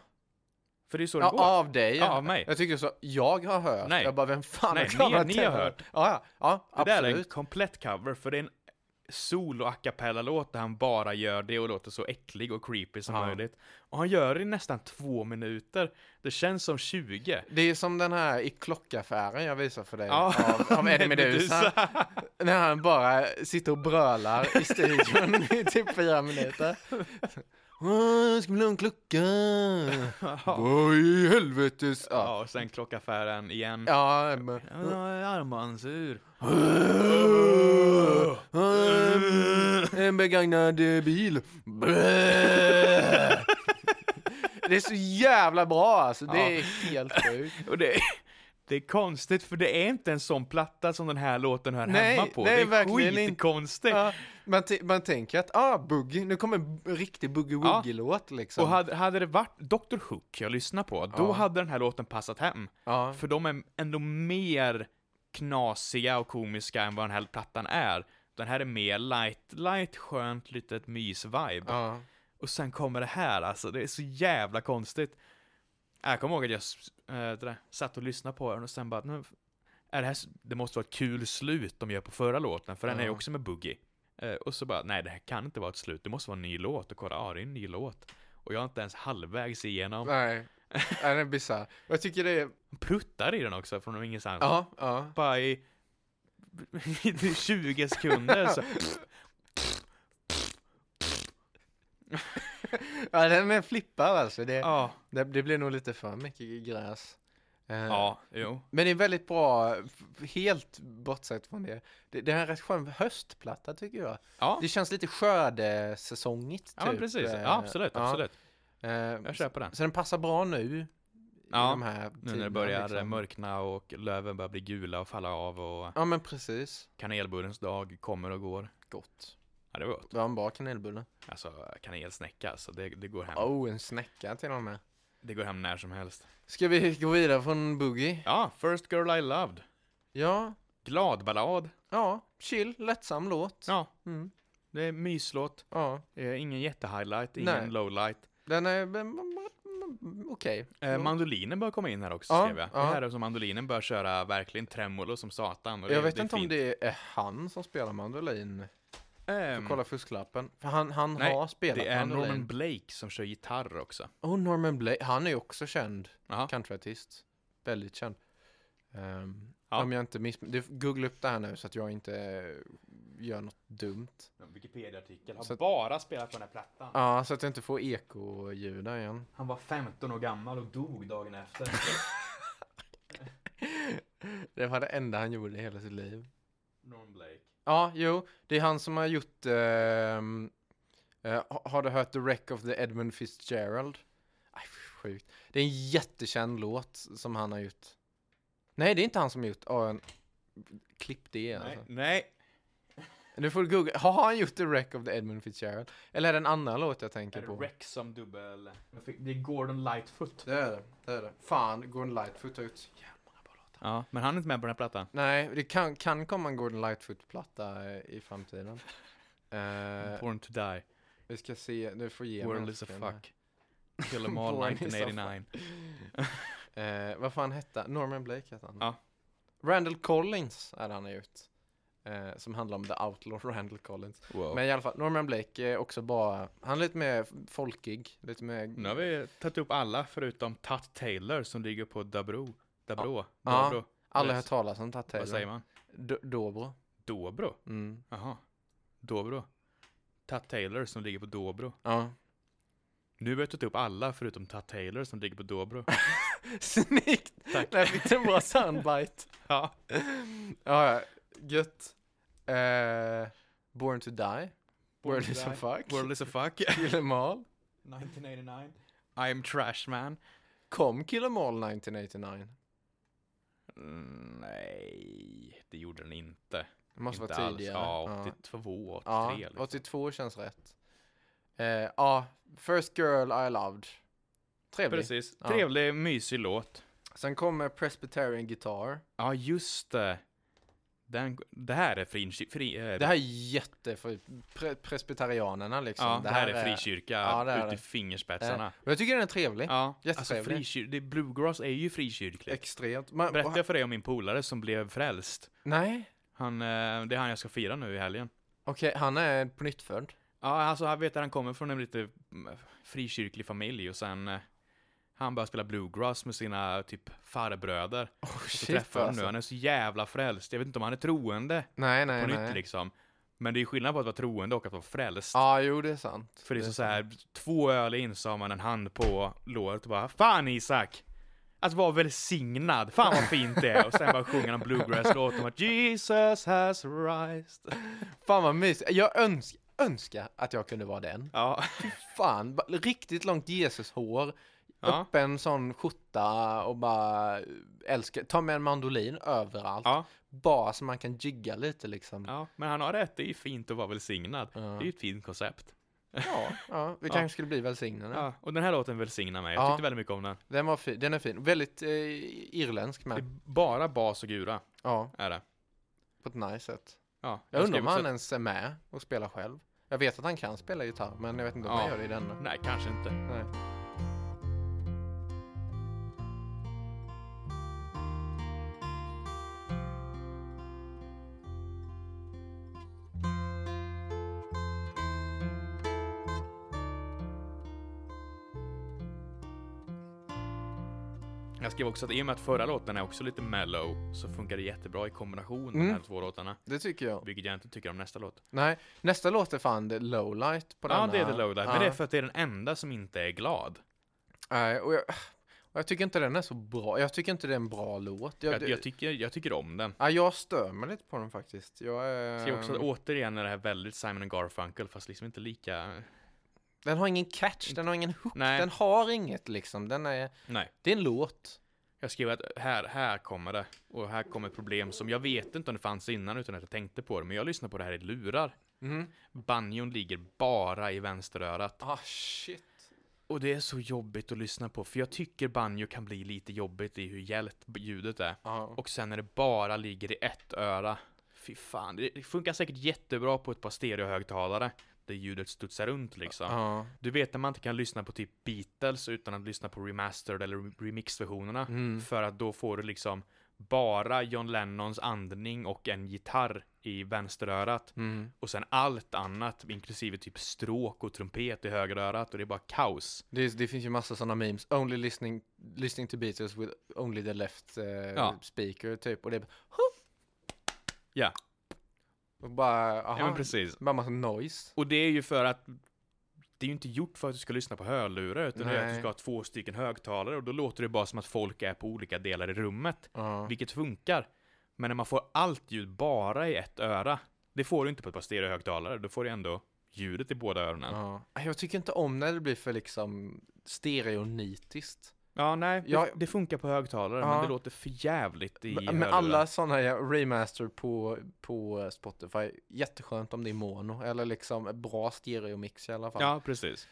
För det är ju så det Ja, går. av dig? Ja, av mig. Jag tyckte du sa, jag har hört. Nej. Jag bara, vem fan Nej, har ni- klarat ni det? har hört. Ja, ja, ja det där är en absolut. komplett cover, för det är en solo a cappella-låt där han bara gör det och låter så äcklig och creepy som Ja. möjligt. Och han gör det i nästan två minuter. Det känns som 20. Det är som den här i klockaffären jag visar för dig Ja. [laughs] av, av Eddie Meduza. [laughs] När han bara sitter och brölar i studion [laughs] i typ fyra minuter. Åh, ska bli [laughs] en klocka. Vad i helvetes... Ja, Ja, och sen klockaffären igen. ja men- Armbandsur. Ehm, Eh, En begagnad eh, bil. Blä. Det är så jävla bra alltså. Det Ja. är [laughs] helt sjukt. Och det, det är konstigt för det är inte en sån platta som den här låten hör Nej, hemma på. nej, det är verkligen inte. skitkonstigt. Ja, man, t- man tänker att ah, boogie, nu kommer en b- riktig boogie-woogie-låt liksom. Och hade, hade det varit Dr. Hook jag lyssnar på, då Ja. hade den här låten passat hem. ja. För de är ändå mer knasiga och komiska än vad den här plattan är. Den här är mer light, light, skönt, litet mys-vibe. Ja. Och sen kommer det här alltså, det är så jävla konstigt. Jag kommer ihåg att jag s- eh, det där, satt och lyssnade på den och sen bara, nu, är det, här, s- det måste vara ett kul slut de gör på förra låten, för den är ju Ja. också med Boogie. Eh, och så bara, nej det här kan inte vara ett slut, det måste vara en ny låt. Och kolla, ja det är en ny låt. Och jag är inte ens halvvägs igenom. Nej, Nej, den är bisarr. Jag tycker det är... Pruttar i den också från ingenstans. Ja, ja. Bara i, [laughs] i 20 sekunder [laughs] så. ja den är flippad alltså. Det, Ja, alltså. det, det blir nog lite för mycket gräs. Eh, Eh, Ja, jo. Men det är väldigt bra, f- helt bortsett från det. Det, det här är en rätt skön höstplatta tycker jag. Ja, Det känns lite skördesäsongigt. Typ. ja men precis. Eh, Ja, absolut, ja. absolut. Eh, Jag köper den. Så den passar bra nu. Ja, i de här Nu när det tiderna, börjar liksom. mörkna och löven börjar bli gula och falla av och Ja men precis. kanelbullens dag kommer och går. Gott. Ja, det var gott. Det var en bra kanelbulle. Alltså, kanelsnäcka alltså, det, det går hem. Oh, en snäcka till och med. Det går hem när som helst. Ska vi gå vidare från Boogie? Ja, First Girl I Loved. Ja, Glad ballad. ja, chill, lättsam låt. Ja, Mm. det är myslåt. ja. Eh, Ingen jättehighlight, ingen Nej. lowlight. Den är mm, mm, mm, okej. Eh, mandolinen bör komma in här också, Ja, skrev jag. ja. Det här är som mandolinen bör köra verkligen tremolo som satan. och det- Jag vet det är inte om fint. det är han som spelar mandolin. Ehm, Kolla fusklappen. För han, han Nej, har spelat det är mandolin. Norman Blake som kör gitarr också. Oh, Norman Blake. Han är ju också känd Jaha. countryartist. Väldigt känd. Ehm, Ja. Om jag inte miss... Du, googla upp det här nu så att jag inte eh, gör något dumt. Wikipedia-artikel. Har Så att- bara spelat på den här plattan. Ja, så att jag inte får ekoljud där igen. Han var 15 år gammal och dog dagen efter. [laughs] [laughs] Det var det enda han gjorde i hela sitt liv. Norman Blake. Ja, jo, det är han som har gjort... ehm, eh, ha- har du hört The Wreck of the Edmund Fitzgerald? Aj, sjukt. Det är en jättekänd låt som han har gjort. Nej, det är inte han som har gjort... Oh, en... Klipp det Nej. alltså. Nej. Du får googla. Har han gjort The Wreck of the Edmund Fitzgerald? Eller är det en annan låt jag tänker på? Rex som dubbel... Det är Gordon Lightfoot. Det är det. Det är det. Fan, Gordon Lightfoot har gjort... Ja, men han är inte med på den här plattan. Nej, det kan, kan komma en Gordon Lightfoot-platta eh, i [laughs] framtiden. Eh, Born to die. Vi ska se, du får ge mig World en is a sekund här. fuck. Kill 'em all [laughs] Born is a 1989. Eh, vad fan hette han? Norman Blake hette han. Ja. Randall Collins är det han har gjort. Eh, som handlar om The Outlaw [laughs] Randall Collins. Wow. Men i alla fall, Norman Blake är också bara, han är lite mer folkig. Lite mer... Nu har vi tagit upp alla förutom Tut Taylor som ligger på Dabro. Dabro. Ja. Dobro. Alla har hört talas om Tatt Taylor. Vad säger man? D- Dobro. Dobro? Mm. Jaha. Dobro. Tut Taylor som ligger på Dobro. Ja. [laughs] Nu har vi tagit upp alla förutom Tut Taylor som ligger på [laughs] Dobro. Snyggt! Tack. Där fick du en bra soundbite. ja. [laughs] ja, ja. gött. Eh, Born to die. World to is a Die. fuck. World [laughs] is a fuck. Kill 'em all. 1989. I am trash man. Kom Kill 'em all 1989? Mm, nej, det gjorde den inte. Det måste inte vara alls. tidigare. Ja, 82, 83. ja. liksom. 82 känns rätt. Eh, Ja, First Girl I Loved. Trevlig. Precis. Ja. Trevlig, mysig låt. Sen kommer Presbyterian Guitar. Ja, just det. Den, det här är fri, fri, eh, Det här är jätte för pre presbyterianerna liksom. ja, det här är frikyrka Ja, det är ut i det. Eh, fingerspetsarna. och jag tycker den är trevlig. Ja, alltså Jättetrevlig. frikyr, det, bluegrass är ju frikyrkligt. Extremt. Man, Berättade och- jag för dig om min polare som blev frälst? Nej, Han, eh, det är han jag ska fira nu i helgen. okej, han är på nytt Ja, alltså han vet att han kommer från en lite mm, frikyrklig familj och sen eh, han började spela bluegrass med sina typ farbröder. Oh, Så shit, träffade honom alltså. nu, han är så jävla frälst. Jag vet inte om han är troende Nej, nej, på nej. nytt liksom. Men det är ju skillnad på att vara troende och att vara frälst. Ja, jo, det är sant. [laughs] För det är Det så, är så här, två öl in så har man en hand på låret och bara Fan Isak! Att vara välsignad, fan vad fint det är! Och sen bara sjunger han bluegrass-låt om att Jesus has rised. Fan vad mysigt. Jag önsk, önskar att jag kunde vara den. Ja, Fan, ba- riktigt långt Jesus-hår. Ja. Upp en sån skjorta och bara eh, älskar, ta med en mandolin överallt. ja, Bara så man kan jigga lite liksom. Ja, ja, men han har rätt, det är ju fint att vara välsignad. Ja. Det är ju ett fint koncept. ja, vi Ja. kanske skulle bli välsignade. Ja, och den här låten välsignar mig, jag Ja. tyckte väldigt mycket om den. Den, var fi- den är fin, väldigt eh, irländsk Det är med. bara bas och gura, Ja, är det. på ett nice sätt. Ja, Jag undrar skrev om han också- ens är med och spelar själv. Jag vet att han kan spela gitarr, men jag vet inte om Ja. han gör det i denna. Nej, kanske inte. Nej. Jag skrev också att i och med att förra låten är också lite mellow så funkar det jättebra i kombination de här Mm. två låtarna. Det tycker jag. Vilket jag inte tycker om nästa låt. Nej, nästa låt är fan The Lowlight på Ja, denna. det är The Lowlight, men Ja. det är för att det är den enda som inte är glad. Nej, och jag, Och Jag tycker inte den är så bra. Jag tycker inte det är en bra låt. Jag, Jag, jag, tycker, jag tycker om den. ja, jag stör mig lite på den faktiskt. Jag eh, Ser är... jag också att återigen är det här väldigt Simon Garfunkel fast liksom inte lika... Den har ingen catch, den har ingen hook, Nej. den har inget liksom. Den är... Nej. Det är en låt. Jag skrev att här, här kommer det. Och här kommer problem som jag vet inte om det fanns innan utan att jag tänkte på det. Men jag lyssnar på det här i lurar. Mhm. Mm. Banjon ligger bara i vänsterörat. Ah, shit. Och det är så jobbigt att lyssna på. För jag tycker banjo kan bli lite jobbigt i hur hjält ljudet är. Ja. Och sen när det bara ligger i ett öra. Fy fan, det det funkar säkert jättebra på ett par stereohögtalare. Där ljudet studsar runt liksom. Ja. Du vet när man inte kan lyssna på typ Beatles utan att lyssna på remastered eller re- remix-versionerna. Mm. För att då får du liksom bara John Lennons andning och en gitarr i vänsterörat. Mm. Och sen allt annat, inklusive typ stråk och trumpet i högerörat. Och det är bara kaos. Det, det finns ju massa sådana memes. Only listening, listening to Beatles with only the left eh, Ja. speaker typ. Och det är bara- Ja, och bara, aha, ja men precis. bara massa noise. Och det är ju för att det är ju inte gjort för att du ska lyssna på hörlurar utan det är att du Nej. ska ha två stycken högtalare och då låter det bara som att folk är på olika delar i rummet. Ja. Vilket funkar. Men när man får allt ljud bara i ett öra, det får du inte på ett par stereohögtalare, då får du ändå ljudet i båda öronen. Ja, Ja. Jag tycker inte om när det blir för liksom stereonitiskt. nej, Ja. Det, det funkar på högtalare, men Ja. det låter för jävligt i Men hörlurar. alla sådana här remaster på, på Spotify, jätteskönt om det är mono eller liksom en bra stereomix i alla fall. Ja, precis.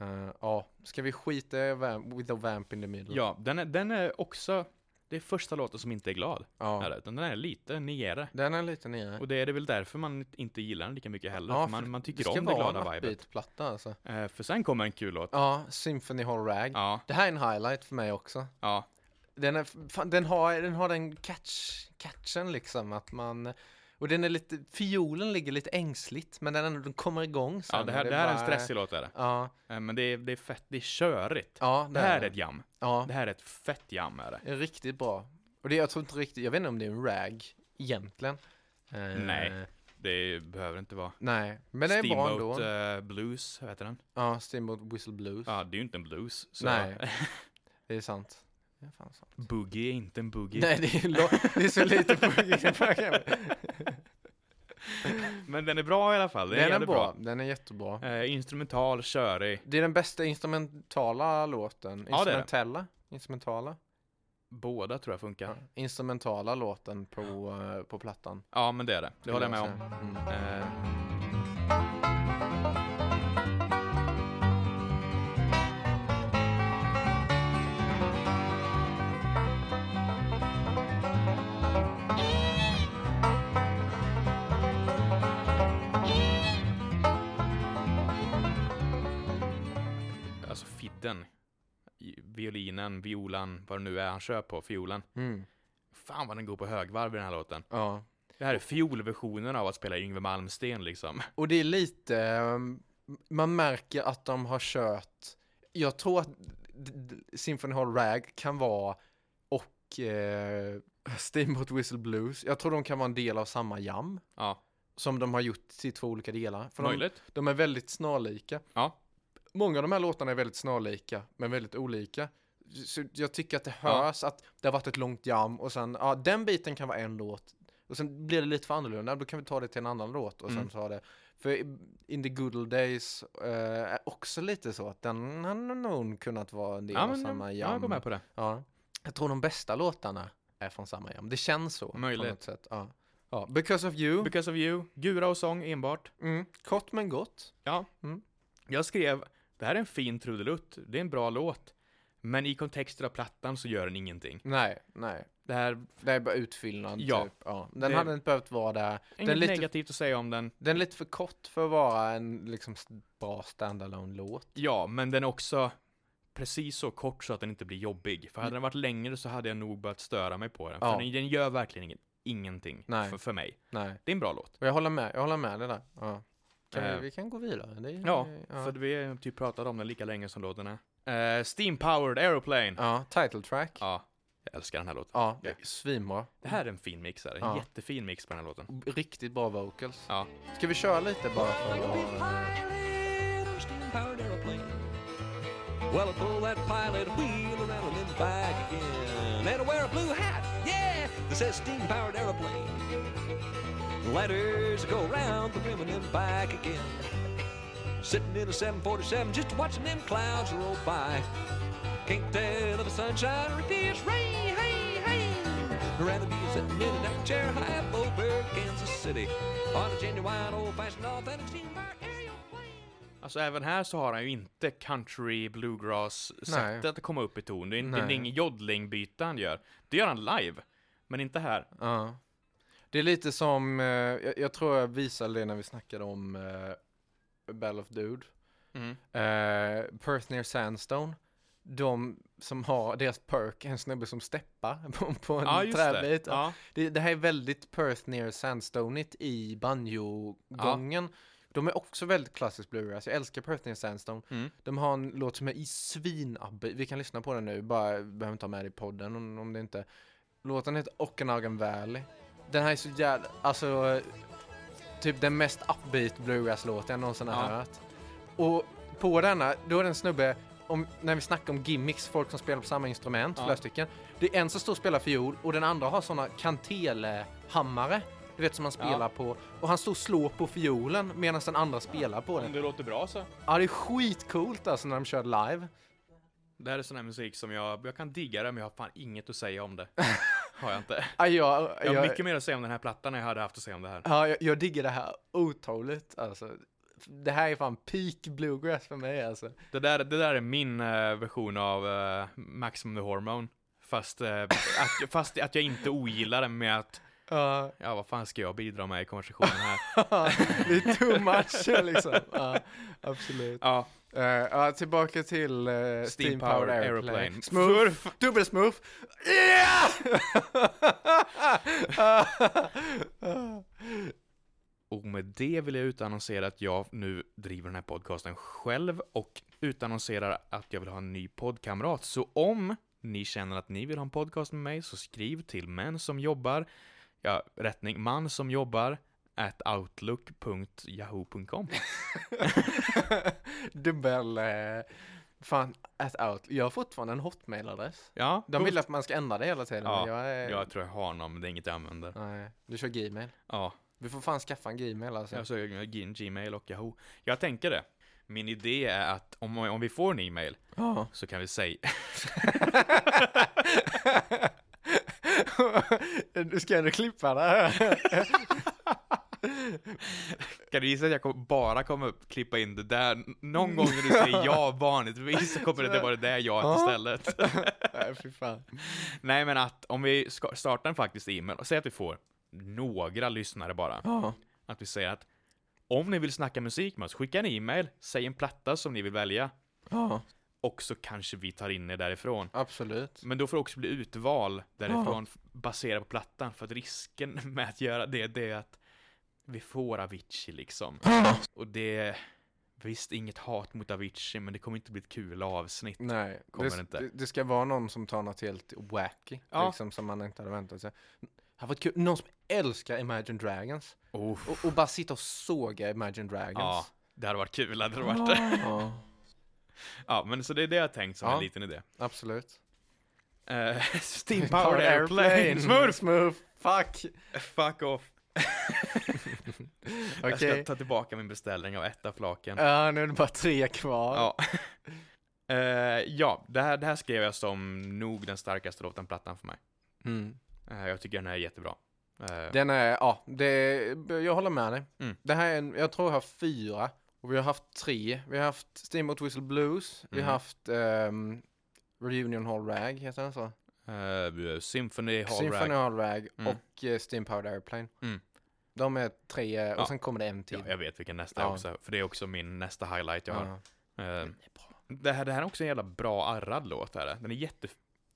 Eh, ja. Ska vi skita i vamp, with a vamp in the middle? Ja, den är, den är också... Det är första låten som inte är glad. Ja. Är det, utan den är lite nere. Den är lite nere. [laughs] Och det är det väl därför man inte gillar den lika mycket heller. Ja, för man, för man Det tycker ska om det vara glada en vibet. upbeat-platta alltså. Eh, för sen kommer en kul låt. Ja, Symphony Hall Rag. Ja, Det här är en highlight för mig också. ja. Den, är, fan, den, har, den har den catch, catchen liksom att man och den är lite, fiolen ligger lite ängsligt men den, ändå- den kommer igång sen. ja det här, och det här är en bara- stressig låt är det. Ja, Eh, men det är, det är fett, det är körigt. ja Det här är är ett jam. Ja, Det här är ett fett jam är det. det är riktigt bra. Och det, jag tror inte riktigt, jag vet inte om det är en rag egentligen. Eh, Nej. Det behöver inte vara. Nej, men det är bra ändå. Steamboat eh, Blues, vad heter den? ja, Steamboat Whistle Blues. Ja, det är ju inte en blues. Så. [laughs] Nej. Det är sant. Det är fan sant. Boogie är inte en boogie. Nej, det är, lo- det är så lite på [laughs] Men den är bra i alla fall. Den, Den är jävligt bra, den är jättåbra. bra. Eh, instrumental, körig. Det är den bästa instrumentala låten. Ja, det är det. Instrumentella? Instrumentala? Båda tror jag funkar. Instrumentala låten på, eh, på plattan. Ja, men det är det. Det håller jag med om. Mm. Eh, alltså fidden. I- Violinen, violan, vad det nu är han kör på, fiolen. Mm. Fan vad den går på högvarv i den här låten. Ja. Det här är fiolversionen av att spela Yngwie Malmsteen liksom. Och det är lite, eh, man märker att de har kört, jag tror att d- d- Symphony Hall Rag kan vara och eh, Steamboat Whistle Blues, jag tror de kan vara en del av samma jam Ja, som de har gjort till två olika delar. För de, möjligt. de är väldigt snarlika. Ja. Många av de här låtarna är väldigt snarlika, men väldigt olika. Så jag tycker att det hörs att det har varit ett långt jam och sen, ja den biten kan vara en låt. Och sen blir det lite för annorlunda, då kan vi ta det till en annan låt och Mm. sen ta det. För i- In the good old days eh, är också lite så att den hade nog kunnat vara en del Ja, av men samma ja, jag jam. går med på det. ja. Jag tror de bästa låtarna är från samma jam. Det känns så. Möjligt. På något sätt. Ja. Ja. Because of you. Because of you, Gura och sång enbart. Mm. Kort men gott. Ja. Mm. Jag skrev, det här är en fin trudelutt, det är en bra låt. Men i kontexten av plattan så gör den ingenting. Nej, nej. Det här, Det är bara utfyllnad Ja. typ. Ja. Den Det- hade inte behövt vara där. Den är, inget lite, negativt att säga om den. den är lite för kort för att vara en liksom s- bra standalone låt. Ja, men den är också precis så kort så att den inte blir jobbig. För hade den varit längre så hade jag nog börjat störa mig på den. För Ja. den, den gör verkligen inget, ingenting Nej. för, för mig. Nej. Det är en bra låt. Och jag håller med, jag håller med det där. Ja. Kan Eh. vi, vi kan gå vidare. Det är, Ja, Eh, ja. för vi har typ pratat om den lika länge som låten är. Eh, Steam Powered Aeroplane. Ja. ja, title track. Ja, jag älskar den här låten. Ja. svinbra. Det här är en fin mix, är det. en Ja. jättefin mix på den här låten. Riktigt bra vocals. Ja. Ska vi köra lite bara för You'll be att... flying in a steam-powered aeroplane. Well, pull that pilot wheel around and then bag again. And I wear a blue hat, yeah, that says steam powered aeroplane. The letters go round the rim and then back again. Sitting in a 747, just watching them clouds roll by. Can't tell if it's sunshine or if it's rain. Hey, hey. I'd rather be sitting in a deck chair high up over Kansas City on a genuine old-fashioned authentic steamboat airplane. Alltså även här så har han ju inte country bluegrass sättet att komma upp i ton. Det är, inte, det är Nej. ingen joddlingbyte han gör. Det gör han live, men inte här. Ja. Det är lite som, eh, jag, jag tror jag visade det när vi snackade om eh, Battle of Dude. Mm. Eh, Perth Near Sandstone. De som har deras perk, en snubbe som steppar [laughs] på, på en Ja, just det. träbit. Ja. Ja. Det, det här är väldigt Perth Near Sandstonigt i banjo-gången. De är också väldigt klassisk bluegrass. Jag älskar Perth Near Sandstone. Mm. De har en låt som är i svinabbig. Vi kan lyssna på den nu, bara vi behöver inte ha med det i podden om, om det inte... Låten heter Okanagan Valley. Den här är så jävla... Alltså... eh, Typ den mest upbeat bluegrass-låten jag någonsin har Ja. hört. Och på denna, då är det en snubbe, om, när vi snackar om gimmicks, folk som spelar på samma instrument, Ja. flera stycken. Det är en som står och spelar fiol och den andra har såna kantelehammare. Du vet som man spelar Ja. på. Och han står och slår på fiolen medan den andra spelar på den. Om det låter bra så. Ja, det är skitcoolt alltså när de kör live. Det här är sån här musik som jag, jag kan digga det, men jag har fan inget att säga om [laughs] det. har jag inte. Ja, jag, Jag jag, har jag, mycket mer att säga om den här plattan än jag hade haft att säga om det här. ja, jag, jag digger det här otroligt alltså. Det här är fan peak bluegrass för mig alltså. Det där, det där är min eh, version av eh, Maximum the Hormone. Fast, eh, att, [laughs] fast att jag inte ogillar den med att, Ja, ja vad fan ska jag bidra med i konversationen här? [laughs] det är too much liksom. Ja, absolut. ja, Eh, ja, tillbaka till uh, Steam Steam Powered Powered Airplane. Aeroplane. Smurf! Dubbelsmurf! Yeah! [laughs] Och med det vill jag utannonsera att jag nu driver den här podcasten själv och utannonserar att jag vill ha en ny poddkamrat. Så om ni känner att ni vill ha en podcast med mig så skriv till män som jobbar, ja, rättning, man som jobbar at outlook.yahoo.com. Dubbel... eh, fan, at out. Jag har fortfarande en hotmail-adress. Ja, De vill coolt. att man ska ändra det hela tiden. Ja, men jag är... Jag tror jag har någon, men det är inget jag använder. Nej, du kör gmail. Ja, Vi får fan skaffa en gmail alltså. jag söker G- Gmail och Yahoo. Jag tänker det. Min idé är att om, om vi får en e-mail Ja. [laughs] så kan vi säga [laughs] du ska ändå klippa det här. [laughs] Kan du gissa att jag kom, bara kommer upp- klippa in det där? Någon gång när du [laughs] säger ja vanligtvis så kommer det- det vara det där ja Ja. istället. [laughs] Nej, fy fan. Nej men att om vi ska- startar en faktisk e-mail och säger att vi får några lyssnare bara. Ja. Att vi säger att om ni vill snacka musik med oss, skicka en e-mail, säg en platta som ni vill välja ja, och så kanske vi tar in er därifrån. absolut. Men då får det också bli utval därifrån baserat på plattan för att risken [laughs] med att göra det, det är att vi får Avicii liksom. Och det, visst inget hat mot Avicii men det kommer inte bli ett kul avsnitt. Nej, Kommer det, det inte. Det, det ska vara någon som tar något helt wacky, Ja. liksom som man inte hade väntat sig. Här var kul. Någon som älskar Imagine Dragons Oh, och, och bara sitta och såga Imagine ja, Dragons. det hade varit kul hade det varit. Ja, Ja, men så det är det jag tänkt som Ja. en liten idé. absolut. Uh, [laughs] Steam Powered Airplane! [laughs] Mm. Smurf! Smurf! Fuck! Fuck off! [laughs] Jag ska Okej. ta tillbaka min beställning av ettaflaken. Ja, nu är det bara tre kvar. Ja. [laughs] Eh, ja, det här, det här skrev jag som nog den starkaste låten på plattan för mig. Mm. Eh, jag tycker den här är jättebra. Eh, Den är, ja, det, jag håller med dig. Mm. Det här är en, jag tror jag har fyra och vi har haft tre. Vi har haft Steamboat Whistle Blues, vi Mhm. har haft ehm, Reunion Hall Rag, heter den så? eh, Symphony Hall Symphony Rag. Hall Rag Mm. och eh, Steam Powered Airplane. Mm. De är tre eh, och Ja. sen kommer det en till. Ja, jag vet vilken nästa är Ja. också, för det är också min nästa highlight jag har. Ja. Eh, det, här, det här är också en jävla bra arrad låt. Här. Den är jätte...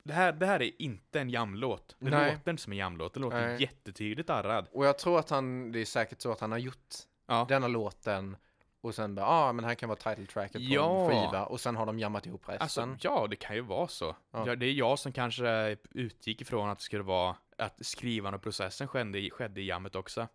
det, här, det här är inte en jamlåt. Det Nej. låter inte som en jamlåt, det låter Nej. jättetydligt arrad. Och jag tror att han, det är säkert så att han har gjort Ja. denna låten och sen bara, ja ah, men här kan vara title tracket på Ja. en skiva och sen har de jammat ihop resten. Alltså, ja, det kan ju vara så. Ja. Ja. det är jag som kanske utgick ifrån att det skulle vara att skrivandet och processen skedde, i- skedde i jammet också.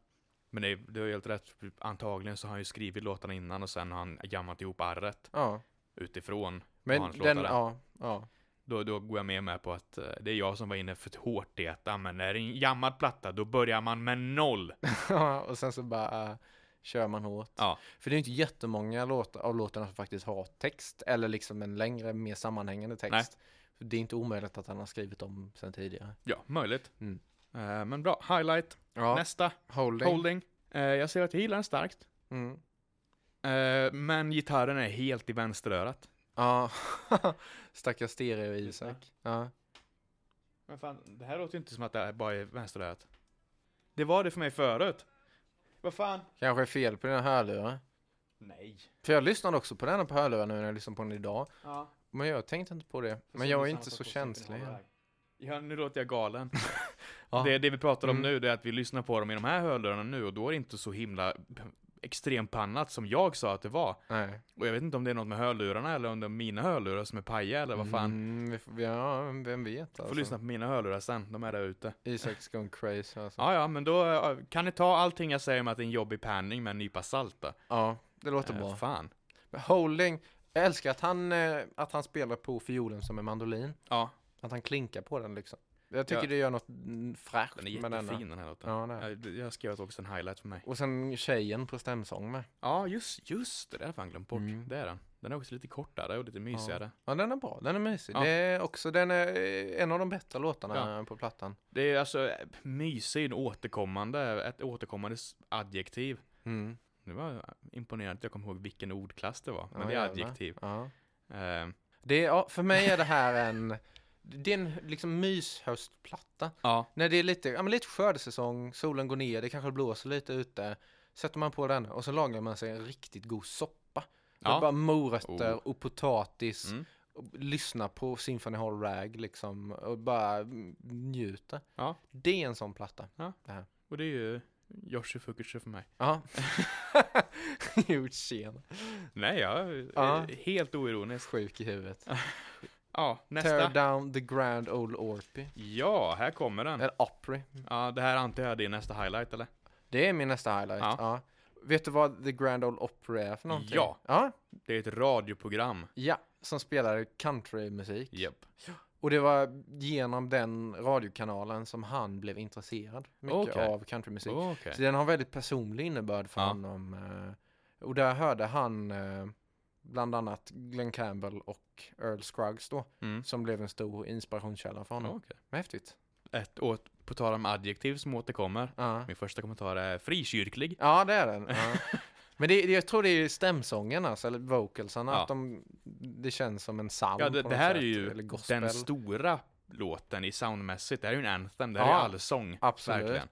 Men det, det är helt rätt. Antagligen så har han ju skrivit låtarna innan och sen har han jammat ihop arret ja. utifrån Men hans den, låtar. ja, ja. Då, då går jag mer med på att eh, det är jag som var inne för hårt i att, ah, men är det en jammad platta, då börjar man med [laughs] noll. Ja, och sen så bara eh, kör man hårt. Ja. För det är ju inte jättemånga låtar, av låtarna som faktiskt har text eller liksom en längre, mer sammanhängande text. För Det är inte omöjligt att han har skrivit om sen tidigare. Ja, möjligt. Mm. Eh, men bra, highlight. Ja, Nästa, holding. holding. Eh, jag ser att jag gillar den starkt. Mm. Eh, men gitarren är helt i vänsterörat. Ja, [laughs] Typ. stackars stereo-Isak. Ja. Men fan, det här låter ju inte som att det här bara är vänsterörat. Det var det för mig förut. Vad fan? Kanske är fel på dina hörlurar. Nej. För jag lyssnade också på den här på hörlurar nu när jag lyssnade på den idag. Ja. Men jag tänkte inte på det. Men jag är inte så känslig. Ja, nu låter jag galen. [laughs] Ja. det, det vi pratar om Mm. nu det är att vi lyssnar på dem i de här hörlurarna nu och då är det inte så himla extrempannat som jag sa att det var. Nej. Och jag vet inte om det är något med hörlurarna eller om det är mina hörlurar som är paja eller vad fan. Mm, alltså. vi får, ja, vem vet Får lyssna på mina hörlurar sen, de är där ute. Isak's gone crazy alltså. Ja, ja, men då eh, kan ni ta allting jag säger om att det är en jobbig panning med en nypa salt då. Ja, det låter Eh, bra. Fan. Men Holding, jag älskar att han, eh, att han spelar på fiolen som en mandolin. Ja, Att han klinkar på den liksom. Jag tycker Ja. det gör något mm, fräscht den är med denna. jättefin den här låten. Ja, den är. Jag, jag har skrivit också en highlight för mig. Och sen tjejen på stämsång med. Ja, just, just det. Det har jag fan glömt bort. Mm. Det är den. Den är också lite kortare och lite mysigare. Ja, den är bra. Den är mysig. Ja. Det är också, den är eh, en av de bättre låtarna Ja. på plattan. Det är alltså eh, mysig, en återkommande, ett återkommande s- adjektiv. Mm. Det var imponerande att jag kom ihåg vilken ordklass det var. Men Ja, det är jävlar. adjektiv. Ja. Eh, Det är, ja, för mig är det här en, det är en liksom myshöstplatta. ja, När det är lite, ja, men lite skördesäsong, solen går ner, det kanske blåser lite ute. Sätter man på den och så lagar man sig en riktigt god soppa. Med Ja. bara morötter Oh. och potatis. Mm. Och lyssna på Symphony Hall Rag liksom och bara mm, njuta. Ja. Det är en sån platta. och det är ju Yoshi Fukushi för mig. Ja. [laughs] Gjort tjena. Nej, jag är Ja. helt oironisk. Sjuk i huvudet. Ja, Tear nästa. down the grand old Orpy. Ja, här kommer den. Eller Opry. Ja, det här antar jag är din nästa highlight eller? Det är min nästa highlight. Ja. Ja. Vet du vad the grand old Opry är för någonting? Ja. Ja, Det är ett radioprogram. ja som spelar countrymusik. Japp. Och det var genom den radiokanalen som han blev intresserad mycket Okej. av countrymusik. Okej. Så den har väldigt personlig innebörd för Ja. honom. eh, Och där hörde han eh, bland annat Glenn Campbell och Earl Scruggs då, Mm. som blev en stor inspirationskälla för honom. Okej. Häftigt. Ett åt, på tal om adjektiv som återkommer. Ja. Min första kommentar är frikyrklig. ja, det är den. [laughs] Ja. Men det, det- jag tror det är stämsången, alltså, eller vocalsarna, Ja. att de, det känns som en psalm Ja, det, på det något här är sätt, ju eller gospel. den stora låten i soundmässigt. Det här är ju en anthem, det här Ja. är allsång. Absolut. Verkligen.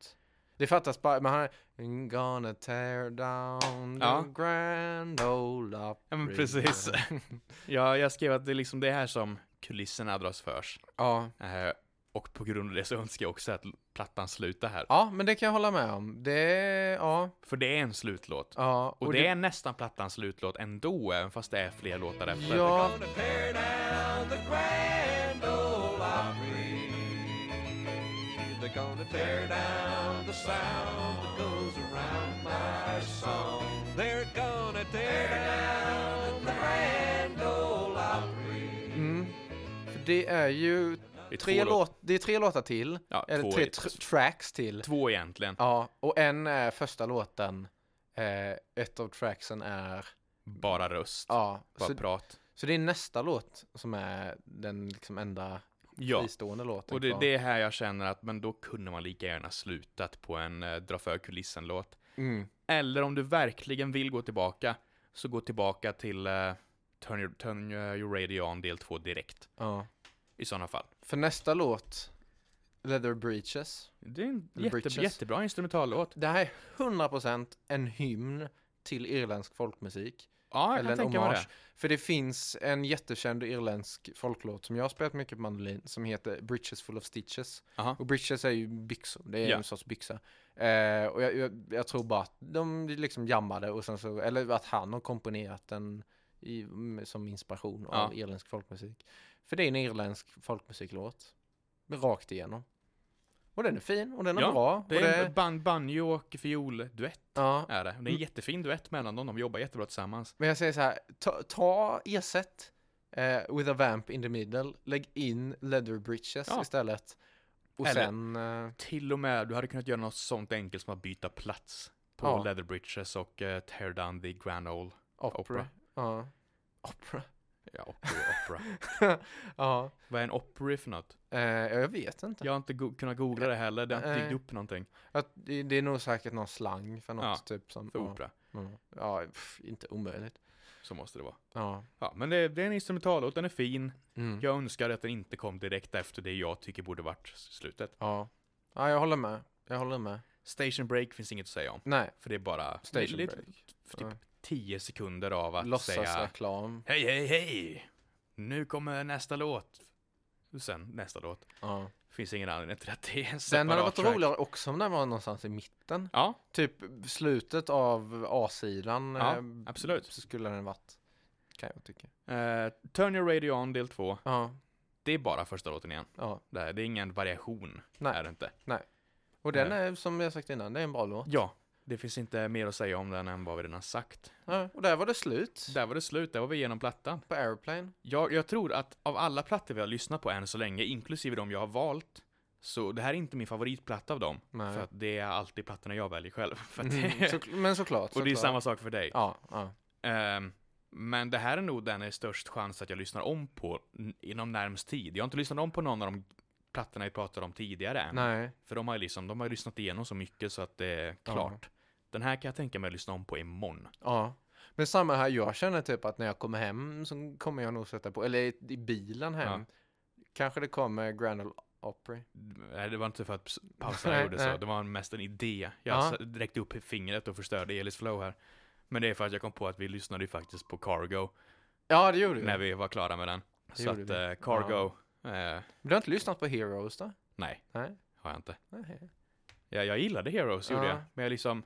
Det fattas bara, men han är I'm gonna tear down the Ja. grand old Opry. Ja, men [laughs] precis. ja, jag skrev att det är liksom det här som kulisserna dras förs. ja. Eh, och på grund av det så önskar jag också att plattan slutar här. ja, men det kan jag hålla med om. Det är, ja, För det är en slutlåt. ja. Och, det, är nästan plattans slutlåt ändå, även fast det är fler låtar efter. Ja, Gonna tear down the grand old Opry. They're gonna tear down the sound that goes around my song. They're gonna tear down the grand old Opry. mm. För det är ju Det är tre, två låt, det är tre låtar till. Ja, eller två tre i- tr- tracks till. Två egentligen. Ja, och en är första låten. Eh, ett av tracksen är, Bara röst. ja. Bara Så, prat. så det är nästa låt som är den liksom enda Ja. fristående låten Och det, kvar. det är här jag känner att, men då kunde man lika gärna slutat på en eh, dra för kulissen-låt. Mm. Eller om du verkligen vill gå tillbaka, så gå tillbaka till eh, Turn, your, turn your radio on del 2 direkt. Ja. I sådana fall. För nästa låt, Leather Breaches. Det är en Eller jätte, Bridges. jättebra instrumentallåt. Det här är 100% en hymn till irländsk folkmusik. Ja, jag eller kan en tänka mig det. hommage. För det finns en jättekänd irländsk folklåt som jag har spelat mycket på mandolin som heter Bridges Full of Stitches. Aha. Och bridges är ju byxor, det är Ja. en sorts byxa. Eh, och jag, jag, jag tror bara att de liksom jammade och sen så, eller att han har komponerat den i, m- som inspiration Ja. av irländsk folkmusik. För det är en irländsk folkmusiklåt. Rakt igenom. Och den är fin och den är Ja, bra. Det och är en ban- banjo och fiolduett. ja. Är det. Det är en jättefin duett mellan dem, de jobbar jättebra tillsammans. Men jag säger så här, ta, ta ersätt eh, with a vamp in the middle. Lägg in leather britches Ja. istället. Och Eller- sen... Eh, Till och med, du hade kunnat göra något sånt enkelt som att byta plats på Ja. Leather Bridges och eh, Tear Down the Grand Ole. opera. Opera. Ja. Opera. [laughs] Ja, opera, opera. ja. Vad är en opera för något? Eh, ja, jag vet inte. Jag har inte go- kunnat googla det heller, det har inte Nej. dykt upp någonting Att, det, det är nog säkert någon slang för något Ja, typ som... för ja. opera. Mm. Ja, pff, inte omöjligt. Så måste det vara. Ja. Ja, men det, det är en instrumentallåt, den är fin. Mm. Jag önskar att den inte kom direkt efter det jag tycker borde varit s- slutet. Ja. ja, jag håller med. Jag håller med. Station Break finns inget att säga om. Nej, För det är bara Station lite- Break. f- typ 10 sekunder av att säga låtsasreklam. Hej, hej, hej! Nu kommer nästa låt. Och sen nästa låt. Ja. Finns ingen anledning till att det är en Den hade separat varit track. roligare också om den var någonstans i mitten. Ja, Typ slutet av A-sidan. Ja, eh, absolut. Så skulle den varit. Kan jag tycka. eh, Turn Your Radio On del 2. Ja, Det är bara första låten igen. ja. Det, här, det är ingen variation. Nej. Är det inte. Och den Eh. är som jag sagt innan, det är en bra låt. Ja, det finns inte mer att säga om den än vad vi redan har sagt. Ja, och där var det slut. Där var det slut, där var vi igenom plattan. [laughs] På Airplane. Jag, jag tror att av alla plattor vi har lyssnat på än så länge, inklusive de jag har valt, så det här är inte min favoritplatta av dem. Nej. För att det är alltid plattorna jag väljer själv. [laughs] För att Mm, så, men såklart. och det är såklart. samma sak för dig. Ja, ja. Ehm, men det här är nog den är störst chans att jag lyssnar om på n- inom närmst tid. Jag har inte lyssnat om på någon av de plattorna vi pratade om tidigare än. Nej. För de har ju liksom, de har ju lyssnat igenom så mycket så att det är Ja. klart. Den här kan jag tänka mig att lyssna om på imorgon. Ja. Men samma här, jag känner typ att när jag kommer hem så kommer jag nog sätta på, eller i, i bilen hem, kanske det kommer Grand Ole Opry. Nej, det var inte för att ps- pauserna Nej, gjorde nej. så. Det var mest en idé. Ja. Jag s- räckte upp fingret och förstörde Elis flow här. Men det är för att jag kom på att vi lyssnade ju faktiskt på Cargo Ja, det gjorde vi. när vi var klara med den. så att gjorde vi. eh, Cargo, eh, Men du har inte lyssnat på Heroes då? nej, Nej. har jag inte. Nej. Jag, jag gillade Heroes, gjorde Ja. jag. Men jag liksom,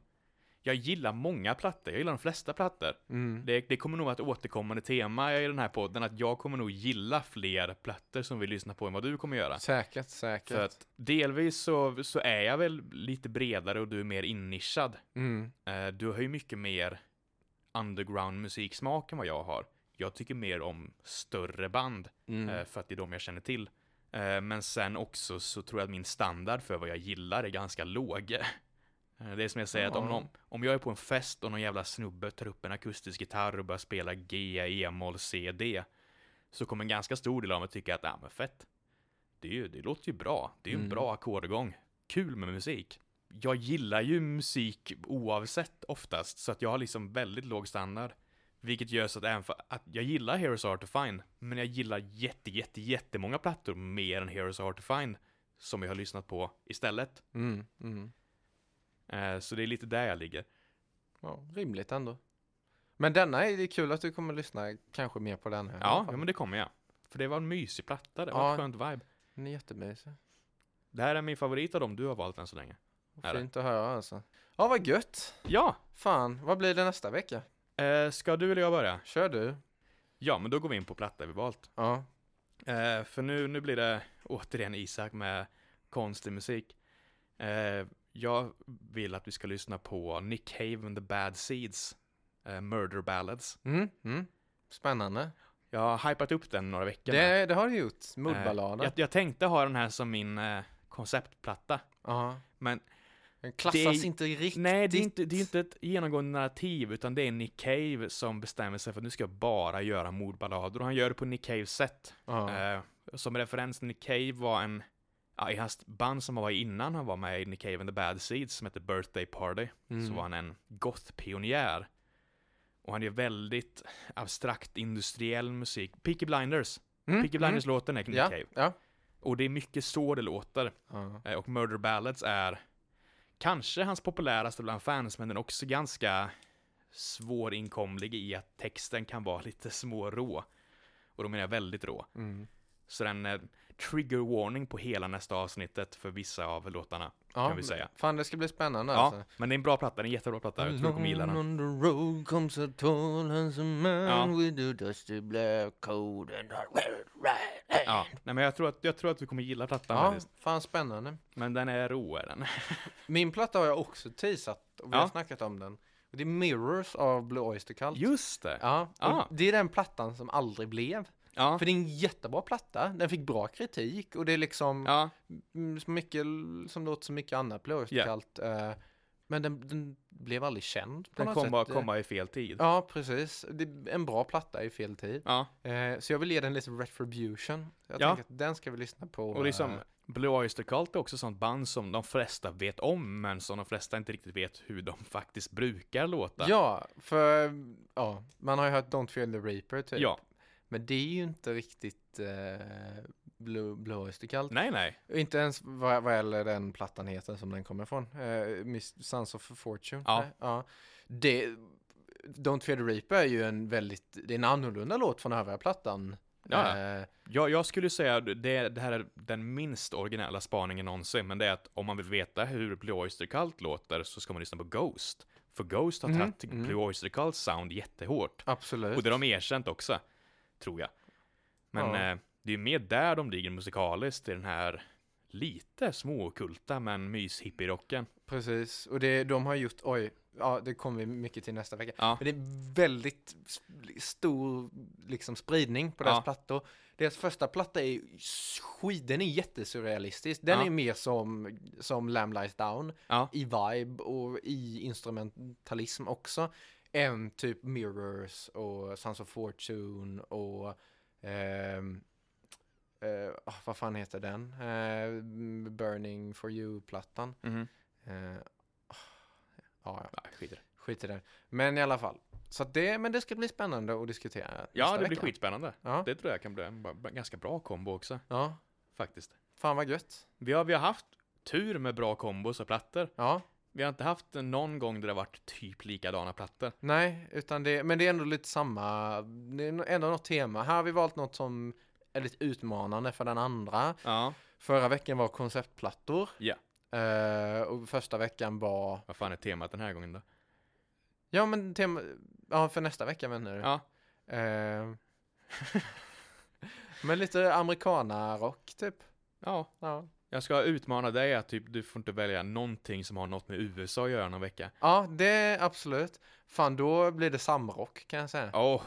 jag gillar många plattor. Jag gillar de flesta plattor. Mm. Det, det kommer nog vara ett återkommande tema i den här podden, att jag kommer nog gilla fler plattor som vi lyssnar på än vad du kommer göra. Säkert, säkert. För att delvis så, så är jag väl lite bredare och du är mer innischad. Mm. Eh, Du har ju mycket mer underground musiksmak än vad jag har. Jag tycker mer om större band, Mm. eh, för att det är de jag känner till. Eh, Men sen också så tror jag att min standard för vad jag gillar är ganska låg. [laughs] Eh, Det är som jag säger, att om, Ja. någon, om jag är på en fest och någon jävla snubbe tar upp en akustisk gitarr och börjar spela G, E-moll, C, D, så kommer en ganska stor del av mig tycka att, ja men fett, det, är ju, det låter ju bra, det är ju en Mm. bra ackordgång, kul med musik. Jag gillar ju musik oavsett oftast, så att jag har liksom väldigt låg standard. Vilket gör så att, även för, att jag gillar Heroes Are Hard To Find, men jag gillar jätte, jätte, jättemånga plattor mer än Heroes Are Hard To Find, som jag har lyssnat på istället. Mm. Mm. Eh, Så det är lite där jag ligger. Ja, rimligt ändå. Men denna, är det är kul att du kommer lyssna kanske mer på den här. i alla Ja, fall. ja men det kommer jag. För det var en mysig platta, det var ett Ja. skönt vibe. Den är jättemysig. Det här är min favorit av dem du har valt än så länge. Är det? Fint att höra alltså. Ja, vad gött. Ja! Fan, vad blir det nästa vecka? Eh, ska du eller jag börja? Kör du. Ja, men då går vi in på platta vi valt. Ja. Eh, för nu, nu blir det återigen Isak med konstig musik. Eh, jag vill att vi ska lyssna på Nick Haven, The Bad Seeds, eh, Murder Ballads. Mm. Mm. Spännande. Jag har hypat upp den några veckor nu. Det, det har du gjort. Eh, Mordballader. jag, jag tänkte ha den här som min eh, konceptplatta, Ja. men Den klassas Det är- inte riktigt. Nej, det är, inte, det är inte ett genomgående narrativ, utan det är Nick Cave som bestämmer sig för att nu ska jag bara göra mordballader, och han gör det på Nick Caves sätt. Ja. Eh, som referens, Nick Cave var en, ja, i hans band som han var i innan han var med i Nick Cave and the Bad Seeds, som hette Birthday Party, så Mm. var han en goth-pionjär. Och han gör väldigt abstrakt industriell musik. Peaky Blinders. Mm, Peaky Blinders-låten är Nick ja, Cave. ja. Och det är mycket så det låter. ja. Eh, Och Murder Ballads är kanske hans populäraste bland fans, men den är också ganska svårinkomlig i att texten kan vara [laughs] lite smårå. Och då menar jag väldigt rå. Mm. Så den eh, trigger warning på hela nästa avsnittet för vissa av låtarna, Ja, kan vi säga. Fan, det ska bli spännande Ja, alltså. men det är en bra platta, det är en jättebra platta. Jag tror du kommer gilla Along den. on the road comes a tall handsome man Ja. with a dusty black coat and a red right hand. Ja, nej men jag tror att, jag tror att du kommer gilla plattan Ja, faktiskt. fan spännande. Men den är rå är den. [laughs] Min platta har jag också teasat och vi Ja. har snackat om den. Och Det är Mirrors av Blue Oyster Cult. Just det! Ja, och Ah. det är den plattan som aldrig blev. Ja. För det är en jättebra platta. Den fick bra kritik och det är liksom ja. mm, så mycket l- som låter som mycket annat blåkallt. eh, Men den, den blev aldrig känd på Den något kom sätt. bara eh. komma i fel tid. Ja. Ja, precis. Det är en bra platta i fel tid. Eh, så jag vill ge den lite retribution. Jag Ja. tänker att den ska vi lyssna på. Och liksom, eh, Blue Oyster Cult är också sånt band som de flesta vet om, men som de flesta inte riktigt vet hur de [laughs] faktiskt brukar låta. Ja, för ja, man har ju hört Don't Fear the Reaper typ. ja. Men det är ju inte riktigt eh, Blue, Blue Oyster Cult. Nej, nej. Och Inte ens vad, vad gäller den plattan heter som den kommer ifrån. Eh, Miss Sons of Fortune. Ja. Nej, ja. Det, Don't Fear the Reaper är ju en väldigt, det är en annorlunda låt från övriga plattan. Ja. Eh, Jag, jag skulle säga att det, det här är den minst originella spaningen någonsin, men det är att om man vill veta hur Blue Oyster Cult låter så ska man lyssna på Ghost. För Ghost har Mm, tagit mm. Blue Oyster Cults sound jättehårt. absolut. Och det har de erkänt också, tror jag. Men Ja. eh, det är ju mer där de ligger musikaliskt, i den här lite småokulta men mys-hippie-rocken. Precis, och det, de har gjort, oj, ja det kommer vi mycket till nästa vecka. Ja. Men det är väldigt sp- stor liksom, spridning på deras Ja. plattor. Deras första platta är skit, den är jättesurrealistisk. Den Ja. är mer som, som Lamb Lies Down Ja. i vibe och i instrumentalism också. Än typ Mirrors och Sons of Fortune och ehm, eh, ah, vad fan heter den? Eh, Burning for you-plattan. Mhm. Eh, ah, ja, ja, Ja, skit i det. skit i det. Men i alla fall. Så att det, men det ska bli spännande att diskutera ja nästa det blir vecka. skitspännande. Ja. Det tror jag kan bli en ba- ba- ganska bra kombo också, Ja, faktiskt. fan vad gött. Vi har, vi har haft tur med bra kombos och plattor. Ja, Vi har inte haft någon gång där det har varit typ likadana plattor. nej, utan det, men det är ändå lite samma, det är ändå något tema. Här har vi valt något som är lite utmanande för den andra. Ja. Förra veckan var konceptplattor. Ja. Eh, och första veckan var, Vad fan är temat den här gången då? ja men tema, ja för nästa vecka menar du? Ja. Eh, [laughs] men lite amerikanarock typ. Ja. Ja. Jag ska utmana dig att typ, du får inte välja någonting som har något med USA att göra någon vecka. Ja, det absolut. Fan, då blir det samrock kan jag säga. Åh!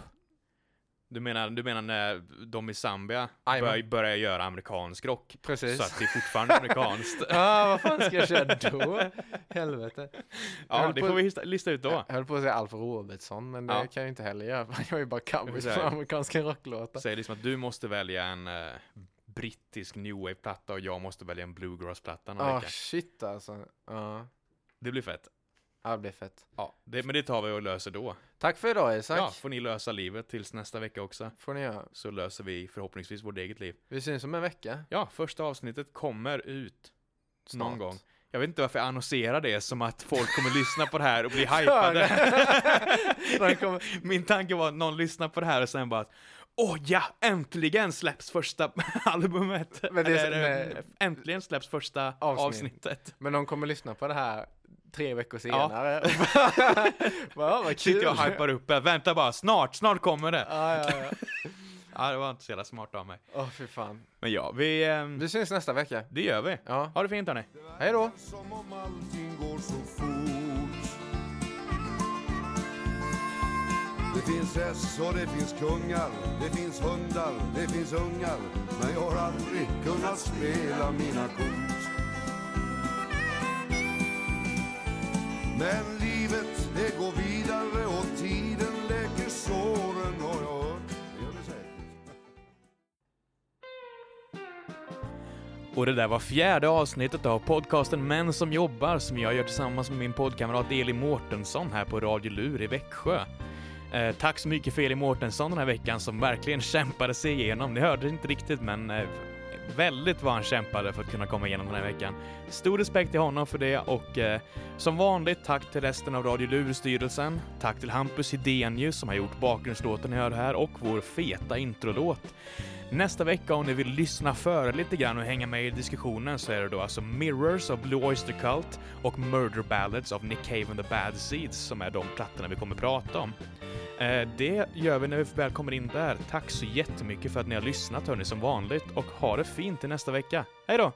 Du menar, du menar när de i Zambia Jajamän. börjar, börjar göra amerikansk rock? Precis. Så att det är fortfarande [laughs] amerikanskt. [laughs] Ja, vad fan ska jag köra [laughs] då? Helvete. Jag ja, höll det på- får vi hista- lista ut då. Jag höll på att säga Alf Robertson, men det Ja. kan jag ju inte heller göra. för Jag är ju bara Jag cowboys vill på säga- amerikanska rocklåtar. Säg liksom att du måste välja en eh, brittisk new wave-platta och jag måste välja en bluegrass-platta någon Ah, vecka. shit alltså. Ja, Det blir fett. Ja, det blir fett. Ja, det, men det tar vi och löser då. Tack för idag Isak. Ja, får ni lösa livet tills nästa vecka också. får ni göra. Så löser vi förhoppningsvis vårt eget liv. Vi syns om en vecka. Ja, första avsnittet kommer ut Snart. någon gång. Jag vet inte varför jag annonserar det som att folk kommer lyssna på det här och [laughs] bli hypade. [laughs] De kommer- Min tanke var att någon lyssnar på det här och sen bara att Åh ja, äntligen släpps första [laughs] albumet! Men det är- Eller, eh, nej. äntligen släpps första Avsnitt. avsnittet. Men de kommer lyssna på det här tre veckor senare. [laughs] [laughs] Ja. vad, vad kul. Sitter jag och hypar upp det. Vänta bara, snart, snart kommer det! [laughs] Ja, ja, ja. [laughs] Ja, det var inte så jävla smart av mig. Åh, fy fan. Men ja, vi... ehm, Vi syns nästa vecka. Det gör vi. Ja. Ha det fint hörni. Hej då. Som om allting går så fort Det finns häst och det finns kungar Det finns hundar, det finns ungar Men jag har aldrig kunnat spela mina kort Men livet det går vidare och tiden läker såren har jag hört Det gör det säkert Och det där var fjärde avsnittet av podcasten Män som jobbar som jag gör tillsammans med min poddkamrat Eli Mårtensson här på Radio Lur i Växjö. Eh, tack så mycket för Eli Mårtensson den här veckan som verkligen kämpade sig igenom. Ni hörde inte riktigt men eh, väldigt vad han kämpade för att kunna komma igenom den här veckan. Stor respekt till honom för det och eh, som vanligt tack till resten av Radio Lur-styrelsen. Tack till Hampus Hidenius som har gjort bakgrundslåten ni hör här och vår feta introlåt. Nästa vecka om ni vill lyssna före lite grann och hänga med i diskussionen så är det då alltså Mirrors av Blue Oyster Cult och Murder Ballads av Nick Cave and the Bad Seeds som är de plattorna vi kommer prata om. Eh, Det gör vi när vi väl kommer in där. Tack så jättemycket för att ni har lyssnat hörni som vanligt och ha det fint till nästa vecka. Hej då!